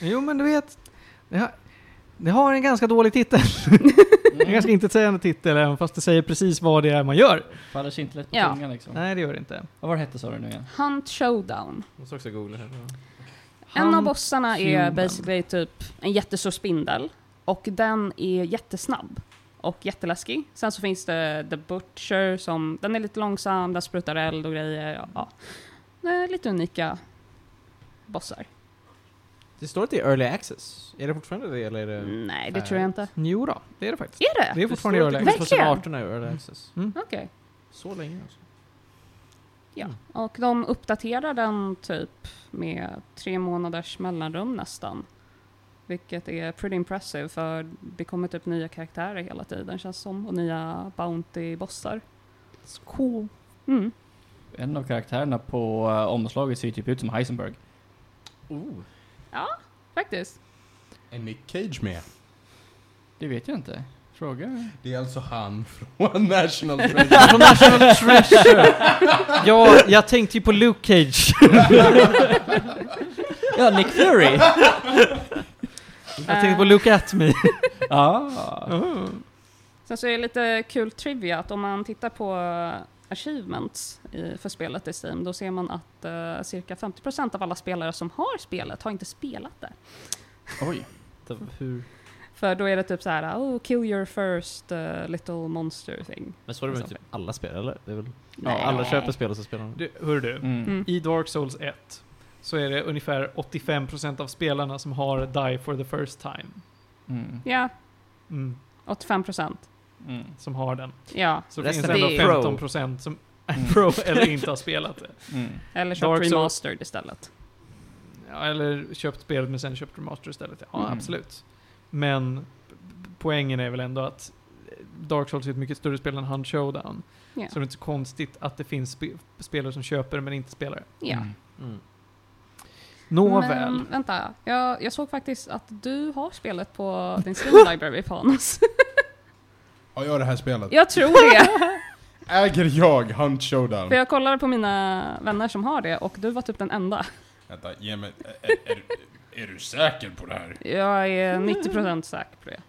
C: Jo men du vet, det har, det har en ganska dålig titel. en ganska intetsägande titel, även fast det säger precis vad det är man gör.
D: Faller kintlet på
E: Ja.
D: tungan liksom.
C: Nej, det gör det inte.
D: Vad var det hette sa du nu igen?
E: Hunt Showdown.
J: Måste också googla här.
E: en av
C: Hunt
E: bossarna är
C: Human.
E: basically typ en jättestor spindel och den är jättesnabb och jätteläskig. Sen så finns det The Butcher som, den är lite långsam, den sprutar eld och grejer. Ja, det är lite unika bossar.
J: Det står att det är early access. Är det fortfarande det eller är
B: Eh,
J: det...
E: Nej, det tror jag inte.
C: Jo då, det är det faktiskt.
E: Är det?
C: Det är fortfarande i
J: det
C: early access.
J: står att det finns 2018 är early access.
E: Okej.
J: alltså. Så länge alltså.
E: Ja, och de uppdaterar den typ med tre månaders mellanrum nästan. Vilket är pretty impressive för det kommer typ nya karaktärer hela tiden känns som och nya Bounty-bossar.
C: Cool.
E: Mm.
D: En av karaktärerna på eh, omslaget ser ju typ ut som Heisenberg.
J: Oh.
E: Faktiskt.
A: Är Nick Cage med?
D: Det vet jag inte. Fråga.
A: Det är alltså han från National Treasure.
C: National Treasure. ja, jag tänkte ju på Luke Cage.
D: Ja, Nick Fury!
C: Jag tänkte på Luke At Me.
D: ah.
E: Sen så är det lite kul trivia att om man tittar på achievements i, för spelet i Steam, då ser man att eh, cirka 50% av alla spelare som har spelet har inte spelat det.
D: Oj.
J: Hur?
E: För då är det typ så här, oh, kill your first eh, little monster thing.
J: Men så är det väl typ alla spel eller? Det är väl...
E: Nej.
J: Alla köper spel och så spelar de.
C: Du, hör du,
D: Mm.
E: Mm.
C: i Dark Souls 1 så är det ungefär 85% av spelarna som har Die for the first time.
D: Mm.
E: Ja,
C: Mm,
E: 85 procent.
D: Mm.
C: som har den.
E: Ja,
C: Så
J: Resten
C: finns
E: är
C: det
E: pro.
C: ändå 15% som är pro eller inte har spelat det.
D: Mm.
E: eller köpt
C: Dark Souls.
E: remastered istället.
C: Ja, eller köpt spelet men sen köpt remaster istället. Ja,
D: Mm.
C: absolut. Men p- p- poängen är väl ändå att Dark Souls är ett mycket större spel än Hand Showdown.
E: Ja.
C: Så det är inte så konstigt att det finns spe- spelare som köper men inte spelar det.
E: Ja.
D: Mm.
J: Mm.
C: Nåväl.
E: Men vänta, jag, jag såg faktiskt att du har spelet på din Steam Library, Panos.
A: Har jag det här spelet?
E: jag tror det,
A: Äger jag Hunt Showdown?
E: för jag kollade på mina vänner som har det och du var typ den enda.
A: Vänta, ge mig... Är, är, är du säker på det här?
E: Jag är 90% säker på det.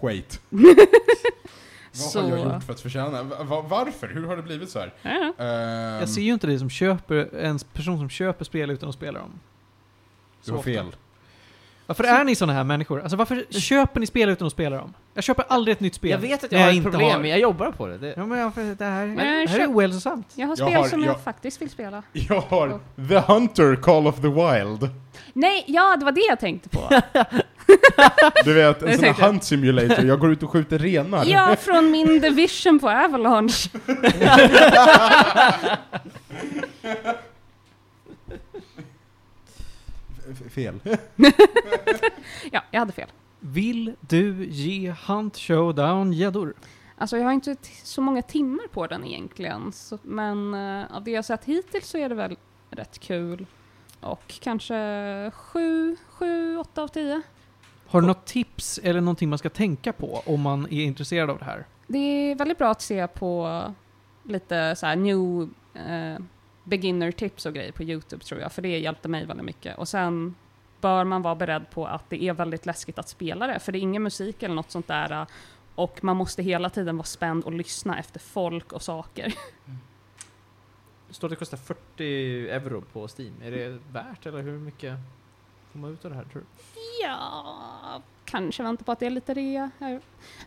A: Skit. Vad
E: Så-
A: har jag gjort för att förtjäna? Va- va- varför? Hur har det blivit så här?
E: I don't know.
A: Ehm,
C: Jag ser ju inte dig som köper, en person som köper spel utan att spela dem.
A: du har
C: Så ofta.
A: fel.
C: Varför är ni såna här människor? Alltså varför köper ni spel utan att spela dem? Jag köper aldrig ett nytt spel.
J: Jag vet att
C: när
J: jag, har ett
C: inte
J: problem,
C: har-
J: men jag jobbar på det. det...
C: Ja, men jag, för det här,
E: Men
C: det här är
E: köp-
C: ohälsosamt.
E: Jag har
A: Jag
E: spel
A: har-
E: som
A: jag-
E: jag faktiskt vill spela.
A: Jag har The Hunter Call of the Wild.
E: Nej, ja, det var det jag tänkte på.
A: Du vet, en
E: Jag
A: sån här
E: tänkte-
A: hunt simulator. Jag går ut och skjuter renar.
E: ja, från min division på Avalanche.
A: F- fel.
E: Ja, jag hade fel.
C: Vill du ge Hunt Showdown gäddor?
E: Alltså jag har inte t- så många timmar på den egentligen, så, men eh, av det jag sett hittills så är det väl rätt kul. Och kanske sju, sju, åtta av tio.
C: Har du något tips eller någonting man ska tänka på om man är intresserad av det här?
E: Det är väldigt bra att se på lite så här new eh, beginner tips och grejer på Youtube tror jag, för det hjälpte mig väldigt mycket. Och sen bör man vara beredd på att det är väldigt läskigt att spela det, för det är ingen musik eller något sånt där. eh, Och man måste hela tiden vara spänd och lyssna efter folk och saker.
B: Det står att det kostar 40 euro på Steam. Är det värt eller hur mycket får man ut av det här tror du?
E: Ja, kanske vänta på att det är lite rea.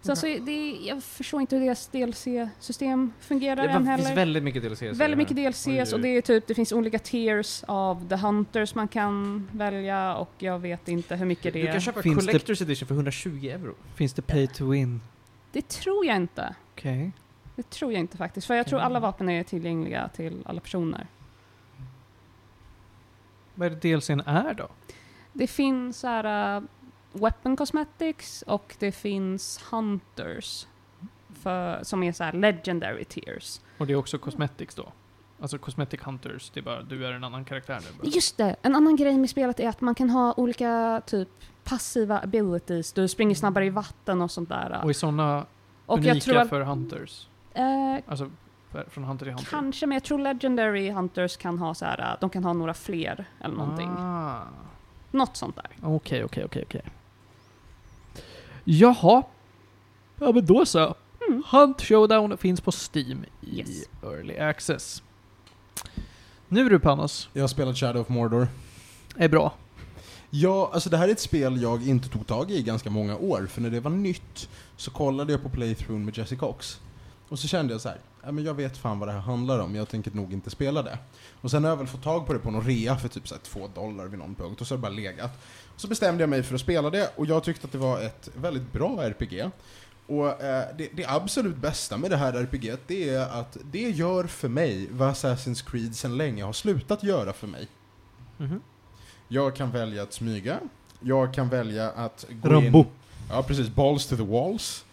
E: Sen så är det, jag förstår inte hur deras DLC-system fungerar
B: Det
E: än
B: bara- finns
E: heller.
B: väldigt mycket DLC. ser jag
E: Väldigt mycket
B: här. Oj, oj,
E: DLCs och
B: oj.
E: det är typ, det finns olika tiers av The Hunters man kan välja och jag vet inte hur mycket det
B: Du kan
E: är.
B: köpa
C: Finns det-
B: Collector's Edition för 120 euro.
C: Finns det pay to win?
E: Det tror jag inte.
C: Okej.
E: Det tror jag inte faktiskt, för jag tror alla vapen är tillgängliga till alla personer.
C: Vad är det DLCn är då?
E: Det finns så här, äh, Weapon Cosmetics och det finns Hunters för, som är så här legendary tiers.
C: Och det är också Cosmetics då? Alltså Cosmetic Hunters, det är bara du är en annan karaktär nu? bara.
E: Just det, en annan grej med spelet är att man kan ha olika typ passiva abilities. Du
B: Mm.
E: springer snabbare i vatten och sånt där.
C: Och är sådana
E: Och
C: unika
E: jag tror att,
C: för Hunters?
E: eh,
C: Alltså för, från Hunter till Hunter?
E: Kanske, men jag tror Legendary Hunters kan ha så här, äh, de kan ha några fler eller någonting.
C: Ah,
E: Något sånt där.
C: Okej, okej, okej, okej. Jaha. Ja men då så.
E: Mm.
C: Hunt Showdown finns på Steam i
E: Yes.
C: Early Access. Nu du Panos,
A: Jag har spelat Shadow of Mordor.
C: är bra.
A: Ja, alltså det här är ett spel jag inte tog tag i i ganska många år, för när det var nytt så kollade jag på playthrough med Jesse Cox. Och så kände jag så här, ja, men jag vet fan vad det här handlar om, jag tänker nog inte spela det. Och sen har jag väl fått tag på det på någon rea för typ så här två dollar vid någon punkt, och så har det bara legat. Och så bestämde jag mig för att spela det, och jag tyckte att det var ett väldigt bra RPG. Och eh, det, det absolut bästa med det här RPG det är att det gör för mig vad Assassin's Creed sedan länge har slutat göra för mig. Jag kan välja att smyga. Jag kan välja att gå in... Ja, precis. Balls to the walls.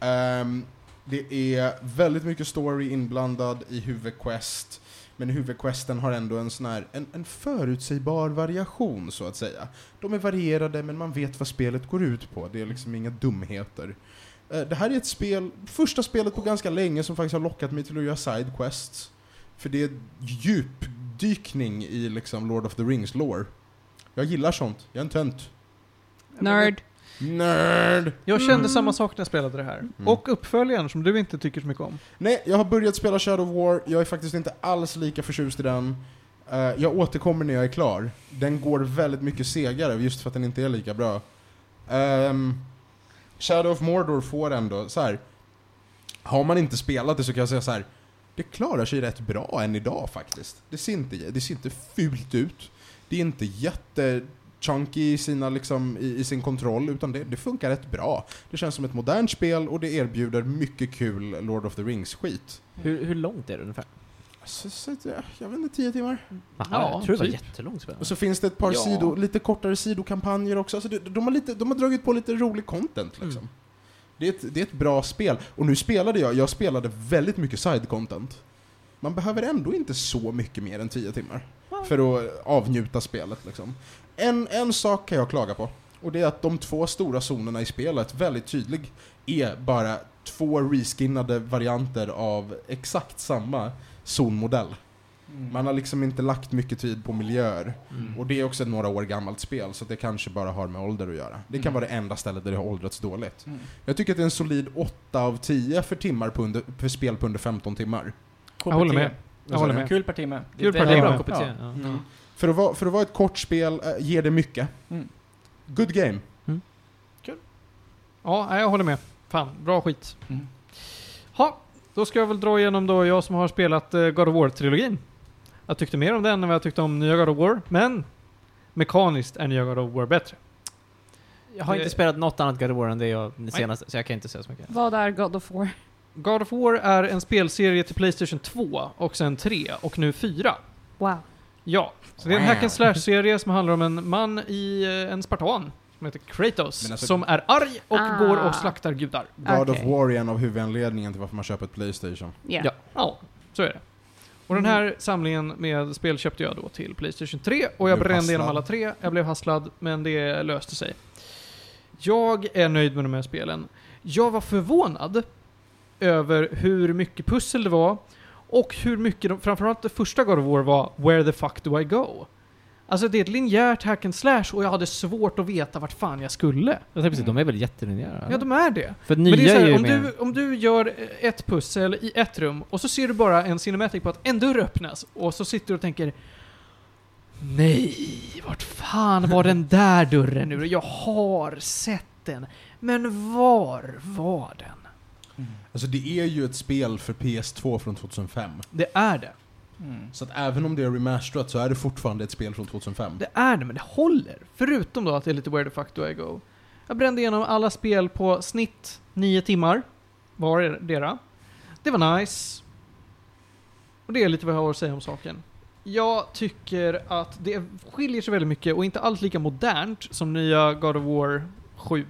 A: Ehm, det är väldigt mycket story inblandad i huvudquest. Men huvudquesten har ändå en sån här, en, en förutsägbar variation så att säga. De är varierade men man vet vad spelet går ut på. Det är liksom inga dumheter. Eh, Det här är ett spel, första spelet på ganska länge som faktiskt har lockat mig till att göra sidequests. För det är djupdykning i liksom Lord of the Rings lore. Jag gillar sånt, jag är en tönt.
E: Nerd.
A: Nerd!
C: Jag kände samma sak när jag spelade det här. Och uppföljaren som du inte tycker så mycket om.
A: Nej, jag har börjat spela Shadow of War, jag är faktiskt inte alls lika förtjust i den. Eh, jag återkommer när jag är klar. Den går väldigt mycket segare, just för att den inte är lika bra. Ehm, Shadow of Mordor får ändå, så här. Har man inte spelat det så kan jag säga så här. Det klarar sig rätt bra än idag faktiskt. Det ser inte, det ser inte fult ut. Det är inte jätte chunky i, sina, liksom, i, i sin kontroll, utan det, det funkar rätt bra. Det känns som ett modernt spel och det erbjuder mycket kul Lord of the Rings-skit.
B: Hur, hur långt är det ungefär?
A: Så, så, ja, jag vet inte, tio timmar.
B: Jaha,
C: Ja,
B: jag tror det var
C: typ.
B: jättelångt spel.
A: Och så finns det ett par
D: Ja.
A: sido, lite kortare sidokampanjer också. Alltså det, de, har lite, de har dragit på lite rolig content liksom. Det, är ett, det är ett bra spel. Och nu spelade jag, jag spelade väldigt mycket side-content. Man behöver ändå inte så mycket mer än 10 timmar för att avnjuta spelet liksom. En, en sak kan jag klaga på. Och det är att de två stora zonerna i spelet, väldigt tydlig, är bara två reskinnade varianter av exakt samma zonmodell. Man har liksom inte lagt mycket tid på miljöer.
B: Mm.
A: Och det är också ett några år gammalt spel, så det kanske bara har med ålder att göra. Det kan
D: Mm.
A: vara det enda stället där det har åldrats dåligt. Jag tycker att det är en solid 8 av 10 för, timmar på under, för spel på under 15 timmar.
D: Cool
C: Jag håller
D: per
C: med.
D: timme.
C: Jag håller med.
D: Kul per timme.
B: Det är
C: Kul
B: väldigt bra
C: parti.
B: KPT. Ja.
D: Mm.
A: För att, vara, för att vara ett kort spel eh, ger det mycket.
D: Mm.
A: Good game.
C: Ja, nej, jag håller med. Fan, bra skit.
D: Mm.
C: Ha, då ska jag väl dra igenom då jag som har spelat eh, God of War-trilogin. Jag tyckte mer om den än vad jag tyckte om nya God of War, men mekaniskt är nya God of War bättre. Eh,
B: Jag har
C: Det-
B: inte spelat något annat God of War än det jag det senaste, så jag kan inte säga så mycket.
E: Vad är God of War?
C: God of War är en spelserie till Playstation 2 och sen 3 och nu 4.
E: Wow.
C: Ja, så det är en hack and slash-serie som handlar om en man i eh, en spartan som heter Kratos,
A: Men alltså-
C: som är arg och
E: Ah.
C: går och slaktar gudar.
A: God
E: Okej.
A: of War är en av huvudanledningarna till varför man köper ett Playstation.
E: Yeah.
C: Ja, så är det. Och den här samlingen med spel köpte jag då till Playstation 3 och
A: Blev
C: jag brände
A: hasslad.
C: igenom alla tre. Jag blev hasslad, men det löste sig. Jag är nöjd med de här spelen. Jag var förvånad över hur mycket pussel det var och hur mycket, de, framförallt det första God of War var “Where the fuck do I go?” Alltså det är ett linjärt hack and slash och jag hade svårt att veta vart fan jag skulle.
B: Jag tänkte precis, de är väl jättelinjära?
C: Ja, de är det.
B: För
C: Men det är
B: nya
C: så
B: är
C: här,
B: ju
C: om,
B: mer...
C: du, om du gör ett pussel i ett rum och så ser du bara en cinematic på att en dörr öppnas och så sitter du och tänker Nej, vart fan var den där dörren nu? Jag har sett den. Men var var den?
A: Alltså det är ju ett spel för PS2 från 2005.
C: Det är det.
B: Mm.
A: Så att även om det är remasterat så är det fortfarande ett spel från 2005.
C: Det är det, men det håller. Förutom då att det är lite where the fuck do I go. Jag brände igenom alla spel på snitt nio timmar var är dera. Det var nice. Och det är lite vad jag har att säga om saken. Jag tycker att det skiljer sig väldigt mycket och inte alls lika modernt som nya God of War 7.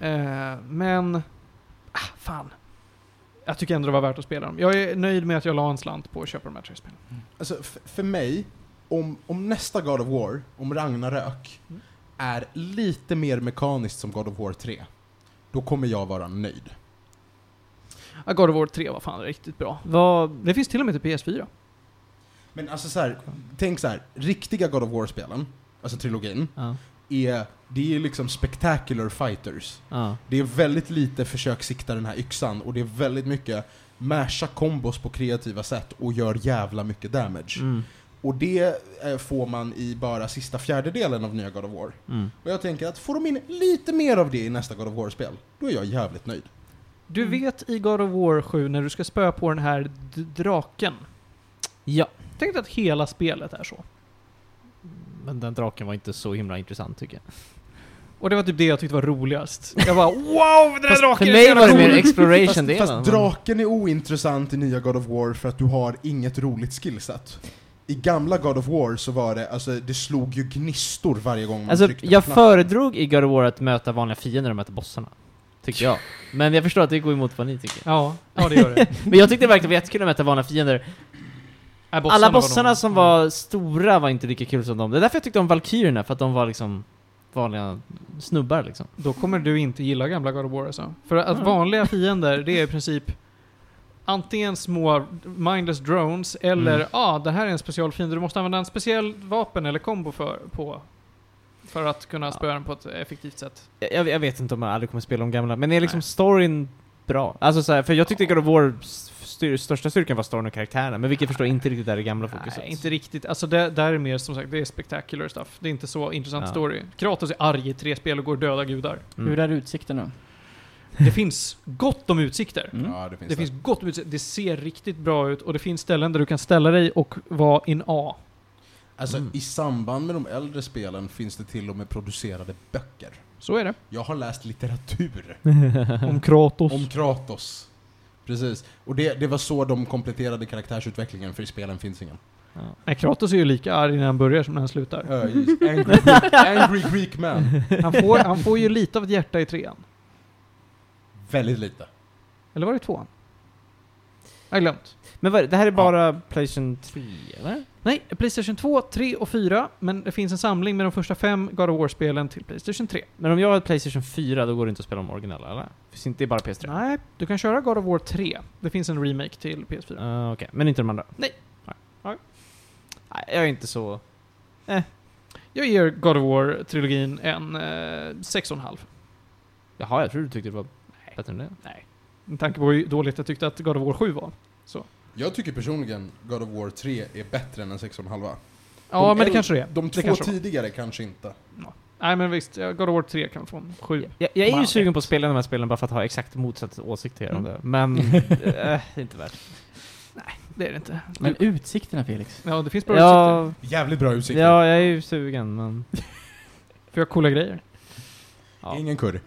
C: Eh, men, ah, fan. Jag tycker ändå det var värt att spela dem. Jag är nöjd med att jag la en slant på att köpa de här tre spelen.
A: Alltså f- för mig, om, om nästa God of War, om Ragnarök,
C: Mm.
A: är lite mer mekaniskt som God of War 3, då kommer jag vara nöjd.
C: Ah, God of War 3 var fan riktigt bra.
B: Vad...
C: Det finns till och med till PS4.
A: Men alltså så här, tänk så här, riktiga God of War-spelen, alltså trilogin,
B: Ja.
A: är, det är liksom spectacular fighters.
B: Ja.
A: Det är väldigt lite försök sikta den här yxan och det är väldigt mycket masha kombos på kreativa sätt och gör jävla mycket damage.
B: Mm.
A: Och det eh, får man i bara sista fjärdedelen av nya God of War.
B: Mm.
A: Och jag tänker att får de in lite mer av det i nästa God of War-spel, då är jag jävligt nöjd.
C: Du
K: Mm.
C: vet i God of War 7 när du ska spöa på den här d- draken.
B: ja.
C: Tänk dig att hela spelet är så.
B: Men den draken var inte så himla intressant tycker jag.
C: Och det var typ det jag tyckte var roligast. Jag bara wow, den där
B: Fast
C: draken
B: för
C: är så
B: mig
C: jävla
B: var det
C: cool."
B: mer
A: Fast,
B: exploration
A: fast
B: delen.
A: draken är ointressant i nya God of War för att du har inget roligt skillset. I gamla God of War så var det, alltså det slog ju gnistor varje gång man
B: Alltså,
A: tryckte på
B: jag
A: knappen.
B: föredrog i God of War att möta vanliga fiender och möta bossarna. Tycker jag. Men jag förstår att det går emot vad ni tycker.
C: Ja, ja det gör det.
B: Men jag tyckte det verkligen var jättekul att möta vanliga fiender.
C: Nej,
B: Alla
C: var
B: bossarna
C: nog- Mm.
B: som var stora var inte lika kul som de. Det är därför jag tyckte om Valkyrierna, för att de var liksom vanliga snubbar liksom.
C: Då kommer du inte gilla gamla God of War alltså. För att
B: Mm.
C: vanliga fiender, det är i princip antingen små mindless drones eller
B: Mm.
C: ah, det här är en specialfiende. Du måste använda en speciell vapen eller kombo för, på, för att kunna spöa den på ett effektivt sätt.
B: Jag- Jag, jag vet inte om jag aldrig kommer spela om gamla, men är liksom
C: Nej.
B: storyn bra? Alltså så här, för jag tyckte God of War styr, största styrkan var storyn och karaktärerna, men vilket förstår inte riktigt är det gamla fokuset.
C: Nej, inte riktigt. Alltså det, där är mer som sagt, det är spectacular stuff. Det är inte så intressant
B: Ja.
C: story. Kratos är arg i tre spel och går och dödar gudar.
B: Mm.
E: Hur är utsikten nu?
C: Det finns gott om utsikter.
E: Mm.
A: Ja, det finns
C: Det finns gott om utsikter. Det ser riktigt bra ut och det finns ställen där du kan ställa dig och vara in A.
A: Alltså
B: Mm.
A: i samband med de äldre spelen finns det till och med producerade böcker.
C: Så är det.
A: Jag har läst litteratur
C: Om Kratos.
A: om Kratos. Precis. Och det, det var så de kompletterade karaktärsutvecklingen, för i spelen finns ingen.
C: Nej, Kratos är ju lika arg när han börjar som när han slutar.
A: Ja, just. angry, Greek, angry Greek man.
C: Han får, han får ju lite av ett hjärta i trean.
A: Väldigt lite.
C: Eller var det tvåan? Jag har glömt.
B: Men vad, är det? det här är bara Playstation 3, eller?
C: Nej, Playstation 2, 3 och 4, men det finns en samling med de första fem God of War-spelen till Playstation 3.
B: Men om jag har ett Playstation 4, då går det inte att spela om originella, eller? Finns inte, det är bara PS3?
C: Nej, du kan köra God of War 3. Det finns en remake till PS4.
B: Ah, Okej, men inte de andra?
C: Nej.
B: Nej. Nej. Nej, jag är inte så...
C: Jag ger God of War-trilogin en eh, 6,5.
B: Jaha, jag tror du tyckte det var bättre än det.
C: Med tanke på hur dåligt jag tyckte att God of War 7 var.
A: Jag tycker personligen God of War 3 är bättre än en 6,5.
C: Ja,
A: De
C: men det
A: äl-
C: kanske det är.
A: De
C: det
A: två
C: kanske det var.
A: tidigare kanske inte.
C: Nej, men visst. ja, God of War 3 kan få en 7.
B: Jag, jag är
C: Man
B: ju
C: vet.
B: sugen på att spela de här spelen bara för att ha exakt motsatt åsikt till er om
C: Mm.
B: det. Men, eh, det är inte värt
C: Det är det inte.
E: Men utsikterna Felix?
C: Ja, det finns bra utsikter.
B: ja,
A: Jävligt bra utsikter.
B: ja, jag är ju sugen men...
C: För jag har coola grejer.
B: Ja.
A: Ingen kurr.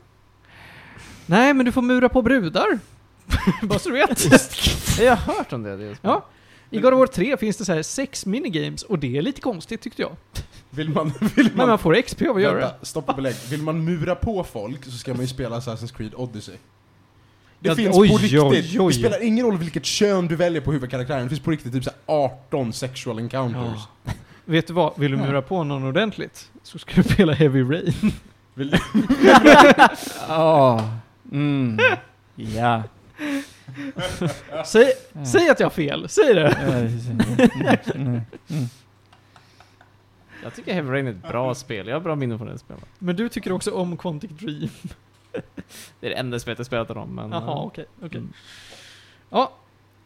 C: Nej, men du får mura på brudar. Bara så du vet.
B: Jag har hört om det. det är så.
C: Ja. I God of War 3 finns det så här sex minigames och det är lite konstigt tyckte jag.
A: Vill man... Vill
C: Men
A: man,
C: man får XP av att göra det.
A: Vänta, stopp och belägg. Vill man mura på folk så ska man ju spela Assassin's Creed Odyssey. Det
C: Ja,
A: finns
C: oj,
A: på
C: oj,
A: riktigt.
C: oj.
A: Det spelar ingen roll vilket kön du väljer på huvudkaraktären. Det finns på riktigt typ så här 18 sexual encounters.
C: Vet du vad? Vill du mura på någon ordentligt så ska du spela Heavy Rain.
D: Ja. Mm. Ja.
C: Säg, säg att jag har fel, säg det!
B: Jag tycker Heavy Rain är ett bra spel. Jag har bra minnen från det spelet.
C: Men du tycker också om Quantic Dream?
B: Det är det enda spelet jag spelat av dem, men...
C: Jaha, okej. okej.
B: Mm.
C: Ja,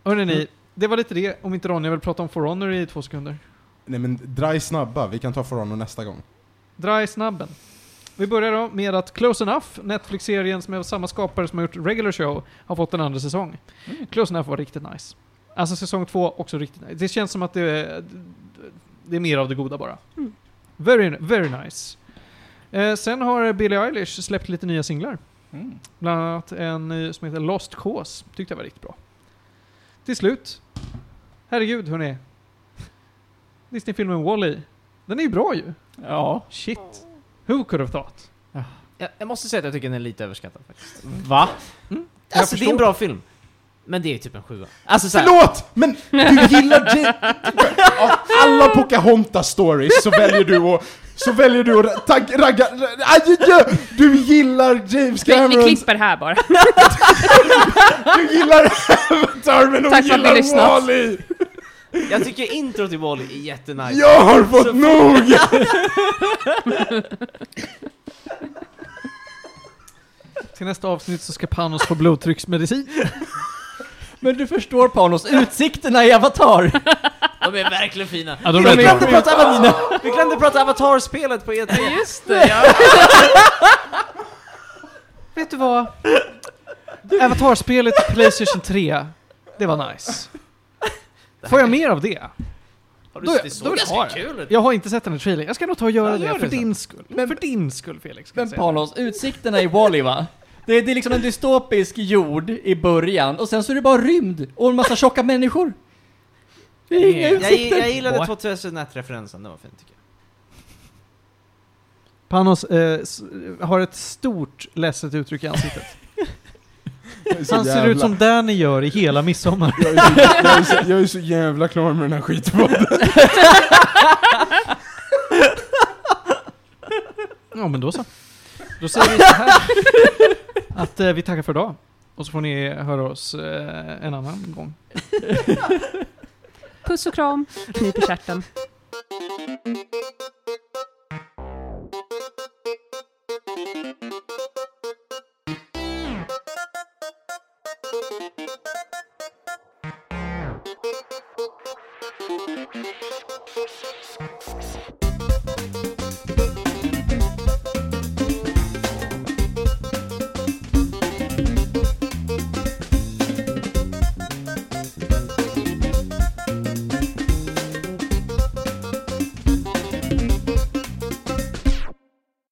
C: hörni ni. Det var lite det, om inte Ronja vill prata om For Honor i två sekunder.
A: Nej men dry snabba, vi kan ta For Honor nästa gång.
C: Dra i snabben. Vi börjar då med att Close Enough, Netflix-serien som är av samma skapare som har gjort Regular Show, har fått en andra säsong. Close Enough var riktigt nice. Alltså säsong två, också riktigt nice. Det känns som att det är, det är mer av det goda bara.
E: Mm.
C: Very, very nice. Eh, sen har Billie Eilish släppt lite nya singlar.
D: Mm.
C: Bland annat en ny som heter Lost Cause. Tyckte jag var riktigt bra. Till slut. Herregud hörni. Disney-filmen Wall-E. Den är ju bra ju.
D: Ja.
C: Shit. Who could have thought?
B: Jag, jag måste säga att jag tycker den är lite överskattad faktiskt.
D: Va?
B: Alltså det är en
C: förstår.
B: bra film. Men det är typ en sjua. Alltså såhär...
A: Förlåt! Men du gillar... J- Av alla Pocahontas-stories så väljer du att... Så väljer du att tag- ragga... Adjö! Du gillar James
E: Vi, vi
A: Cameron,
E: klipper här bara.
A: du gillar Avatar, men hon
E: Tack för att ni
A: gillar
E: lyssnat.
A: Wall-E!
B: Jag tycker intro till Wall-E är jättenice.
A: Jag har fått
B: Så-
A: nog!
C: Till nästa avsnitt så ska Panos få blodtrycksmedicin.
D: Men du förstår Panos, utsikterna i Avatar!
B: De är verkligen fina.
C: Ja,
B: vi,
C: de är
B: glömde
C: bra.
B: prata Avatar, vi glömde prata Avatar-spelet på E E3.
E: Just det.
C: Vet du vad? Avatar-spelet på Playstation 3. Det var nice. Får jag mer av det?
B: Har
C: Då-
B: du sett det? såg
C: då vill jag ha
B: ganska kul ut.
C: Jag har inte sett den här trailern. Jag ska nog ta och göra
B: Ja,
C: det,
B: gör
C: för
B: det sen.
C: din skull. för din skull Felix. ska jag
D: Men
C: säga.
D: Panos, utsikterna i Wall-E va? Det är, det är liksom en dystopisk jord i början och sen så är det bara rymd och en massa tjocka människor. Det är inga
B: Jag,
D: utsikter.
B: jag gillade
C: Boy.
B: 2001-referensen, den var fin tycker jag.
C: Panos eh, s- har ett stort ledset uttryck i ansiktet. Han ser ut som Danny gör i hela midsommar.
A: Jag är, så, jag, är så, jag är så jävla klar med den här skitpodden.
C: Ja, men då så. Då säger vi så här. Att eh, vi tackar för idag. Och så får ni höra oss eh, en annan gång.
E: Puss och kram, knip i stjärten.